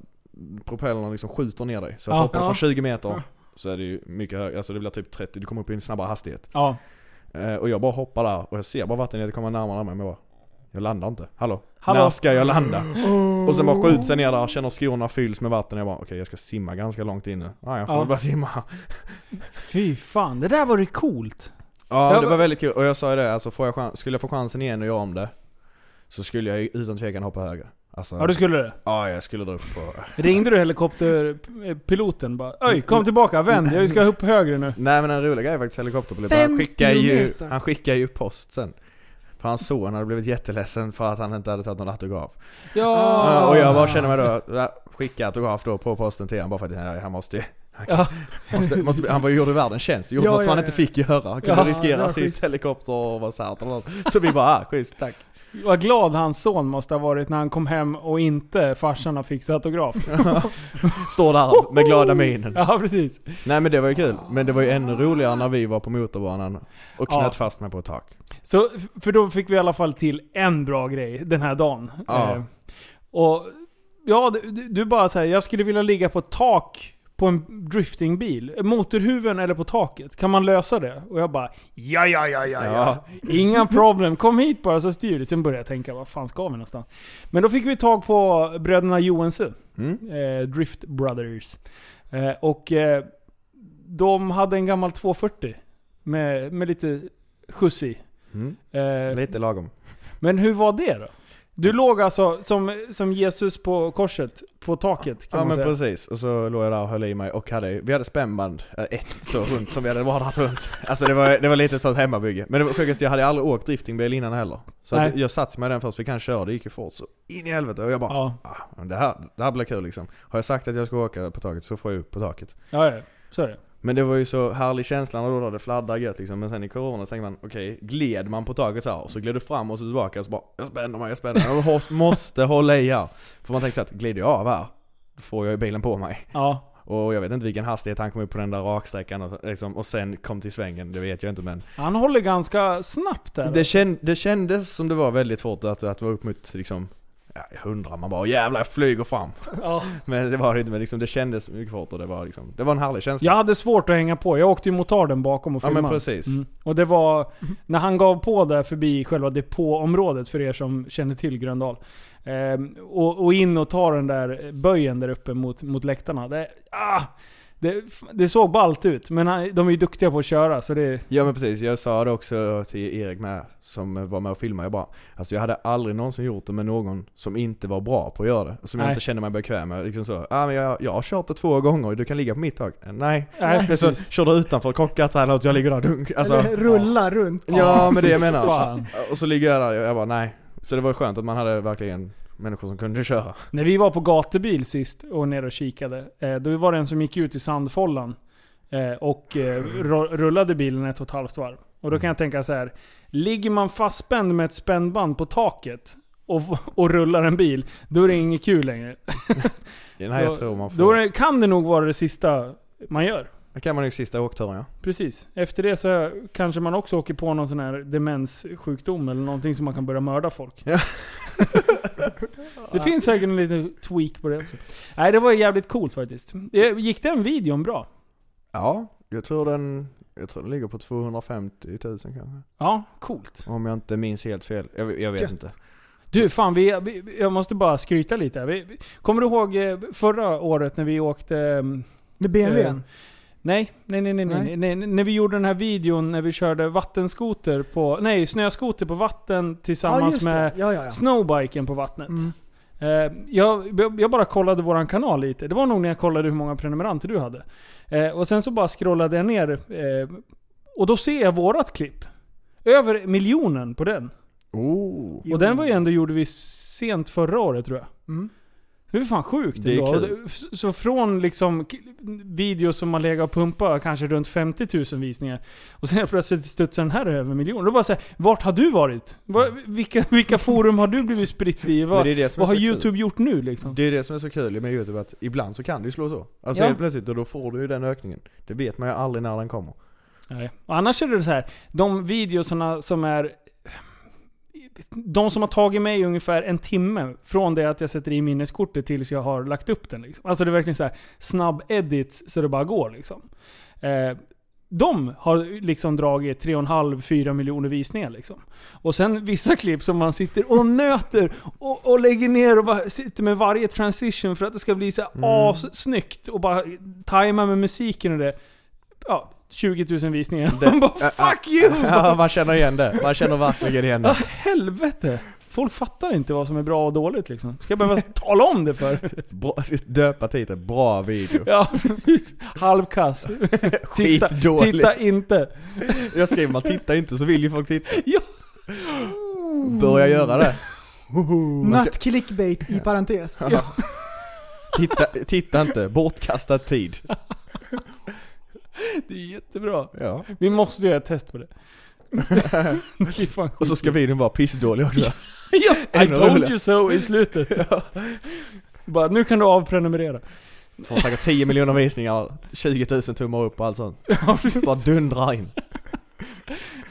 F: propellrarna liksom skjuter ner dig. Så att
D: Ja.
F: hoppar du
D: Ja.
F: från 20 meter så är det ju mycket högre, alltså det blir typ 30, du kommer upp i en snabbare hastighet.
D: Ja.
F: Eh, och jag bara hoppar där och jag ser bara vattenytan komma närmare mig men jag bara jag landar inte. Hallå?
D: Hallå?
F: När ska jag landa? Och sen bara skjuter sig ner där, känner skorna fylls med vatten och jag bara okej jag ska simma ganska långt in nu. Ja, jag får
D: Ja.
F: väl bara simma.
D: Fy fan, det där var ju coolt.
F: Ja,
D: Jag
F: det
D: var-
F: var väldigt kul. Och jag sa ju det, alltså får jag chans, skulle jag få chansen igen och göra om det så skulle jag ju utan tvekan hoppa högre. Alltså,
D: Ja du skulle det.
F: ja, jag skulle dra upp på
D: Ringde du helikopterpiloten bara Öj, kom tillbaka, vänd, jag ska upp högre nu.
F: Nej men en rolig grej är faktisast helikopterpiloten. Han
E: Fem
F: skickar, ju,
E: kilometer.
F: han skickar ju post sen. För hans son hade blivit jätteledsen för att han inte hade tagit någon autograf.
D: Ja.
F: Ja, och jag bara känner mig då, ja, skicka autograf då på posten till honom bara för att nej, han måste ju han, kan- måste, måste, han var ju gjorde världen tjänst, gjorde
D: Ja,
F: något som
D: ja,
F: han
D: ja.
F: inte fick göra. Han kunde
D: Ja, det
F: riskera
D: var
F: sitt
D: schysst.
F: helikopter och vara så här. och något. Så vi bara, ah, schysst, tack.
D: Vad glad hans son måste ha varit när han kom hem och inte farsan har fixat autograf.
F: Står där med glada
D: Oh,
F: minen.
D: Ja, Ah. precis.
F: Nej men det var ju kul, men det var ju ännu roligare när vi var på motorbanan och knöt
D: Ja.
F: fast mig på ett tak.
D: Så, f- för då fick vi i alla fall till en bra grej den här dagen.
F: Ja.
D: Eh, och ja, du- du, du bara säger jag skulle vilja ligga på ett tak på en driftingbil. Motorhuven eller på taket. Kan man lösa det? Och jag bara ja, ja, ja, ja, ja. Inga problem. Kom hit bara så styr det. Sen började jag tänka, vad fan ska vi någonstans? Men då fick vi tag på bröderna Johansson.
F: Mm.
D: Eh, Drift Brothers. Eh, och eh, de hade en gammal 240 med, med lite skjuts i.
F: Mm.
D: Eh,
F: Lite lagom.
D: men hur var det då?
F: Mm.
D: Du låg alltså som, som Jesus på korset, på taket kan
F: Ja
D: man
F: men
D: säga.
F: precis, och så låg jag där och höll i mig och hade, vi hade spännband, eh, ett så runt som vi hade vadat runt. *laughs* Alltså det var, det var lite ett sånt hemmabygge. Men det var sjukaste, jag hade aldrig åkt driftingbil innan heller. Så att
D: Nej.
F: jag satt med den först, vi kan köra, det gick ju fort så in i helvete. Och jag bara,
D: Ja,
F: ah, men det, här, det här blir kul liksom. Har jag sagt att jag ska åka på taket så får jag upp på taket.
D: ja, ja. Så är det.
F: Men det var ju så härlig känsla när då, då det fladdrar gött liksom. Men sen i corona så tänker man, okej, gled man på taket så här och så gled du fram och så tillbaka och så bara, jag spänner mig, jag spänner mig. Jag hå- måste hålla i här. För man tänker så att glider jag av här, då får jag ju bilen på mig.
D: Ja.
F: Och jag vet inte vilken hastighet han kom upp på den där raksträckan och, liksom, och sen kom till svängen, det vet jag inte men
D: Han håller ganska snabbt där.
F: det, känd, det kändes som det var väldigt fort att, att vara upp mot liksom ja, 100, man bara jävlar jag flyger fram.
D: Ja.
F: *laughs* Men det var det inte, men liksom, det kändes mycket fort och det var liksom, det var en härlig känsla.
D: Jag hade svårt att hänga på. Jag åkte ju motarden bakom och
F: Ja, men
D: filmade. Mm.
F: precis. Mm.
D: Och det var när han gav på där förbi själva depåområdet för er som känner till Gröndal. Ehm, och, och in och ta den där böjen där uppe mot, mot läktarna. Det, ah, det, det såg ballt ut. Men han, de är ju duktiga på att köra så det...
F: Ja men precis, jag sa det också till Erik med, som var med och filmade. Jag bara, alltså jag hade aldrig någonsin gjort det med någon som inte var bra på att göra det. Som jag
D: Nej.
F: inte kände mig bekväm med. Liksom så, ah, men jag, jag har kört det två gånger, du kan ligga på mitt tag. Nej.
D: Nej,
F: Men så kör du utanför kockat här, och jag ligger där dunk. Alltså,
E: Eller rulla runt.
F: ja men det jag menar.
D: Fan.
F: Och så ligger jag där och jag bara nej. Så det var skönt att man hade verkligen människor som kunde köra.
D: När vi var på gatubil sist och nere och kikade, eh, då var det en som gick ut i sandfållan eh, och eh, ro- rullade bilen ett och ett halvt varv. Och då kan jag tänka så här. ligger man fastspänd med ett spännband på taket och, och rullar en bil, då är det inget kul längre.
F: Nej
D: Då-
F: jag tror man får...
D: Då är det, kan det nog vara det sista man gör.
F: Det kan man ju sista åkturen ja.
D: Precis. Efter det så kanske man också åker på någon sån här demenssjukdom eller någonting som man kan börja mörda folk.
F: Ja.
D: *laughs* det finns säkert en liten tweak på det också. Nej, det var jävligt coolt faktiskt. Eh, Gick den videon bra?
F: Ja, jag tror den, jag tror den ligger på 250 000 kanske.
D: Ja, coolt.
F: Om jag inte minns helt fel. Jag, jag vet
E: Gött.
F: inte.
D: Du, fan vi, vi, jag måste bara skryta lite. här. Vi, vi, kommer du ihåg eh, förra året när vi åkte... ehm,
E: Med BMWn.
D: Eh, Nej, nej, nej, nej, nej,
E: Nej.
D: nej. nej. När vi gjorde den här videon när vi körde vattenskoter på... Nej, snöskoter på vatten
E: ja,
D: tillsammans
E: just det.
D: med
E: Ja, ja, ja.
D: snowbiken på vattnet.
E: Mm.
D: Eh, jag, jag- jag bara kollade våran kanal lite. Det var nog när jag kollade hur många prenumeranter du hade. Eh, och sen så bara scrollade jag ner eh, och då ser jag vårat klipp. Över miljonen på den.
F: Oh.
D: Och den var ju ändå gjorde vi sent förra året tror jag.
E: Mm.
D: Det är fan sjukt
F: Det är
D: ändå.
F: kul.
D: Så- Så från liksom k- videos som man lägger och pumpar, kanske runt 50 000 visningar. Och sen helt plötsligt studsar den här över miljoner. Då bara såhär, vart har du varit? Var, vilka, vilka forum har du blivit spritt i?
F: Mm. Men
D: Vad,
F: det är det som är
D: vad har
F: så kul.
D: YouTube gjort nu liksom?
F: Det är det som är så kul med youtube att ibland så kan det ju slå så. Alltså
D: Ja.
F: helt plötsligt och då får du ju den ökningen. Det vet man ju aldrig när den kommer. *laughs*
D: Nej. Och annars är det så här, de videoserna som är... De som har tagit mig ungefär en timme från det att jag sätter i minneskortet tills jag har lagt upp den. Liksom. Alltså det är verkligen så här snabb edits så det bara går liksom. Eh, de har liksom dragit 3,5-4 miljoner visningar liksom. Och sen vissa klipp som man sitter och nöter och, och lägger ner och bara sitter med varje transition för att det ska bli så här
E: Mm.
D: assnyggt och bara tajma med musiken och det. Ja, 20 000 visningar. Man bara 'Fuck you!'
F: Ja, man känner igen det. Man känner verkligen igen
D: Ja,
F: det.
D: helvete! Folk fattar inte vad som är bra och dåligt liksom. Ska jag *laughs* behöva tala om det för?
F: Bra, döpa titeln, bra video.
D: Ja, *laughs* precis. Halvkass. Titta,
F: *laughs* Skitdåligt.
D: titta inte.
F: Jag skriver man tittar inte så vill ju folk titta.
D: Ja.
F: Börja göra det.
E: Not clickbait i parentes.
F: Titta, titta inte, bortkastad tid.
D: Det är jättebra.
F: Ja.
D: Vi måste göra ett test på *laughs* det. det är fan
F: Och så ska videon vara pissdålig också.
D: ja, I
F: Ännu
D: told
F: roligare.
D: you so i slutet. Bara, nu kan du avprenumerera.
F: Får säkert 10 miljoner visningar, 20 000 tummar upp och allt sånt.
D: Ja, precis.
F: Bara dundrar in.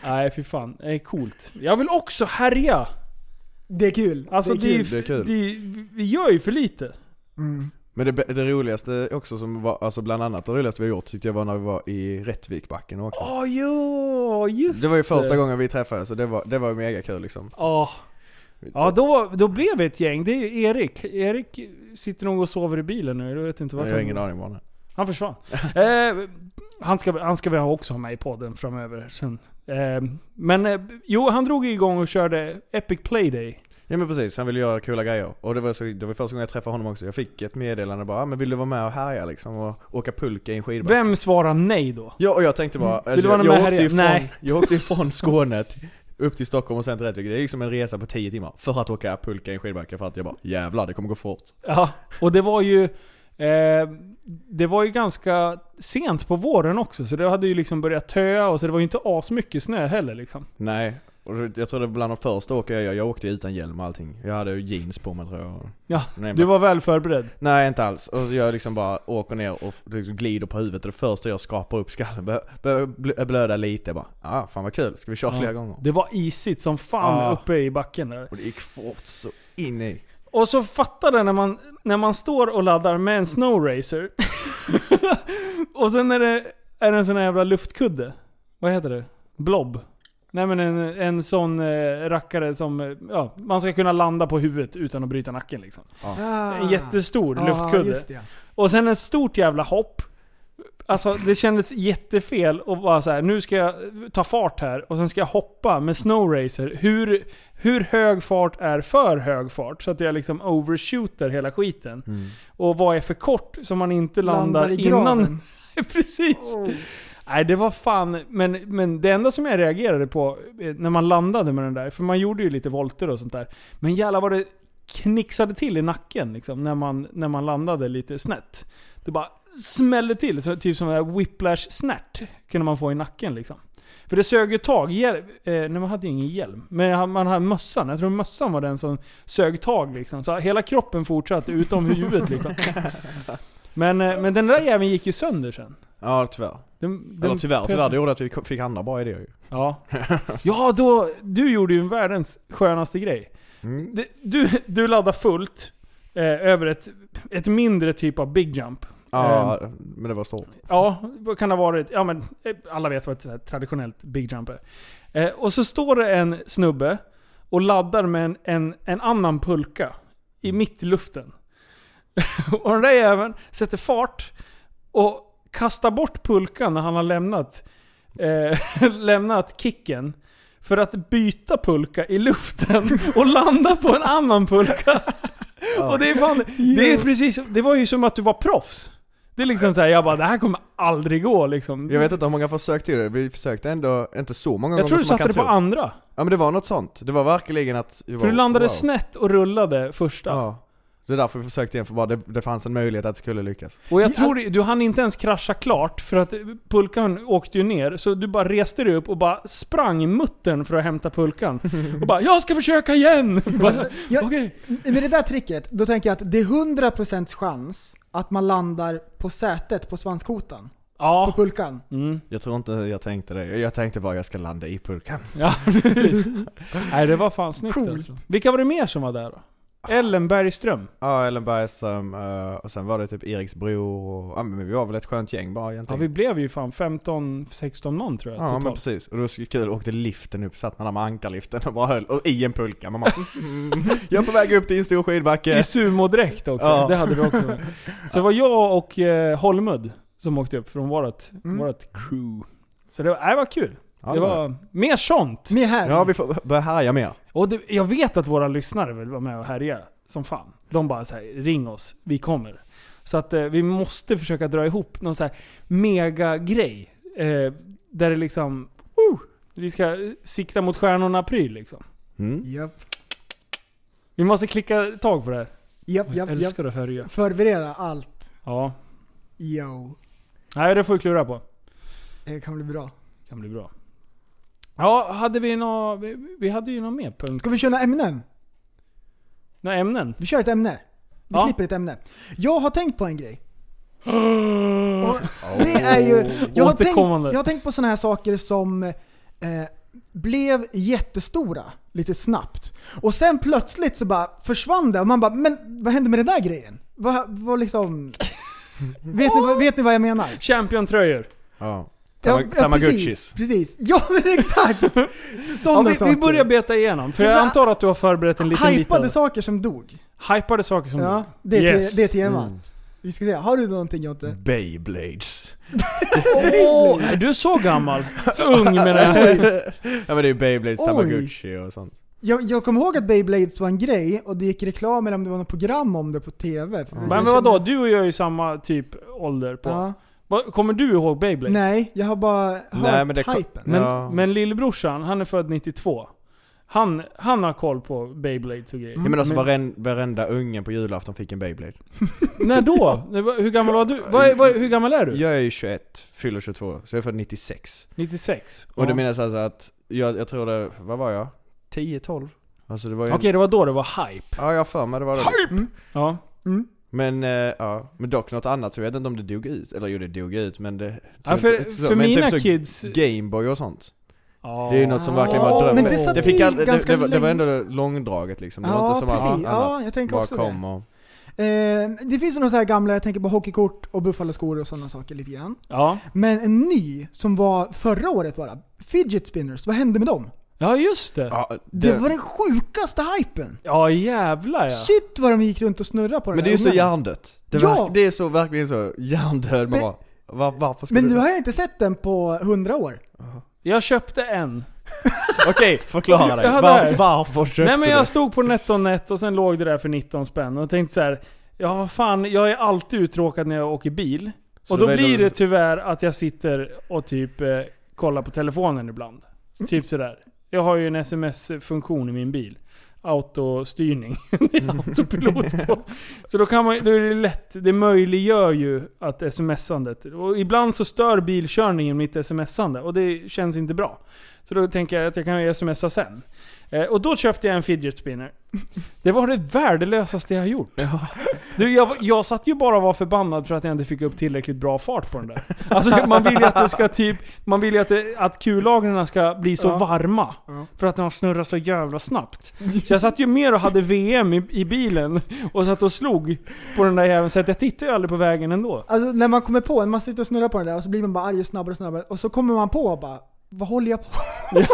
D: Nej fy fan, det är coolt. Jag vill också härja!
E: Det är kul.
D: Alltså det är,
F: det är kul.
D: det är- vi gör ju för lite.
F: Men det, det roligaste också som var, alltså bland annat det roligaste vi har gjort tyckte jag var när vi var i Rättvikbacken och åkte.
D: Åh jo, just
F: Det var ju första gången vi träffades så det var, det var mega kul liksom.
D: Ja. Ja, då, då blev vi ett gäng. Det är ju Erik. Erik sitter nog och sover i bilen nu. Jag vet inte
F: Jag
D: vart
F: har
D: han
F: ingen aning vad det
D: Han
F: *laughs*
D: försvann. eh, han, ska, han ska vi ha också ha med i podden framöver sen. Eh, men eh, jo, han drog igång och körde Epic Playday.
F: Ja men precis, han ville göra coola grejer. Och det var, så, det var första gången jag träffade honom också. Jag fick ett meddelande bara, ah, men vill du vara med och härja liksom? Och åka pulka i en skidbacke.
D: Vem svarar nej då?
F: Ja och jag tänkte bara,
D: Vill du
F: alltså,
D: vara
F: jag,
D: med
F: jag,
D: här
F: åkte
D: igen?
F: ifrån,
D: Nej.
F: jag åkte *laughs* ifrån Skåne till- upp till Stockholm och sen till Rättvik. Det är liksom en resa på 10 timmar. För att åka pulka i en skidbacke. För att jag bara, jävlar det kommer gå fort.
D: Ja, och det var ju... Eh, det var ju ganska sent på våren också, så det hade ju liksom börjat töa och så det var ju inte asmycket snö heller liksom.
F: Nej, och det- jag tror det var bland de första åker jag, jag åkte utan hjälm och allting. Jag hade ju jeans på mig tror jag.
D: Ja,
F: Nej,
D: du
F: men-
D: var väl förberedd.
F: Nej inte alls. Och jag liksom bara åker ner och liksom glider på huvudet och det första jag skrapar upp skallen bör- börjar bl- blöda lite bara. Ah, fan vad kul, ska vi köra flera gånger?
D: Det var isigt som fan
F: Ja.
D: uppe i backen där.
F: Och det gick fort så in i.
D: Och så fattar det när man, när man står och laddar med en snowracer. *laughs* och sen är det, är det en sån här jävla luftkudde. Vad heter det? Blob. Nej men en, en sån eh, rackare som, eh, ja, man ska kunna landa på huvudet utan att bryta nacken liksom.
E: Ah.
D: En jättestor
E: Ja,
D: luftkudde.
E: just det.
D: Och sen ett stort jävla hopp. Alltså det kändes jättefel och bara så här. nu ska jag ta fart här och sen ska jag hoppa med snowracer. Hur, hur hög fart är för hög fart? Så att jag liksom overshooter hela skiten. Och vad är för kort så man inte landar,
E: Mm. Landar i graven.
D: innan... *laughs* Precis! Nej det var fan, men, men det enda som jag reagerade på eh, när man landade med den där, för man gjorde ju lite volter och sånt där. Men jävlar vad det knixade till i nacken liksom, när, man, när man landade lite snett. Det bara smällde till, så, typ som en whiplash-snärt kunde man få i nacken liksom. För det sög ju tag, hjäl- eh, när man hade ju ingen hjälm. Men jag- man hade mössan, jag tror mössan var den som sög tag liksom. Så hela kroppen fortsatte, utom huvudet liksom. Men, eh, men den där jäveln gick ju sönder sen.
F: Ja tyvärr.
D: Den, den
F: Eller tyvärr, tyvärr det gjorde att vi kom- fick andra bra idéer ju.
D: Ja. ja, då, du gjorde ju världens skönaste grej.
F: Mm.
D: Det- Du, du laddade fullt eh, över ett, ett mindre typ av big jump.
F: Ja,
D: Ehm,
F: men det var stort.
D: Ja, vad kan det ha varit? Ja men eh, alla vet vad ett så här traditionellt big jump är. Eh, och så står det en snubbe och laddar med en, en, en annan pulka i
F: Mm.
D: mitt i luften. *laughs* och den där jäveln sätter fart och kastar bort pulkan när han har lämnat, eh, *laughs* lämnat kicken. För att byta pulka i
F: *laughs*
D: luften och landa på en annan pulka. Och det är fan, det är precis, det var ju som att du var proffs. Det är liksom såhär, jag bara det här kommer aldrig gå liksom.
F: Jag vet inte hur många försök till det, vi försökte ändå inte så många
D: Jag
F: gånger
D: tror du
F: som
D: satte
F: man kan
D: det på
F: tro.
D: andra.
F: Ja men det var något sånt. Det var verkligen att...
D: För du landade snett och rullade första.
F: Ja. Det är därför vi försökte igen, för bara det, det fanns en möjlighet att det skulle lyckas.
D: Och jag tror du hann inte ens krascha klart för att pulkan åkte ju ner. Så du bara reste dig upp och bara sprang i muttern för att hämta *laughs* pulkan. Och bara 'Jag ska försöka *laughs* igen!' Bara,
E: jag-
D: Okej.
E: Med det där tricket, då tänker jag att det är 100% chans att man landar på sätet på svanskotan. På
D: Ja.
E: pulkan.
D: Mm.
F: Jag tror inte jag tänkte det. Jag tänkte bara jag ska landa i pulkan.
D: Ja, *laughs* precis. Nej, det var fan snyggt alltså. Vilka var det mer som var där då?
F: Ah.
D: Ellen Bergström.
F: Ja, Ellen Bergström, eh, och sen var det typ Eriksbro och, ja men vi var väl ett skönt gäng bara
D: Ja,
F: egentligen.
D: vi blev ju fan 15-16 man tror jag
F: Ja, men
D: totalt.
F: precis. Och det var så kul, åkte liften upp, satt man där med ankarliften och bara höll, och i en pulka. Man bara,
D: *laughs*
F: mm, jag är på väg upp till en stor skidbacke.
D: I sumodräkt också,
F: Ja.
D: det hade vi också med. Så det var jag och eh, Holmud som åkte upp från vårat, vårat crew. Så det var, nej, det var kul.
F: Mm. Ja,
D: det
F: det var
D: var mer sånt.
E: Med här.
F: Ja, vi får börja härja mer.
D: Och det, jag vet att våra lyssnare vill vara med och härja som fan. De bara säger ring oss, vi kommer. Så att eh, vi måste försöka dra ihop någon så här mega-grej. Eh, där det liksom, oh, vi ska sikta mot stjärnorna-pryl liksom.
F: Mm.
E: Japp,
D: Vi måste klicka tag på det här.
E: japp, japp,
D: Jag
E: japp.
D: älskar att följa.
E: Förbereda allt.
D: Ja.
E: Yo.
D: Nej, det får vi klura på.
E: Det kan bli bra.
D: Kan bli bra. Ja, hade vi nå... vi- Vi hade ju någon mer punkt.
E: Ska vi köra några ämnen?
D: Några ämnen?
E: Vi kör ett ämne. Vi
D: Ja.
E: klipper ett ämne. Jag har tänkt på
D: *gasps*
E: en grej. Och det är ju... Jag har, tänkt,
D: Återkommande.
E: jag har tänkt på sådana här saker som eh, blev jättestora lite snabbt. Och sen plötsligt så bara försvann det och man bara men vad hände med den där grejen? Vad, vad liksom... vet, ni, vad- vet ni vad jag menar?
D: Champion-tröjor.
F: Ja.
E: Ja,
F: Tama-
E: ja,
F: Tamagotchis.
E: Precis, precis. Ja *laughs* men exakt!
D: Ja,
E: Sådana
D: vi,
E: saker.
D: vi börjar beta igenom, för jag
E: Ja.
D: antar att du har förberett en liten liten...
E: Hypade saker som dog.
D: Hypade saker som
E: Ja,
D: du.
E: det är,
D: Yes.
E: te- det är
F: Mm.
E: temat. Vi ska se, har du någonting Jonte?
F: Beyblades.
D: Åh, nej, du är så gammal. Så ung menar
E: *laughs*
D: jag.
F: ja men det är ju Beyblades, Mm,
E: Oj.
F: Tamagotchi och sånt.
E: Jag, jag kommer ihåg att Beyblades var en grej och det gick reklam eller om det var något program om det på TV. För jag
D: Men
E: känner-
D: vadå, du och jag är ju samma typ ålder på.
E: Ja.
D: Vad- Kommer du ihåg Beyblade?
E: Nej, jag har bara hört
F: Nej, men det kom-
E: hypen.
D: Men,
F: Ja.
D: men lillbrorsan, han är född 92. Han, han har koll på Beyblades och grejer.
F: Ja men alltså varen, varenda ungen på julafton fick en Beyblade.
D: När då? Det var- Hur gammal var du? Vad är- vad är- hur gammal är du?
F: Jag är ju 21, fyller 22, så jag är född 96.
D: 96?
F: Och det
D: Ja.
F: menas alltså att, jag, jag tror det, vad var jag? 10-12? Alltså det var ju...
D: Okej,
F: en-
D: det var då det var hype.
F: Ja jag har för mig det var det.
D: Ja.
F: Men eh, ja, men dock något annat så jag vet inte om det dog ut. Eller jo det dog ut men det...
D: ja
F: tror
D: för
F: inte- så-
D: för
F: men
D: mina
F: typ så
D: kids...
F: Gameboy och sånt.
D: Ja.
F: Det är ju något som verkligen
E: Ja,
F: var drömmen.
E: Ah. men det satt
F: fick
E: i
F: all, det, det,
E: ganska
F: var- det var
E: länge.
F: ändå långdraget liksom. Det var
E: Ja,
F: inte som
E: precis.
F: allt
E: Ja,
F: annat.
E: jag tänker
F: bara
E: också det.
F: kom och...
E: Eh, det finns ju några så här gamla, jag tänker på hockeykort och buffaloskor och sådana saker lite grann.
D: Ja.
E: Men en ny som var förra året bara, fidget spinners, vad hände med dem?
D: ja, just det.
F: Ja,
E: Det, var den sjukaste hypen!
D: Ja, jävlar ja.
E: Shit vad de gick runt och snurrade på den
F: Men det
E: här
F: är ju så
E: ugnen.
F: hjärndött. Det,
E: Ja!
F: verk, det är så verkligen så hjärndöd. Man
E: Men-
F: bara, var, varför skulle
E: Men nu
F: du...
E: har jag inte sett den på hundra år.
D: Jag köpte en. Okej.
F: Förklara dig.
D: Jag hade
F: Var,
D: det.
F: varför köpte
D: Nej men
F: du?
D: jag stod på NetOnNet och sen låg det där för 19 spänn och tänkte så här. Ja vad fan, jag är alltid uttråkad när jag åker bil.
F: Så
D: och då
F: det var
D: blir
F: ändå-
D: det tyvärr att jag sitter och typ eh, kollar på telefonen ibland. Typ sådär. Jag har ju en sms-funktion i min bil. Autostyrning. *laughs* det är autopilot på. Så då, kan man, då är det lätt. Det möjliggör ju att smsandet. Och ibland så stör bilkörningen mitt smsande och det känns inte bra. Så då tänker jag att jag kan ju smsa sen. Eh, och då köpte jag en fidget spinner. *laughs* Det var det värdelösaste jag har gjort. Du, jag, jag satt ju bara och var förbannad för att jag inte fick upp tillräckligt bra fart på den där. Alltså, man vill ju att det ska typ... Man vill ju att, det- att kullagren ska bli så varma. För att de snurrar så jävla snabbt. Så jag satt ju mer och hade VM i, i bilen och satt och slog på den där jäveln. Så att jag tittade ju aldrig på vägen ändå.
E: Alltså när man kommer på en, man sitter och snurrar på den där och så blir man bara arg och snabbare och snabbare och så kommer man på och bara Vad håller jag på *laughs*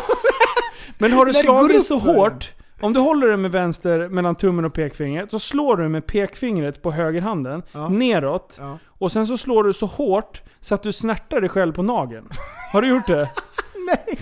D: Men har du
E: När det går
D: slagit
E: upp
D: så
E: för den.
D: hårt, om du håller den med vänster mellan tummen och pekfingret, så slår du med pekfingret på högerhanden
E: Ja.
D: neråt.
E: Ja.
D: Och sen så slår du så hårt så att du snärtar dig själv på nageln. Har du gjort det?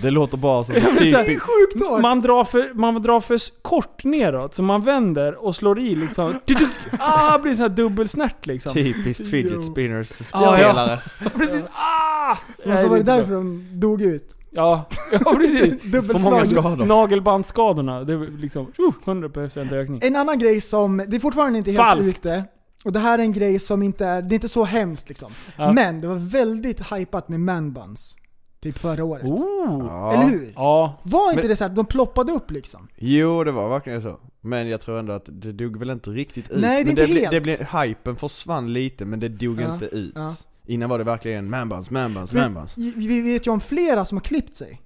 F: Det låter bara som
D: men så här-
F: typ...
E: Sjukt hårt!
D: Man drar, för, man drar för s- kort neråt, så man vänder och slår i
E: *laughs*
D: liksom. Tuduk! Ah, blir så här dubbelsnärt liksom.
E: Typ.
F: Typiskt fidget spinners
D: Ja, ja.
F: spelare.
D: Precis. Ah!
E: och
D: Nej,
E: så var det
D: inte
E: därför
D: bra.
E: de
D: *laughs*
E: dog ut.
D: Ja,
E: *laughs*
D: ja precis.
F: För många
E: Dubbelslag.
F: skador.
D: Nagelbandsskadorna, det är liksom uh, 100% ökning.
E: En annan grej som, det är fortfarande inte helt
D: Falskt.
E: ute. Och det här är en grej som inte är, det är inte så hemskt liksom.
D: Ja.
E: Men det var väldigt hypat med manbuns. Typ förra året.
D: Oh.
E: Eller hur?
D: Ja,
E: Var inte
F: Men-
E: det så här, de ploppade upp liksom?
F: Jo, det var verkligen så. Men jag tror ändå att det dog väl inte riktigt ut.
E: Nej, det är inte
F: men det blev-
E: helt.
F: Det blev, hypen försvann lite men det dog
E: Ja,
F: inte ut.
E: ja.
F: Innan var det verkligen manbuns, manbuns, manbuns.
E: Vi, vi vet ju om flera som har klippt sig.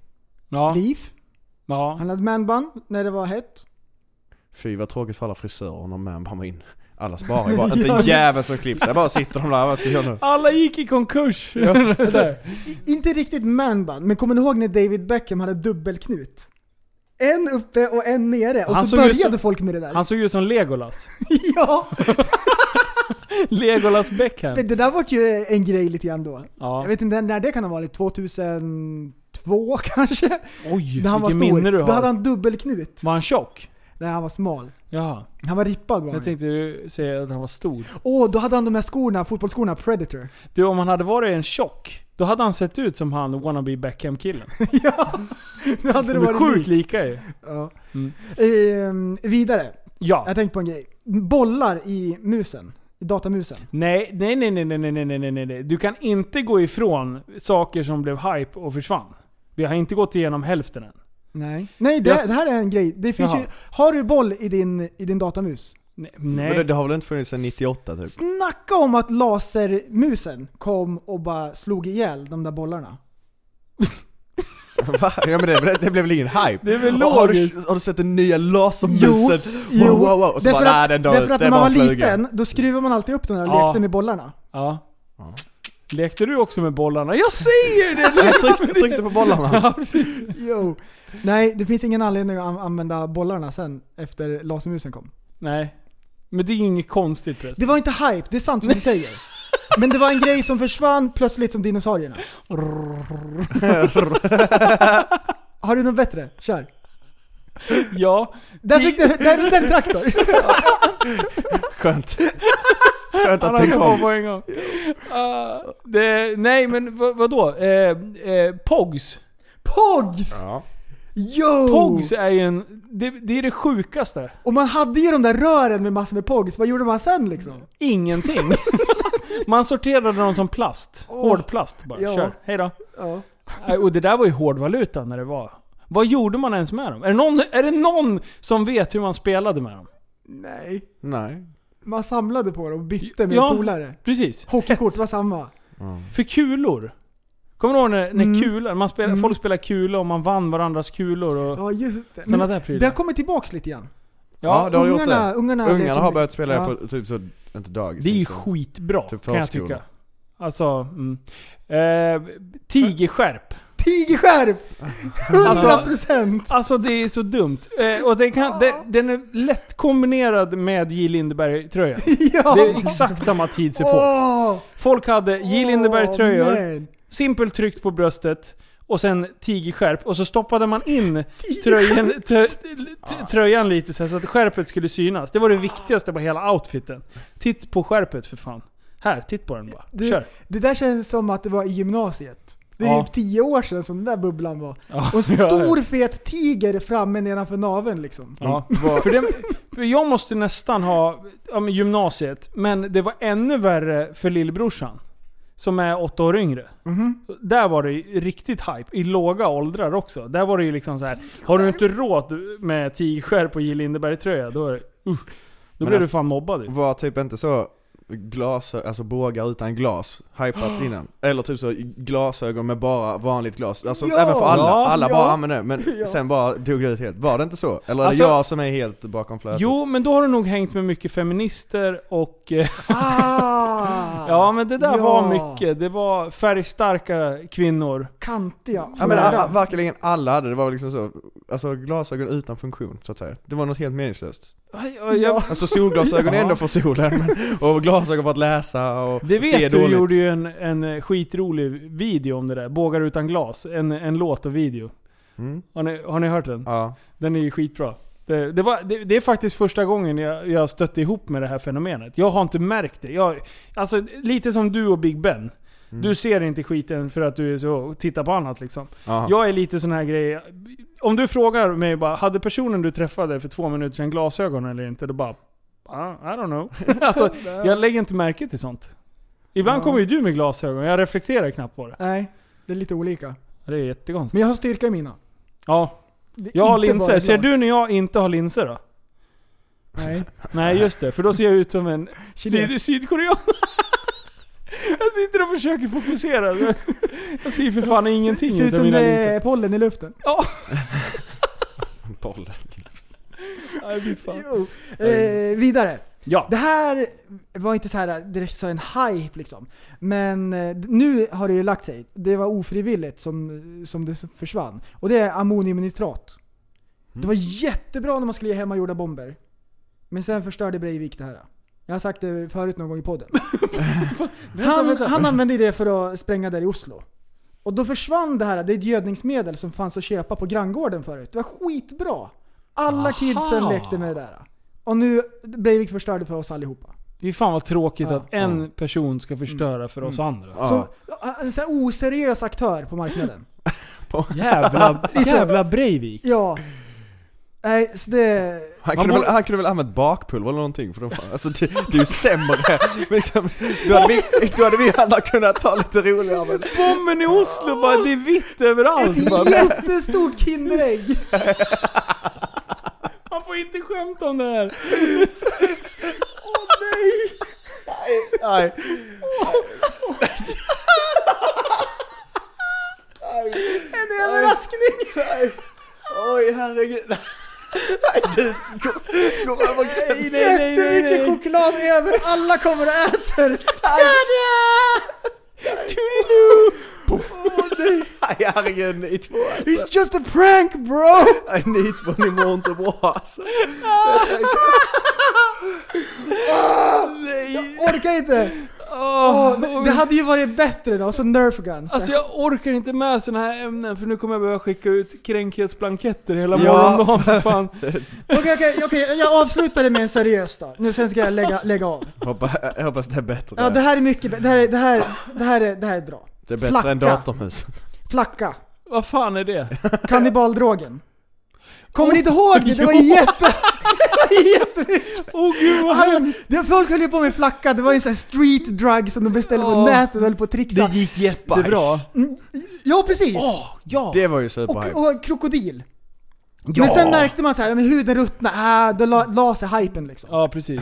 D: ja,
E: Liv,
D: ja.
E: han hade manbun när det var hett.
F: Fy vad tråkigt för alla frisörer när manbun var in. Alla
E: *laughs*
F: sparar ju bara, inte en jävel som klippt sig. Bara sitter de där, vad ska jag göra nu?
D: Alla gick i konkurs. *laughs* Så här.
E: *laughs* I- Inte riktigt manband, men kommer ni ihåg när David Beckham hade dubbelknut? En uppe och en nere, och
D: Han
E: så
D: såg ut
E: började
D: som-
E: folk med det där.
D: Han såg ut som Legolas.
E: *laughs* ja!
D: Legolas Beckham.
E: Men det där var ju en grej lite grann då.
D: Ja.
E: Jag vet inte när det kan ha varit, 2002 kanske?
D: Oj,
E: *laughs* När han var
D: vilken minne
E: stor.
D: du
E: Då
D: har.
E: hade han dubbelknut.
D: Var han tjock?
E: Nej, han var smal.
D: Jaha.
E: Han var rippad var han.
D: Jag tänkte du säga att han var stor.
E: Åh, då hade han de här skorna, fotbollsskorna, Predator. *laughs*
D: Du, om han hade varit en tjock, då hade han sett ut som han wannabe Beckham-killen.
E: ja! Då hade det
D: De är
E: varit
D: sjukt
E: likt.
D: lika ju.
E: Ja.
D: Mm.
E: Ehm, vidare.
D: Ja.
E: Jag tänkte på en grej. Bollar i musen. I datamusen.
D: Nej, nej, nej, nej, nej, nej, nej, nej, nej, nej, nej. Du kan inte gå ifrån saker som blev hype och försvann. Vi har inte gått igenom hälften än.
E: Nej. Nej, det,
D: Jag-
E: det här är en grej. Det finns
D: Jaha.
E: ju, har du boll i din, i din datamus?
D: Nej.
F: Men det,
D: nej.
F: det har väl inte funnits sedan 98 typ? *laughs*
E: Snacka om att lasermusen kom och bara slog ihjäl de där bollarna.
F: Va? Ja men det, blev- det blev väl ingen hype?
D: Det är väl
F: Och har,
D: logiskt.
F: du, har du sett den nya lasermusen?
E: Jo,
F: Wow, wow, wow. Och så
E: därför
F: bara,
E: att,
F: nej den dör
E: därför
F: ut,
E: att
F: det är
E: när man
F: bara
E: var
F: en fluga.
E: liten, då skruvar man alltid upp den där och
D: Ja.
E: lekte med bollarna.
D: Ja. Lekte du också med bollarna? Jag säger det!
F: Jag tryckte, tryckte
E: *laughs*
F: på bollarna.
D: *laughs* Ja, precis.
E: Jo. Nej, det finns ingen anledning att an- använda bollarna sen efter lasermusen kom.
D: Nej. Men det är inget konstigt förresten.
E: Det var inte hype, det är sant som du säger. Men det var en grej som försvann plötsligt som dinosaurierna. Har du något bättre? Kör.
D: Ja.
E: Där fick du, där är den traktor. *laughs*
F: Skönt. Skönt
D: Han
F: att
D: har
F: det
D: kommit på
F: kom.
D: på en gång. Ah, det, nej men vad, vadå? Eh, eh, Pogs.
E: Pogs!
F: Ja.
E: Yo!
D: Pogs är ju en... Det, det är det sjukaste.
E: Och man hade ju de där rören med massor med pogs, vad gjorde man sen liksom? *laughs*
D: Ingenting. Man sorterade dem som plast. Hårdplast bara.
E: Ja.
D: Kör. Hejdå.
E: Ja.
D: Nej, Och det där var ju hårdvaluta när det var. Vad gjorde man ens med dem? Är det, någon, är det någon som vet hur man spelade med dem?
E: Nej.
F: Nej.
E: Man samlade på dem och bytte med
D: Ja.
E: polare.
D: Precis.
E: Hockeykort var samma.
D: För kulor. Kommer du ihåg när, när kulan, man spelade,
E: Mm.
D: folk spelade kulor och man vann varandras kulor och
E: Ja just det.
D: sådana
E: Men
D: där
E: det har
D: prylar?
E: kommit tillbaks lite grann.
F: Ja, det har gjort
E: ungarna,
F: det.
E: ungarna,
F: Ungarna
E: leker
F: har
E: med-
F: börjat spela
E: Ja.
F: på typ så, inte dagis.
D: Det är ju
F: liksom.
D: skitbra
F: Typ
D: kan jag
F: förskola.
D: tycka. Alltså, mm. eh, tigerskärp.
E: Tigerskärp!
D: *laughs*
E: 100%!
D: Alltså det är så dumt. Eh, och den, kan, den, den är lätt kombinerad med J. Lindeberg-tröjan.
E: *laughs* ja!
D: Det är exakt samma tid sig på.
E: Åh!
D: Folk hade J.
E: Åh,
D: Lindeberg-tröjor,
E: men.
D: simpelt tryckt på bröstet och sen tigerskärp. Och så stoppade man in tröjan, tö- t- tröjan lite så, här, så att skärpet skulle synas. Det var det viktigaste på hela outfiten. Titt på skärpet för fan. Här, titt på den bara.
E: Du-
D: Kör.
E: Det där känns som att det var i gymnasiet. Det är
D: Ja.
E: typ tio år sedan som den där bubblan var.
D: *laughs* Ja,
E: Och en
D: ja, ja.
E: stor fet tiger framme nedanför naveln liksom.
D: Ja, för, det, för jag måste nästan ha ja, men gymnasiet, men det var ännu värre för lillbrorsan. Som är åtta år yngre. Där var det ju riktigt hype. I låga åldrar också. Där var det ju liksom så här. Har du inte råd med tigerskärp och J. Lindeberg-tröja, då är det, usch. Då blir du
F: alltså-
D: fan mobbad ju.
F: Var typ inte så glas, alltså bågar utan glas,
D: *gasps*
F: hypat innan. Eller typ så glasögon med bara vanligt glas. Alltså
E: Ja!
F: även för alla,
D: Ja,
F: alla
E: ja.
F: bara använder det. Men
E: Ja.
F: sen bara dog det ut helt. Var det inte så? Eller är det
D: Alltså-
F: jag som är helt bakom flötet?
D: Jo, men då har du nog hängt med mycket feminister och... eh,
E: Ah!
D: *laughs* Ja, men det där
E: Ja.
D: var mycket. Det var färgstarka kvinnor.
E: Kantiga.
F: Ja, men alla,
E: Hårda.
F: verkligen alla hade det, var väl liksom så, alltså glasögon utan funktion så att säga. Det var något helt meningslöst.
D: Jag, jag,
E: Ja.
F: Alltså
D: *laughs*
F: solglasögon är ändå för solen, men, och glasögon för att läsa och
D: Det
F: och se
D: vet du,
F: dåligt.
D: gjorde ju en, en eh, skitrolig video om det där. Bågar utan glas. En, en låt och video.
F: Mm.
D: Har ni, har ni hört den?
F: Ja.
D: Den är ju skitbra. Det, det, var, det, det är faktiskt första gången jag, jag stötte ihop med det här fenomenet. Jag har inte märkt det. Jag, alltså lite som du och Big Ben.
F: Mm.
D: Du ser inte skiten för att du är så, tittar på annat liksom.
F: Aha.
D: Jag är lite sån här grej. Om du frågar mig bara, hade personen du träffade för två minuter sedan glasögon eller inte? Då bara, "Ah, I don't
E: *laughs*
D: know. alltså, jag lägger inte märke till sånt. Ibland
E: Ja.
D: kommer ju du med glasögon, jag reflekterar knappt på det.
E: Nej, det är lite olika.
D: Det är jättekonstigt.
E: Men jag har styrka i mina.
D: Ja,
E: Det är
D: jag har
E: inte bara
D: linser.
E: glas.
D: Ser du när jag inte har linser då?
E: Nej.
D: Nej just det, för då ser jag ut som
E: *laughs*
D: en
E: Kines.
D: syd, sydkorean. *laughs* jag sitter och försöker
E: *laughs*
D: fokusera. Jag ser ju för fan ingenting
E: Ser ut
D: utav
E: som
D: mina
E: det
D: linser.
E: är pollen i luften.
D: Ja,
F: Boll.
D: Nej, fy fan.
E: Jo. Eh, vidare.
D: Ja.
E: Det här var inte så här direkt så en hype liksom. Men eh, nu har det ju lagt sig. Det var ofrivilligt som, som det försvann. Och det är ammoniumnitrat. Det var jättebra när man skulle ge hemmagjorda bomber. Men sen förstörde Breivik det här. Jag har sagt det förut någon gång i podden. han, han använde ju det för att spränga där i Oslo. Och då försvann det här, det är ett gödningsmedel som fanns att köpa på granngården förut. Det var skitbra! Alla kidsen lekte med det där. Och nu, Breivik förstörde för oss allihopa.
D: Fy fan vad tråkigt att en person ska förstöra för oss andra.
E: Så, en sån här oseriös aktör på marknaden.
D: Jävla, jävla Breivik.
E: Ja. Nej, så det...
F: Han
D: Man
F: kunde,
D: borde-
F: väl, han kunde väl använt bakpulver eller någonting för de fan, alltså det, det är ju sämre. Men liksom, då, hade vi, då hade vi alla kunnat ta lite roligare men
D: Bommen i Oslo bara, det är vitt överallt.
E: Ett
D: Bara,
E: jättestort Kinderägg!
D: man får inte skämta om det här.
F: Nej.
E: En överraskning!
F: Oj herregud. *laughs* Nej du, gå, gå över gränsen.
D: Nej, nej, nej,
E: Jättemycket
D: nej.
E: choklad över, alla kommer och äter!
F: Nej herregud, ni två alltså.
E: It's just a prank bro!
F: Nej, Ni två, ni mår inte bra alltså.
E: Jag orkar inte! Åh, men det hade ju varit bättre då, så Nerf guns.
D: Alltså jag orkar inte med såna här ämnen för nu kommer jag behöva skicka ut kränkhetsblanketter hela
F: Ja.
D: morgondagen för fan.
E: Okej, okej, okej, jag avslutar det med en seriös då. Nu sen ska jag lägga, lägga av.
F: Hoppas, jag hoppas det är bättre.
E: Ja, det här är mycket bä- det här är, det här, det här är, det här är bra.
F: det är bättre än
E: Flacka.
F: datormus.
E: Flacka.
D: Vad fan är det?
E: Kannibaldrogen. Kommer ni inte ihåg det? Det var ju jätte... det var ju
D: *laughs*
E: jättemycket.
D: Åh gud vad
E: Alla-
D: hemskt!
E: det- Folk höll ju på med flacka, det var ju sån här street drug som de beställde på
D: Ja.
E: nätet och höll på att trixa.
D: gick jättebra.
E: Ja, precis!
D: Ja!
F: Det var ju
E: Och,
F: superhype.
E: och krokodil. Men sen märkte man så här, men huden ruttnade, ah, då la, la sig hypen liksom.
D: Ja precis.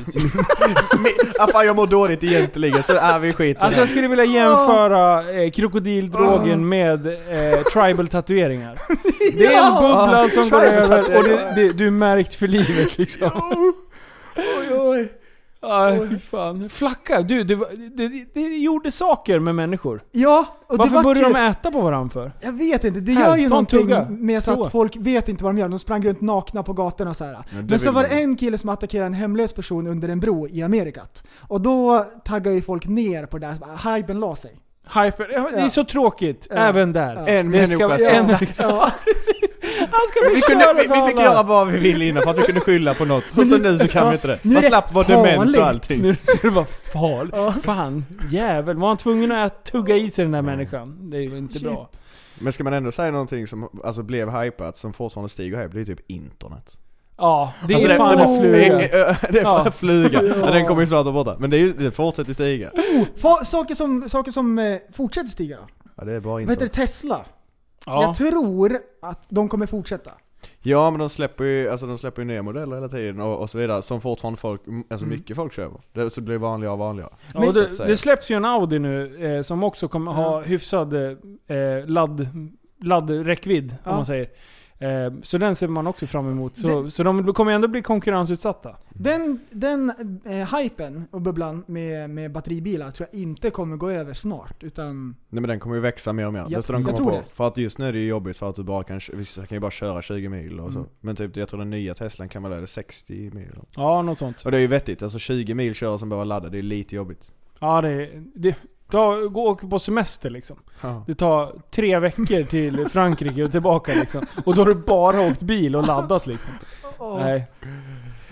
F: Ah, fan jag mår dåligt egentligen så är vi skiter i det.
D: Alltså jag skulle vilja jämföra eh, krokodildrogen med eh, tribal tatueringar.
E: *laughs*
D: Det är en bubbla som går över och det, det, du är märkt för livet liksom.
E: Oj, oj.
D: Ja, fy fan. Flacka, du, det, var- det, det, det gjorde saker med människor.
E: Ja, och det
D: Varför
E: var
D: började
E: ju,
D: de äta på varandra för?
E: Jag vet inte, det
D: Här,
E: gör
D: ta
E: ju
D: en
E: någonting
D: tugga.
E: med så
D: Prova.
E: att folk vet inte vad de gör, de sprang runt nakna på gatorna och så här.
F: det
E: Men,
F: vill
E: så var det
F: man.
E: en kille som attackerade en hemlös person under en bro i Amerikat. Och då taggade ju folk ner på det där, så bara, hypen la sig.
D: Hyper, ja, det är
E: Ja.
D: så tråkigt.
E: Ja.
D: Även där.
F: En
D: det ska,
F: människa ska-
D: en,
F: Ja.
E: *laughs*
D: *laughs*
E: Ja.
D: Han ska
F: Vi,
D: förstöra
F: kunde, vi, vi
D: för
F: fick
D: alla.
F: göra vad vi ville innan för att vi kunde skylla på något. Och så nu så kan vi inte det.
E: nu är
F: Man
E: det
F: slapp vara dement
E: farligt.
F: och allting.
D: Nu ska det vara farligt. Fan, jävel. Var han tvungen att tugga i sig den där människan? Det är ju inte bra.
F: Men ska man ändå säga någonting som alltså, blev hypat, som fortfarande stiger hype, det är typ internet.
D: Ja, det är
F: Alltså,
D: ju fan
F: det,
D: en fluga.
F: *laughs* Det är fan
D: Ja.
F: en fluga. Ja. Den kommer ju snart att vara borta. Men det, är ju, det fortsätter stiga.
E: Fa- saker som, saker som eh, fortsätter stiga då.
F: Ja det är bara
E: Vad heter det?
F: internet.
E: Tesla.
D: Ja.
E: Jag tror att de kommer fortsätta.
F: Ja men de släpper ju, alltså, de släpper ju nya modeller hela tiden och, och så vidare. Som fortfarande folk, alltså mycket folk köper. Det, så det blir vanligare och vanligare.
D: Ja, och
F: så att
D: det,
F: säga.
D: det släpps ju en Audi nu eh, som också kommer ha hyfsad eh, ladd, laddräckvidd
E: Ja.
D: om man säger. Eh, så den ser man också fram emot. Så, så de kommer ju ändå bli konkurrensutsatta.
E: Den, den eh, hypen och bubblan med, med batteribilar tror jag inte kommer gå över snart. Utan
F: Nej men den kommer ju växa mer och mer.
E: Ja,
F: Desto de
E: jag
F: kommer
E: tror
F: på.
E: det.
F: För att just nu är det ju jobbigt för att du bara kan, vissa kan ju bara köra 20 mil och så.
E: Mm.
F: Men typ jag tror den nya Teslan kan vara där 60 mil.
D: Ja, något sånt.
F: Och det är ju vettigt, alltså 20 mil köra som behöver ladda, det är lite jobbigt.
D: Ja, det, det, ta, gå och åka på semester liksom.
F: Ja.
D: Det tar tre veckor *laughs* till Frankrike och tillbaka liksom. Och då har du bara åkt bil och laddat liksom. Nej.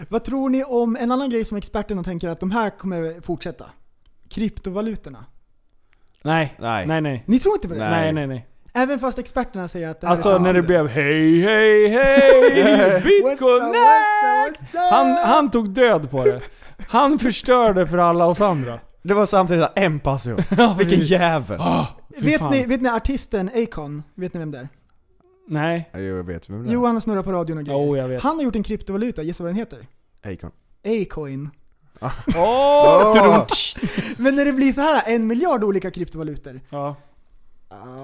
E: vad tror ni om en annan grej som experterna tänker att de här kommer fortsätta? Kryptovalutorna.
D: Nej.
F: Nej.
D: Nej, nej.
E: Ni tror inte på det?
D: Nej, nej, nej.
E: Även fast experterna säger att det här
D: Alltså
E: är
D: när det
E: framtiden.
D: blev hej, hej, *laughs* hej, bitcoin, nej! Han, han tog död på det. Han förstörde för alla oss
F: *laughs*
D: andra.
F: Det var samtidigt där
E: *laughs*
F: en person. Vilken jävel!
E: Ah.
D: Fy
E: Vet
D: fan.
E: ni, vet ni artisten Akon? Vet ni vem det är?
D: Nej.
F: Ja, Jo jag vet vem det är.
E: Johan har snurrat på radion och grejer.
D: Jo, jag vet.
E: Han har gjort en kryptovaluta, gissa vad den heter?
F: Akon.
E: A-coin.
D: Åh!
F: Åh!
E: Men när det blir så här en miljard olika kryptovalutor.
D: Ja.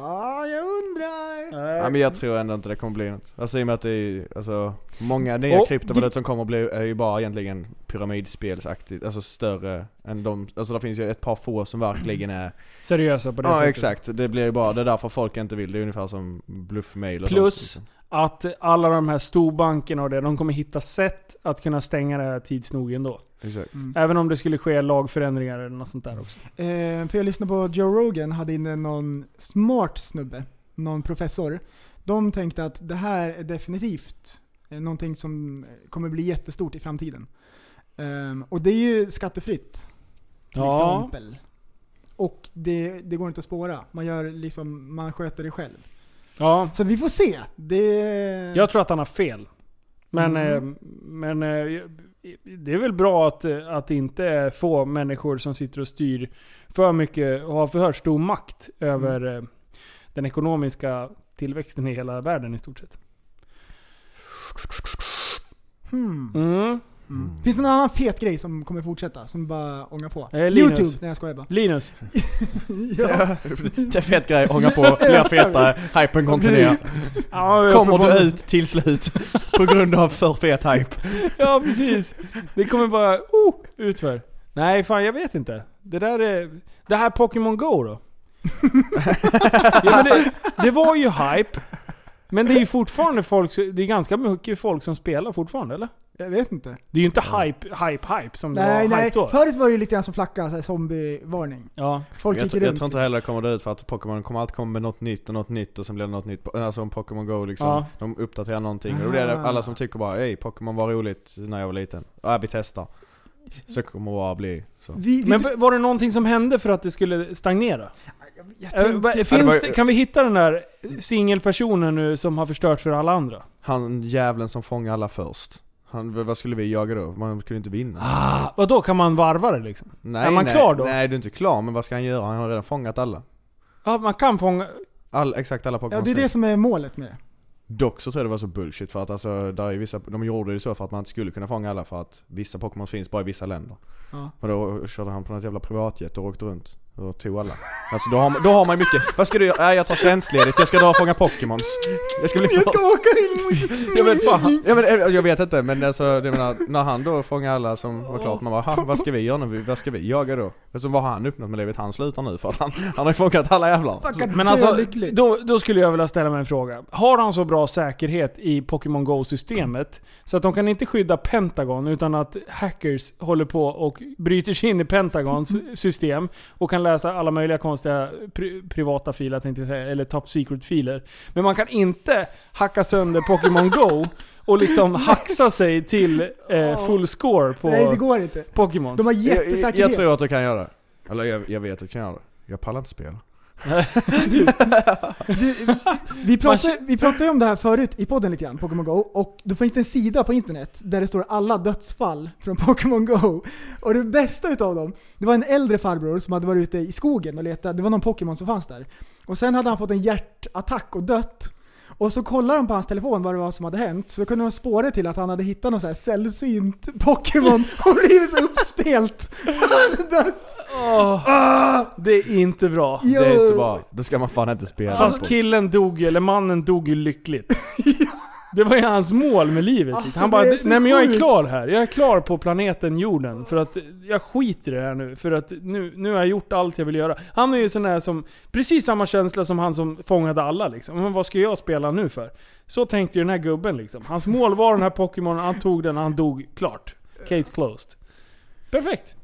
E: Ah, jag undrar.
F: Nej men jag tror ändå inte det kommer bli något. Alltså i och med att det är ju, alltså, många nya
D: Och
F: kryptovalutor som kommer bli är ju bara egentligen pyramidspelsaktigt, alltså större än de, alltså det finns ju ett par få som verkligen är
D: Seriösa på det
F: Ja
D: sättet.
F: exakt, det blir ju bara, det är därför folk inte vill, det är ungefär som bluffmail och
D: Plus-
F: sånt.
D: Att alla de här storbankerna och det, de kommer hitta sätt att kunna stänga det här tids nog ändå.
F: Exakt.
E: Mm.
D: Även om det skulle ske lagförändringar eller något sånt där också.
E: Eh, för jag lyssnade på Joe Rogan, hade inne någon smart snubbe, någon professor. De tänkte att det här är definitivt Eh, Någonting som eh, kommer bli jättestort i framtiden. Ehm, och det är ju skattefritt. Till
D: Ja.
E: exempel. Och det, det går inte att spåra. Man, gör liksom, man sköter det själv.
D: Ja,
E: Så vi får se. Det...
D: jag tror att han har fel. Men,
E: Mm.
D: eh, men eh, det är väl bra att, eh, att det inte är få människor som sitter och styr för mycket och har för stor makt över eh, den ekonomiska tillväxten i hela världen i stort sett.
E: Hmm.
D: Mm.
E: Finns det någon annan fet grej som kommer fortsätta? Som bara ångar på?
D: Eh, Linus.
E: Youtube! Nej jag skojar bara.
D: Linus,
E: Ja.
F: Det är fet grej, ånga på, blir feta, hypen kontinuerar.
D: ja,
F: Kommer
D: apropå-
F: du ut till slut på grund av för fet hype?
D: *laughs* Ja, precis. Det kommer bara oh, utför. Nej, fan jag vet inte. Det där är... Det här Pokémon Go
E: *laughs*
D: då? ja, men det, det var ju hype. Men det är ju fortfarande folk, så- det är ganska mycket folk som spelar fortfarande eller?
E: Jag vet inte.
D: Det är ju inte hype, hype, hype som det
E: Nej,
D: var
E: nej.
D: hype då.
E: Förut var det ju lite grann som flacka, så här zombievarning.
D: Ja.
E: Folk
F: Jag,
E: gick
F: tr- jag
E: runt.
F: tror inte heller det kommer dö ut för att Pokémon kommer alltid komma med något nytt och något nytt och sen blir det något nytt. Po- Alltså om Pokémon Go liksom,
D: Ja. Ah.
F: de uppdaterar någonting och då blir det alla som tycker bara Ey, Pokémon var roligt när jag var liten. Ja, vi testar. Så det kommer bara bli så.
E: Vi, vi,
D: Men var det någonting som hände för att det skulle stagnera?
E: jag
D: Eh,
E: tänkte-
D: va-
F: det var ju-
D: Finns det, kan vi hitta den där singelpersonen nu som har förstört för alla andra?
F: Han jävlen som fångade alla först. Han, v- vad skulle vi jaga då? Man kunde inte vinna.
D: Ah, vadå, kan man varva det liksom?
F: nej,
D: är man
F: nej,
D: klar då?
F: Nej, du är inte klar, men vad ska han göra? Han har redan fångat alla.
D: Ja, man kan fånga...
F: All, exakt alla Pokémon
E: ja, det är
F: som
E: det som är målet med det.
F: Dock så tror jag det var så bullshit för att alltså, där är vissa, de gjorde det så för att man inte skulle kunna fånga alla för att vissa Pokémons finns bara i vissa länder.
E: Ja.
F: Och då körde han på något jävla privatjet och åkte runt och tog alla. Alltså då har man, då har man ju mycket, vad ska du göra? Nej jag tar tjänstledigt, jag ska dra och fånga Pokémons. Jag ska bli först.
E: åka in
F: Jag vet, fan. Jag, men, eh, jag vet inte men alltså, jag menar, när han då fångade alla som var klart, man bara "Ha, vad ska vi göra nu? Vad ska vi jaga då? Alltså vad har han uppnått med livet? Han slutar nu för att han, han har ju fångat alla jävlar.
D: Men alltså, då, då skulle jag vilja ställa mig en fråga. Har de så bra säkerhet i Pokémon Go-systemet så att de kan inte skydda Pentagon utan att hackers håller på och bryter sig in i Pentagons
E: Mm.
D: system och kan läsa alla möjliga konstiga pri- privata filer, tänkte jag säga, eller top secret-filer. Men man kan inte hacka sönder Pokémon Go och
E: *laughs*
D: liksom haxa sig till eh, full score på
E: Nej, det går inte.
D: Pokémons.
E: De har
F: Jag, jag, jag
E: jättesäkerhet.
F: tror att du kan göra det. Eller jag, jag vet att du kan göra det. Jag pallar inte spela.
E: Vi pratade, vi pratade ju om det här förut i podden lite grann, Pokémon Go, och då finns det en sida på internet där det står alla dödsfall från *laughs* Pokémon Go. Och det bästa utav dem, det var en äldre farbror som hade varit ute i skogen och letat, det var någon Pokémon som fanns där. Och sen hade han fått en hjärtattack och dött. Och så kollade de på hans telefon vad det var som hade hänt, så då kunde de spåra det till att han hade hittat någon så här
D: *laughs*
E: sällsynt Pokémon och blivit så uppspelt. Så han hade dött.
D: Åh, det är inte bra.
E: Jo.
F: Det är inte bra. Då ska man fan inte spela.
E: Alltså,
F: Alltså,
D: Fast Alltså, killen dog ju, eller mannen dog ju
E: *laughs*
D: lyckligt. Det var ju hans mål med livet. liksom.
E: Alltså,
D: han bara
E: det är så
D: nej men jag är
E: sjukt."
D: klar här. Jag är klar på planeten jorden. För att jag skiter i det här nu. För att nu, nu har jag gjort allt jag vill göra. Han är ju sån där som, precis samma känsla som han som fångade alla liksom. Men vad ska jag spela nu för? Så tänkte ju den här gubben liksom. Hans mål var den här Pokémon, han tog den, han dog. Klart. Case closed. Perfekt.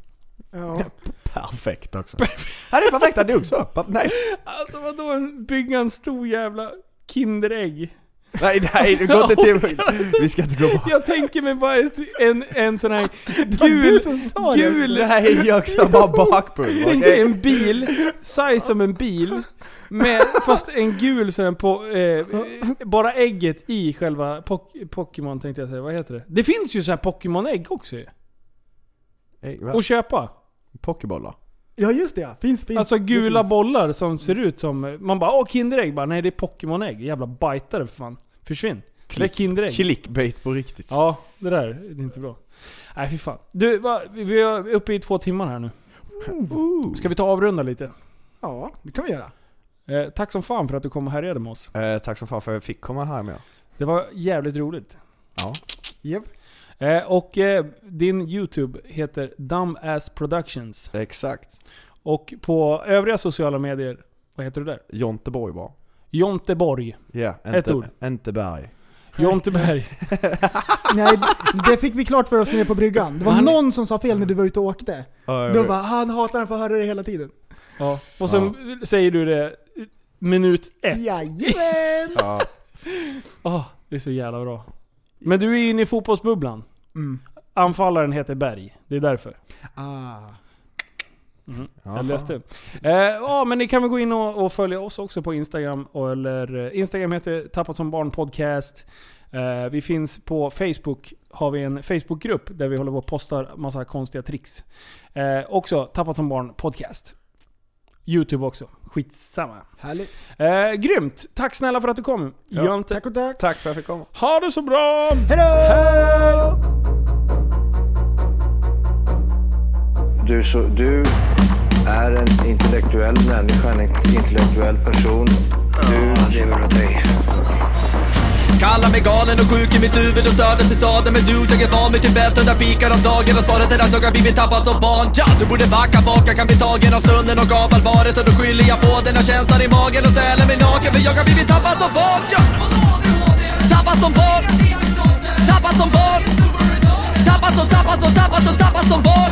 E: Ja.
F: Perfekt *laughs* också. Ja det är perfekt, han dog så. Pa- Nej,
D: Alltså vadå en, bygga en stor jävla Kinderägg?
F: nej, nej du går inte *laughs* till... Vi ska inte gå på...
D: Jag tänker mig bara ett, en, en sån
E: *laughs*
D: här
E: var du
D: gul,
E: som sa det.
D: gul,
F: Nej *laughs* jag ska bara *laughs* bakpulver.
D: tänk dig
F: okej?
D: en bil, size som en bil, med, fast en gul sån här på, eh, bara ägget i själva pok- Pokémon tänkte jag säga, vad heter det? Det finns ju så här Pokémon-ägg också ju.
F: Hey, va?
D: Att köpa.
F: Pokébollar.
E: Ja just det ja. finns, finns.
D: Alltså
E: det
D: gula
E: finns. Mm.
D: bollar som ser ut som, man bara åh Kinderägg, bara, nej det är Pokémon-ägg, jävla bajtare för fan. Försvinn. Det är
F: Klick-
D: Kinderägg.
F: Clickbait på riktigt.
D: Ja, det där det är inte bra. Nej fy fan. Du, va, vi är uppe i två timmar här nu. Ska vi ta och avrunda lite?
E: Ja, det kan vi göra.
D: Eh, tack som fan för att du kom och härjade med oss.
F: Eh, tack som fan för att jag fick komma här med.
D: Det var jävligt roligt.
F: Ja.
E: Japp.
D: Eh, och eh, din YouTube heter Dumbass Productions.
F: Exakt.
D: Och på övriga sociala medier, vad heter du där?
F: Jonteborg bara.
D: Jonteborg.
F: Ja,
D: Ett ord.
F: inte, inte berg.
D: Jonteberg.
E: Nej, det fick vi klart för oss nere på bryggan. Det var
D: Men han-
E: någon som sa fel när du var ute och åkte.
F: Ja, jag
E: Då
F: vet.
E: bara, han hatar den för att höra det hela tiden.
D: Ja. Och sen säger du det minut ett.
E: Jajamän!
F: *laughs* Ja.
D: Ah, det är så jävla bra. Men du är inne i fotbollsbubblan.
E: Mm.
D: Anfallaren heter Berg. Det är därför. Mhm.
E: Ah.
F: Jaha.
D: Jag läste. Eh, ja, men ni kan väl gå in och, och följa oss också på Instagram. Och, eller, eh, Instagram heter Tappat som barn podcast. Eh, vi finns på Facebook. Har vi en Facebookgrupp där vi håller på och postar massa konstiga tricks. Eh, också Tappat som barn podcast. Youtube också. Skitsamma.
E: Härligt.
D: Eh, grymt! Tack snälla för att du kom. Jonte.
F: Tack och tack. Tack för att jag fick komma.
D: Ha det så bra!
E: Hejdå!
C: Du, är så, du är en intellektuell människa, en intellektuell person. Du lever åt dig.
A: Kallar mig galen och sjuk i mitt huvud och stördes i staden Men du, jag är van vid Tibet och där fikar om dagen Och svaret är att jag har blivit tappad som barn ja, Du borde backa bak, jag kan bli tagen av stunden och av allvaret Och då skyller jag på den här känslan i magen och ställer mig naken För jag har blivit tappad som barn ja. Tappad som barn Tappad som barn Tappad som, tappad som, tappad som, tappad som barn